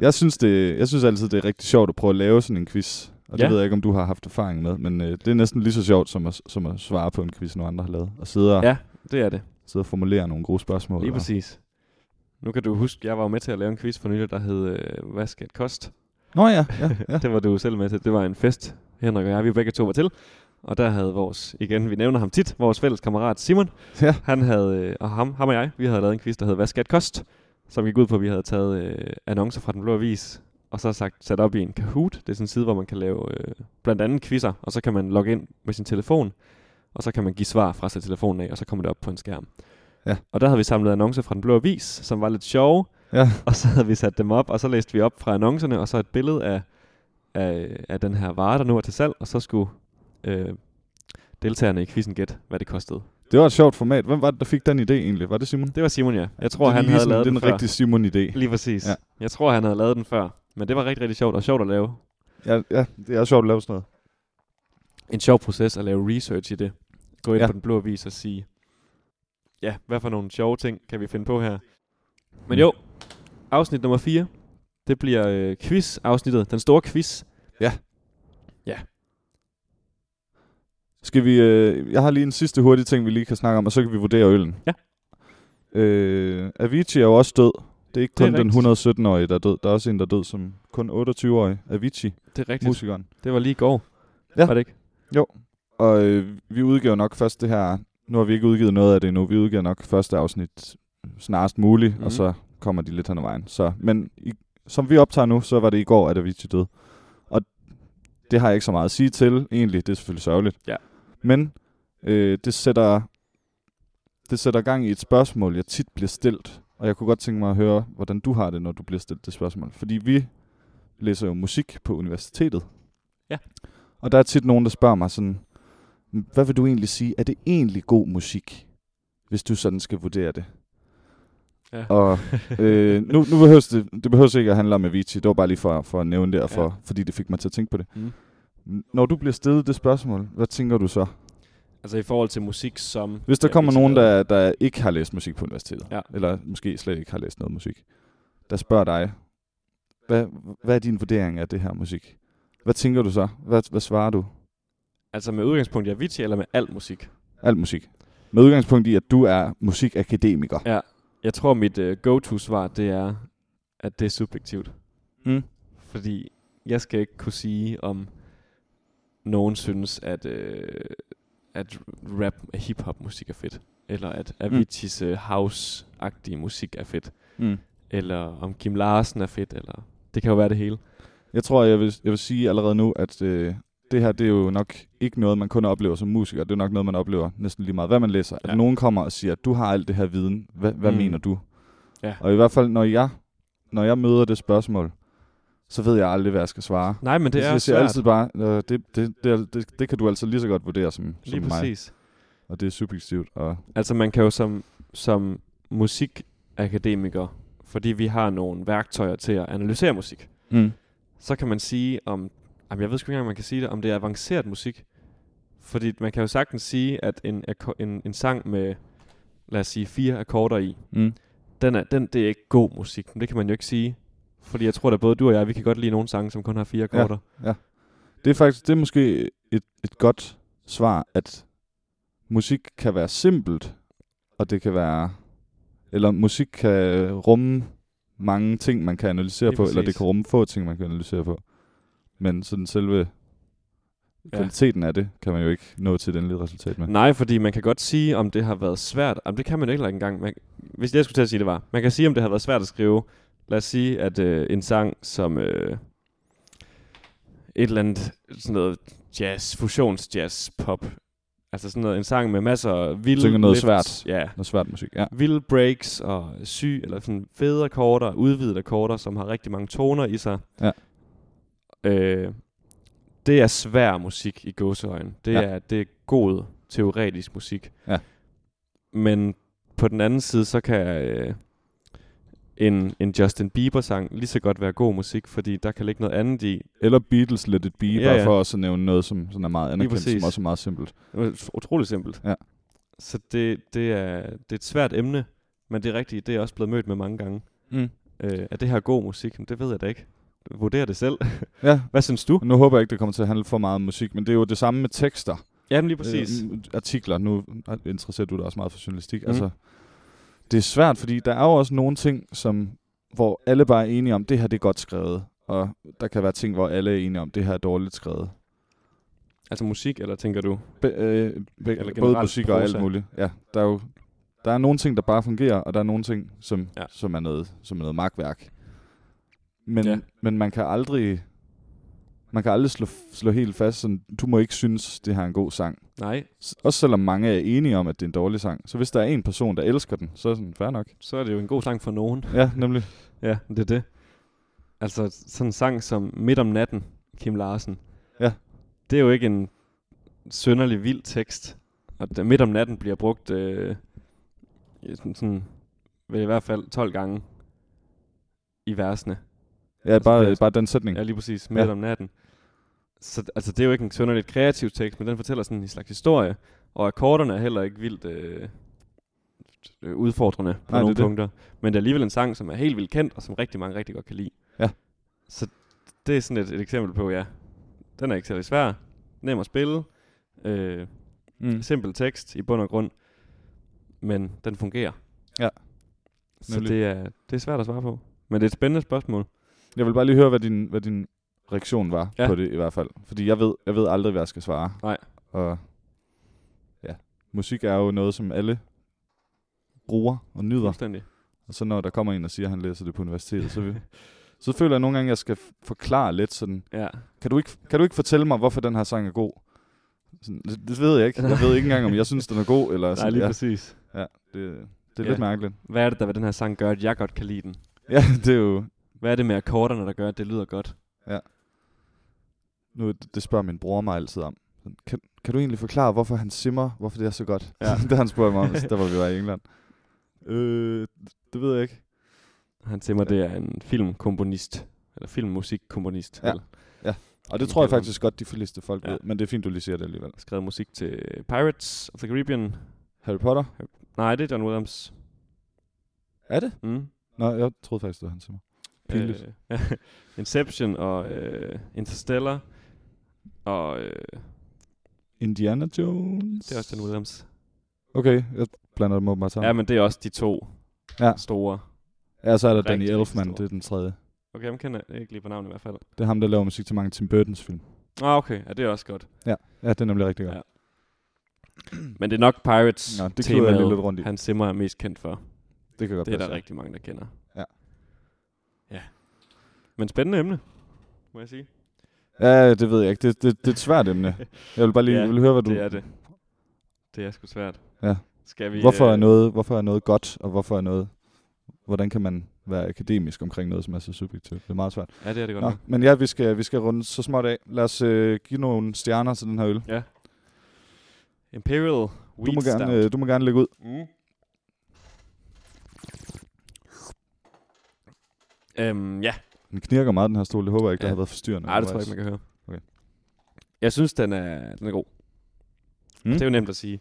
Speaker 2: Jeg synes, det, jeg synes altid, det er rigtig sjovt at prøve at lave sådan en quiz. Og
Speaker 1: Ja.
Speaker 2: det ja. ved jeg ikke, om du har haft erfaring med, men øh, det er næsten lige så sjovt som at, som at svare på en quiz, nogle andre har lavet. Og sidde og,
Speaker 1: Ja.
Speaker 2: ja.
Speaker 1: Det er det.
Speaker 2: sidde og formulere nogle gode spørgsmål.
Speaker 1: Lige
Speaker 2: og-
Speaker 1: præcis. Nu kan du huske, jeg var jo med til at lave en quiz for nylig, der hed øh, Hvad skal et kost?
Speaker 2: Nå ja, ja, ja.
Speaker 1: Det var du selv med til. Det var en fest, Henrik og jeg, vi begge to var til. Og der havde vores, igen, vi nævner ham tit, vores fælles kammerat Simon.
Speaker 2: ja.
Speaker 1: Han havde, øh, og ham, ham og jeg, vi havde lavet en quiz, der hed Hvad skal et kost? Som gik ud på, at vi havde taget øh, annoncer fra Den Blå Avis, og så sagt, sat op i en Kahoot. Det er sådan en side, hvor man kan lave øh, blandt andet quizzer, og så kan man logge ind med sin telefon, og så kan man give svar fra sig telefonen af, og så kommer det op på en skærm.
Speaker 2: Ja.
Speaker 1: Og der havde vi samlet annoncer fra Den Blå Avis, som var lidt sjove,
Speaker 2: ja.
Speaker 1: og så havde vi sat dem op, og så læste vi op fra annoncerne, og så et billede af, af, af den her vare, der nu er til salg, og så skulle øh, deltagerne i quizzen gætte, hvad det kostede.
Speaker 2: Det var et sjovt format. Hvem var det, der fik den idé egentlig? Var det Simon?
Speaker 1: Det var Simon, ja. Jeg tror,
Speaker 2: det er
Speaker 1: han
Speaker 2: lige
Speaker 1: havde
Speaker 2: sådan,
Speaker 1: lavet
Speaker 2: det er
Speaker 1: den,
Speaker 2: en
Speaker 1: før.
Speaker 2: rigtig Simon-idé.
Speaker 1: Lige præcis. Ja.
Speaker 2: Ja.
Speaker 1: Jeg tror, han havde lavet den før. Men det var rigtig, rigtig sjovt, og sjovt at lave.
Speaker 2: Ja, ja, det er sjovt at lave sådan noget.
Speaker 1: En sjov proces at lave research i det. Gå ind ja.
Speaker 2: Ja.
Speaker 1: på den blå avis og sige, ja, hvad for nogle sjove ting kan vi finde på her? Men
Speaker 2: Mm.
Speaker 1: jo, afsnit nummer 4, det bliver øh, quiz-afsnittet. Den store quiz.
Speaker 2: Skal vi, øh, jeg har lige en sidste hurtig ting, vi lige kan snakke om, og så kan vi vurdere øllen.
Speaker 1: Ja.
Speaker 2: Øh, Avicii er jo også død. Det er ikke
Speaker 1: Det er
Speaker 2: kun den
Speaker 1: rigtigt.
Speaker 2: 117-årige, der er død. Der er også en, der er død som kun 28-årig. Avicii,
Speaker 1: Det er rigtigt.
Speaker 2: musikeren.
Speaker 1: Det var lige i går.
Speaker 2: Ja.
Speaker 1: Var det ikke?
Speaker 2: Og øh, vi udgiver nok først det her... Nu har vi ikke udgivet noget af det endnu. Vi udgiver nok første afsnit snarest muligt, mm.
Speaker 1: Mhm.
Speaker 2: og så kommer de lidt hen ad vejen. Så, men i, som vi optager nu, så var det i går, at Avicii døde. Og Det har jeg ikke så meget at sige til, egentlig. Det er selvfølgelig sørgeligt.
Speaker 1: Ja.
Speaker 2: Men øh, det sætter det sætter gang i et spørgsmål, jeg tit bliver stillet. Og jeg kunne godt tænke mig at høre, hvordan du har det, når du bliver stillet det spørgsmål. Fordi vi læser jo musik på universitetet.
Speaker 1: Ja.
Speaker 2: Og der er tit nogen, der spørger mig sådan, hvad vil du egentlig sige? Er det egentlig god musik, hvis du sådan skal vurdere det?
Speaker 1: Ja.
Speaker 2: Og øh, nu, nu behøves det, det behøves ikke at handle om Avicii. Det var bare lige for, for at nævne det, og for,
Speaker 1: Ja.
Speaker 2: ja. fordi det fik mig til at tænke på det.
Speaker 1: Mm.
Speaker 2: Når du bliver stillet det spørgsmål, hvad tænker du så?
Speaker 1: Altså i forhold til musik som...
Speaker 2: Hvis der
Speaker 1: Ja,
Speaker 2: kommer
Speaker 1: hvis jeg
Speaker 2: nogen,
Speaker 1: lavede-
Speaker 2: der, der ikke har læst musik på universitetet,
Speaker 1: Ja.
Speaker 2: eller måske slet ikke har læst noget musik, der spørger dig, hvad, hvad er din vurdering af det her musik? Hvad tænker du så? Hvad, hvad svarer du?
Speaker 1: Altså med udgangspunkt i Avicii eller med al musik?
Speaker 2: Alt musik. Med udgangspunkt i, at du er musikakademiker.
Speaker 1: Jeg tror, mit øh, go-to-svar, det er, at det er subjektivt.
Speaker 2: Mm.
Speaker 1: Fordi jeg skal ikke kunne sige, om nogen synes, at, øh, at rap og hip-hop musik er fedt. Eller at Avicii's øh, house-agtige musik er fedt.
Speaker 2: Mm.
Speaker 1: Eller om Kim Larsen er fedt. Eller det kan jo være det hele.
Speaker 2: Jeg tror, jeg vil, jeg vil sige allerede nu, at øh, det her det er jo nok ikke noget, man kun oplever som musiker. Det er nok noget, man oplever næsten lige meget, hvad man læser. At
Speaker 1: Ja.
Speaker 2: nogen kommer og siger, at du har alt det her viden. Hvad, hvad
Speaker 1: Mm.
Speaker 2: mm. mener du?
Speaker 1: Ja.
Speaker 2: Og i hvert fald, når jeg, når jeg møder det spørgsmål, så ved jeg aldrig, hvad jeg skal svare.
Speaker 1: Nej, men det
Speaker 2: jeg,
Speaker 1: er
Speaker 2: jeg siger
Speaker 1: svært.
Speaker 2: altid bare, øh, det, det, det, er- det, det kan du altså lige så godt vurdere som, som
Speaker 1: Lige
Speaker 2: mig.
Speaker 1: præcis.
Speaker 2: Og det er subjektivt. Og,
Speaker 1: Altså man kan jo som, som musikakademiker, fordi vi har nogle værktøjer til at analysere musik,
Speaker 2: mm.
Speaker 1: så kan man sige om, jamen jeg ved sgu ikke engang, om man kan sige det, om det er avanceret musik. Fordi man kan jo sagtens sige, at en, akko- en, en sang med, lad os sige, fire akkorder i,
Speaker 2: Mm.
Speaker 1: den er, den, det er ikke god musik, men det kan man jo ikke sige. Fordi jeg tror da både du og jeg, vi kan godt lide nogle sange, som kun har fire akkorder.
Speaker 2: Det er faktisk det er måske et, et godt svar, at musik kan være simpelt, og det kan være... Eller musik kan rumme mange ting, man kan analysere
Speaker 1: Lige
Speaker 2: på, eller det
Speaker 1: præcis.
Speaker 2: kan rumme få ting, man kan analysere på. Men sådan selve
Speaker 1: Ja. Mm.
Speaker 2: kvaliteten af det, kan man jo ikke nå til den lille resultat med.
Speaker 1: Nej, fordi man kan godt sige, om det har været svært. Jamen, det kan man jo ikke engang. Man, hvis det, jeg skulle til at sige, det var. Man kan sige, om det har været svært at skrive. Lad os sige, at øh, en sang som øh, et eller andet sådan noget jazz, fusions-jazz, pop. Altså sådan noget, en sang med masser af vilde
Speaker 2: Synger noget
Speaker 1: lifts.
Speaker 2: svært.
Speaker 1: Ja,
Speaker 2: Noget svært musik, ja.
Speaker 1: vilde breaks og syg, eller sådan fede akkorder, udvidede akkorder, som har rigtig mange toner i sig.
Speaker 2: Ja.
Speaker 1: Øh, det er svær musik i gåseøjne. Det,
Speaker 2: Ja.
Speaker 1: ja. er, det er god teoretisk musik.
Speaker 2: Ja.
Speaker 1: Men på den anden side, så kan øh, en, en Justin Bieber-sang lige så godt være god musik, fordi der kan ligge noget andet i.
Speaker 2: Eller Beatles Let It Be, ja,
Speaker 1: Ja,
Speaker 2: bare
Speaker 1: ja.
Speaker 2: for også at nævne noget, som sådan er meget anerkendt, som
Speaker 1: præcis.
Speaker 2: også er meget simpelt.
Speaker 1: Det er Utrolig simpelt.
Speaker 2: Ja.
Speaker 1: Så det, det, er, det er et svært emne, men det er rigtigt, det er også blevet mødt med mange gange.
Speaker 2: Mm.
Speaker 1: Øh, er det her god musik? Men det ved jeg da ikke. Vurder det selv.
Speaker 2: Ja,
Speaker 1: Hvad synes du?
Speaker 2: nu håber jeg ikke, det kommer til at handle for meget om musik, men det er jo det samme med tekster.
Speaker 1: Ja, men lige præcis.
Speaker 2: øh, artikler. Nu interesserer du dig også meget for journalistik.
Speaker 1: Mm.
Speaker 2: Mm. Altså, det er svært, fordi der er jo også nogle ting, som, hvor alle bare er enige om, det her det er godt skrevet. Og der kan være ting, hvor alle er enige om, det her er dårligt skrevet.
Speaker 1: Altså musik, eller tænker du?
Speaker 2: Be, øh, be,
Speaker 1: Eller
Speaker 2: både
Speaker 1: generelt
Speaker 2: musik og alt
Speaker 1: prosa.
Speaker 2: muligt. Ja, der er jo der er nogle ting, der bare fungerer, og der er nogle ting, som,
Speaker 1: Ja.
Speaker 2: ja. som, er, noget, som er noget magtværk. Men,
Speaker 1: Ja.
Speaker 2: ja. men man kan aldrig man kan aldrig slå, slå helt fast, sådan, du må ikke synes, det her er en god sang.
Speaker 1: Nej,
Speaker 2: S- Også selvom mange er enige om, at det er en dårlig sang. Så hvis der er en person, der elsker den, så er det sådan, fair nok.
Speaker 1: så er det jo en god sang for nogen.
Speaker 2: Ja, nemlig.
Speaker 1: Ja, det er det. Altså sådan en sang som Midt om natten, Kim Larsen.
Speaker 2: Ja.
Speaker 1: Det er jo ikke en sønderlig vild tekst. Og da Midt om natten bliver brugt øh, i sådan, sådan, vel i hvert fald 12 gange i versene.
Speaker 2: Ja,
Speaker 1: Altså, det
Speaker 2: bare,
Speaker 1: er-
Speaker 2: bare den sætning.
Speaker 1: Ja, lige præcis. Midt
Speaker 2: Ja.
Speaker 1: ja. om natten. Så d- altså, det er jo ikke en sønderligt kreativ tekst, men den fortæller sådan en slags historie. Og akkorderne er heller ikke vildt øh, øh, udfordrende på
Speaker 2: Nej,
Speaker 1: Nej, nogle
Speaker 2: det er det.
Speaker 1: punkter. Men det er alligevel en sang, som er helt vildt kendt, og som rigtig mange rigtig godt kan lide.
Speaker 2: Ja.
Speaker 1: Så det er sådan et, et eksempel på, ja, den er ikke særlig svær. Nem at spille. Øh,
Speaker 2: Mm.
Speaker 1: simpel tekst i bund og grund. Men den fungerer.
Speaker 2: Ja.
Speaker 1: Så
Speaker 2: Nemlig.
Speaker 1: det er, det er svært at svare på. Men det er et spændende spørgsmål.
Speaker 2: Jeg vil bare lige høre, hvad din, hvad din reaktion var
Speaker 1: Ja.
Speaker 2: ja. på det i hvert fald. Fordi jeg ved, jeg ved aldrig, hvad jeg skal svare.
Speaker 1: Nej.
Speaker 2: Og ja, musik er jo noget, som alle bruger og nyder.
Speaker 1: Fuldstændig.
Speaker 2: Og så når der kommer en og siger, at han læser det på universitetet, så, vil, Så føler jeg nogle gange, at jeg skal f- forklare lidt sådan,
Speaker 1: Ja.
Speaker 2: kan du ikke, kan du ikke fortælle mig, hvorfor den her sang er god? Sådan, det, det ved jeg ikke. Jeg ved ikke engang, om jeg synes, den er god. Eller
Speaker 1: Nej,
Speaker 2: sådan,
Speaker 1: lige
Speaker 2: ja,
Speaker 1: præcis.
Speaker 2: det, det er
Speaker 1: Ja.
Speaker 2: lidt mærkeligt.
Speaker 1: Hvad er det, der ved den her sang gør, at jeg godt kan lide den?
Speaker 2: Ja, det er jo...
Speaker 1: Hvad er det med akkorderne, der gør, at det lyder godt?
Speaker 2: Nu, det spørger min bror mig altid om. Sådan, Kan, kan du egentlig forklare, hvorfor han simmer? Hvorfor det er så godt?
Speaker 1: Ja.
Speaker 2: Ja. det han spurgte mig om, der hvor vi var i England. Øh, det ved jeg ikke.
Speaker 1: Han Timmer, det er en filmkomponist. Eller filmmusikkomponist.
Speaker 2: Ja.
Speaker 1: vel?
Speaker 2: Og
Speaker 1: Det
Speaker 2: det tror jeg
Speaker 1: kalder
Speaker 2: faktisk godt, de fleste folk
Speaker 1: Ja.
Speaker 2: ja. ved. Men det er fint, du lige siger det alligevel.
Speaker 1: Skrevet musik til øh, Pirates of the Caribbean.
Speaker 2: Harry Potter?
Speaker 1: Nej, det er John Williams.
Speaker 2: Er det?
Speaker 1: Mm.
Speaker 2: Nå, jeg troede faktisk, det var han simmer. Pinligt.
Speaker 1: Øh, Inception og øh, Interstellar. Og øh,
Speaker 2: Indiana Jones?
Speaker 1: det er også John Williams.
Speaker 2: Okay, jeg blander dem åbenbart sammen.
Speaker 1: Ja, men det er også de to
Speaker 2: Ja.
Speaker 1: store.
Speaker 2: Ja, så er der
Speaker 1: Rigtig,
Speaker 2: Danny
Speaker 1: rigtig
Speaker 2: Elfman,
Speaker 1: stor.
Speaker 2: det er den tredje.
Speaker 1: Okay, ham kender jeg ikke lige på navn i hvert fald.
Speaker 2: Det er ham, der laver musik til mange Tim Burtons film.
Speaker 1: Ah, okay. Ja, det er også godt.
Speaker 2: Ja, det er nemlig rigtig godt.
Speaker 1: Ja. Men det er nok Pirates
Speaker 2: Nå, det kliver jeg
Speaker 1: temaet,
Speaker 2: lige lidt rundt i.
Speaker 1: han Simmer er mest kendt for.
Speaker 2: Det kan godt
Speaker 1: Det er
Speaker 2: passe,
Speaker 1: der
Speaker 2: ja.
Speaker 1: rigtig mange, der kender.
Speaker 2: Ja.
Speaker 1: Ja. Men spændende emne, må jeg sige.
Speaker 2: Ja, det ved jeg ikke. Det, det, det er et svært emne. Jeg vil bare lige
Speaker 1: Ja,
Speaker 2: jeg vil høre, hvad du...
Speaker 1: Det er det. Det er sgu svært.
Speaker 2: Ja.
Speaker 1: Skal vi,
Speaker 2: Hvorfor
Speaker 1: øh,
Speaker 2: er, noget, hvorfor er noget godt, og hvorfor er noget... Hvordan kan man være akademisk omkring noget, som er så subjektivt? Det er meget svært.
Speaker 1: Ja, det er det godt
Speaker 2: Nå,
Speaker 1: nok.
Speaker 2: men ja, vi skal, vi skal runde så småt af. Lad os øh, give nogle stjerner til den her øl.
Speaker 1: Imperial Wheat
Speaker 2: Du må, gerne,
Speaker 1: Stout.
Speaker 2: øh, du må gerne lægge ud.
Speaker 1: Mm.
Speaker 2: øh,
Speaker 1: Øhm, ja,
Speaker 2: Den knirker meget, den her stol. Det håber jeg ikke, der
Speaker 1: Ja.
Speaker 2: har været forstyrrende.
Speaker 1: Nej, det tror jeg ikke, man kan høre.
Speaker 2: Okay.
Speaker 1: Jeg synes, den er, den er god. Mm.
Speaker 2: Mm.
Speaker 1: Det er jo nemt at sige.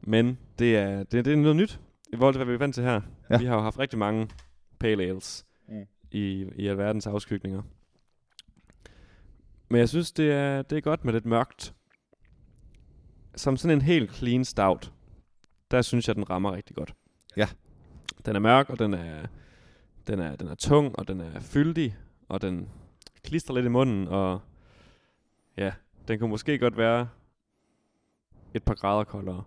Speaker 1: Men det er, det, det er noget nyt i forhold til, hvad vi er vant til her. Ja.
Speaker 2: Ja.
Speaker 1: Vi har jo haft rigtig mange pale ales
Speaker 2: Mm.
Speaker 1: i, i alverdens afskygninger. Men jeg synes, det er, det er godt med lidt mørkt. Som sådan en helt clean stout, der synes jeg, den rammer rigtig godt.
Speaker 2: Ja.
Speaker 1: Den er mørk, og den er, den er, den er tung, og den er fyldig, og den klistrer lidt i munden, og ja, den kunne måske godt være et par grader koldere.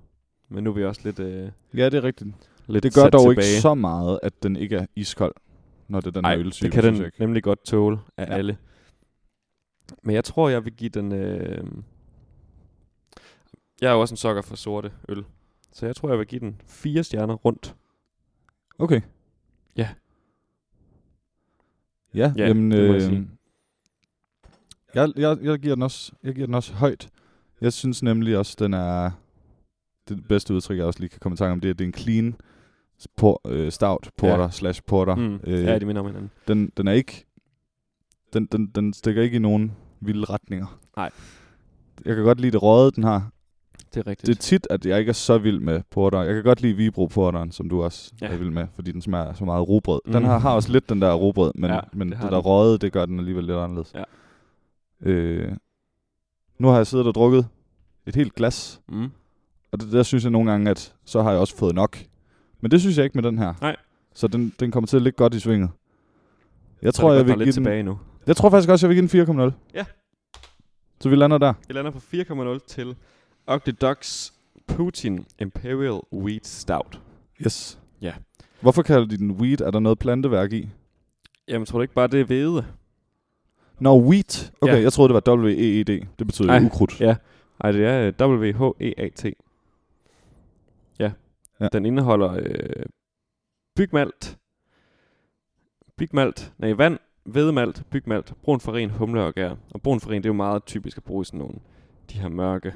Speaker 1: Men nu er vi også lidt, øh,
Speaker 2: Ja, det er rigtigt.
Speaker 1: lidt
Speaker 2: Det gør
Speaker 1: sat
Speaker 2: dog
Speaker 1: tilbage.
Speaker 2: ikke så meget, at den ikke er iskold, når det er den
Speaker 1: Nej,
Speaker 2: her øltype,
Speaker 1: det kan
Speaker 2: synes
Speaker 1: den
Speaker 2: jeg ikke.
Speaker 1: nemlig godt tåle af ja.
Speaker 2: Ja.
Speaker 1: alle. Men jeg tror, jeg vil give den... Øh... Jeg er jo også en sokker for sorte øl. Så jeg tror, jeg vil give den fire stjerner rundt.
Speaker 2: Okay.
Speaker 1: Ja. Ja,
Speaker 2: Ja, ja jamen,
Speaker 1: det må jeg
Speaker 2: øh,
Speaker 1: sige.
Speaker 2: jeg, jeg, jeg, giver den også, jeg giver den også højt. Jeg synes nemlig også, den er... Det bedste udtryk, jeg også lige kan komme i tanke om, det er, at det er en clean por, øh, stout porter ja. slash porter.
Speaker 1: Mm.
Speaker 2: Øh,
Speaker 1: Øh. Ja, de minder om hinanden.
Speaker 2: den, den er ikke... Den, den, den stikker ikke i nogen vilde retninger.
Speaker 1: Nej.
Speaker 2: Jeg kan godt lide det røde, den har.
Speaker 1: Det er rigtigt.
Speaker 2: Det er tit, at jeg ikke er så vild med porter. Jeg kan godt lide Vibro-porteren, som du også
Speaker 1: Ja.
Speaker 2: ja. er vild med, fordi den smager så meget rugbrød. Mm. Den
Speaker 1: Mm.
Speaker 2: har, har også lidt den der rugbrød, men,
Speaker 1: Ja,
Speaker 2: ja, men
Speaker 1: det
Speaker 2: det,
Speaker 1: har
Speaker 2: det der
Speaker 1: den.
Speaker 2: røde, det gør den alligevel lidt anderledes.
Speaker 1: Ja.
Speaker 2: Øh, nu har jeg siddet og drukket et helt glas,
Speaker 1: Mm.
Speaker 2: og det, der synes jeg nogle gange, at så har jeg også fået nok. Men det synes jeg ikke med den her.
Speaker 1: Nej.
Speaker 2: Så den, den kommer til at ligge godt i svinget. Jeg
Speaker 1: Så
Speaker 2: tror,
Speaker 1: det
Speaker 2: jeg
Speaker 1: godt, der er
Speaker 2: vil give
Speaker 1: lidt
Speaker 2: den,
Speaker 1: tilbage nu.
Speaker 2: jeg tror faktisk også, jeg vil give den 4,0.
Speaker 1: Ja.
Speaker 2: Så vi lander der.
Speaker 1: Det lander på 4,0 til Octodox Putin Imperial Wheat Stout.
Speaker 2: Yes.
Speaker 1: Ja.
Speaker 2: Hvorfor kalder de den weed? Er der noget planteværk i?
Speaker 1: Jamen, tror du ikke bare, det er hvede?
Speaker 2: Nå, wheat. Okay,
Speaker 1: Ja.
Speaker 2: ja. jeg troede, det var W-E-E-D. Det betyder
Speaker 1: Ej.
Speaker 2: Ej. ukrudt.
Speaker 1: Ja. Ej, det er øh, W-H-E-A-T. Ja. ja.
Speaker 2: Ja.
Speaker 1: Den indeholder øh, bygmalt, bygmalt, nej, vand, hvedemalt, bygmalt, brun farin, humle og gær. Og brun farin, det er jo meget typisk at bruge i sådan nogle, de her mørke,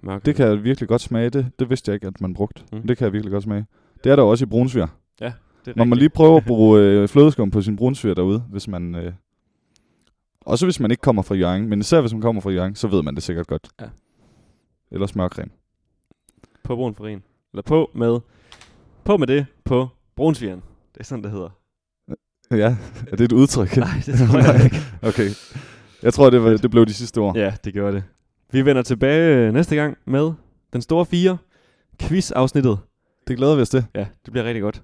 Speaker 1: mørke
Speaker 2: Det kan jeg virkelig godt smage. Det, det vidste jeg ikke, at man brugte.
Speaker 1: Mm.
Speaker 2: Mm. Det kan jeg virkelig godt smage. Det er der også i brunsviger.
Speaker 1: det er
Speaker 2: Man må
Speaker 1: rigtigt.
Speaker 2: lige prøve at bruge øh, flødeskum på sin brunsviger derude, hvis man... Øh, også hvis man ikke kommer fra Jørgen, men især hvis man kommer fra Jørgen, så ved man det sikkert godt.
Speaker 1: Ja.
Speaker 2: Eller smørcreme.
Speaker 1: På brun farin. Eller på med, på med det på brunsvigeren. Det er sådan, det hedder.
Speaker 2: Ja, er det et udtryk?
Speaker 1: Nej, det tror jeg
Speaker 2: Nej.
Speaker 1: ikke.
Speaker 2: okay. Jeg tror, det, var, det blev de sidste ord.
Speaker 1: Ja, det gjorde det. Vi vender tilbage øh, næste gang med den store fire quiz-afsnittet.
Speaker 2: Det glæder vi os til.
Speaker 1: Ja, det bliver rigtig godt.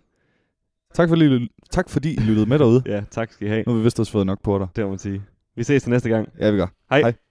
Speaker 2: Tak fordi, I lyt- tak fordi I lyttede med derude.
Speaker 1: Ja, tak skal I have.
Speaker 2: Nu har vi vist også fået nok på dig.
Speaker 1: Det må man sige. Vi ses til næste gang.
Speaker 2: Ja, vi gør.
Speaker 1: Hej.
Speaker 2: Hej.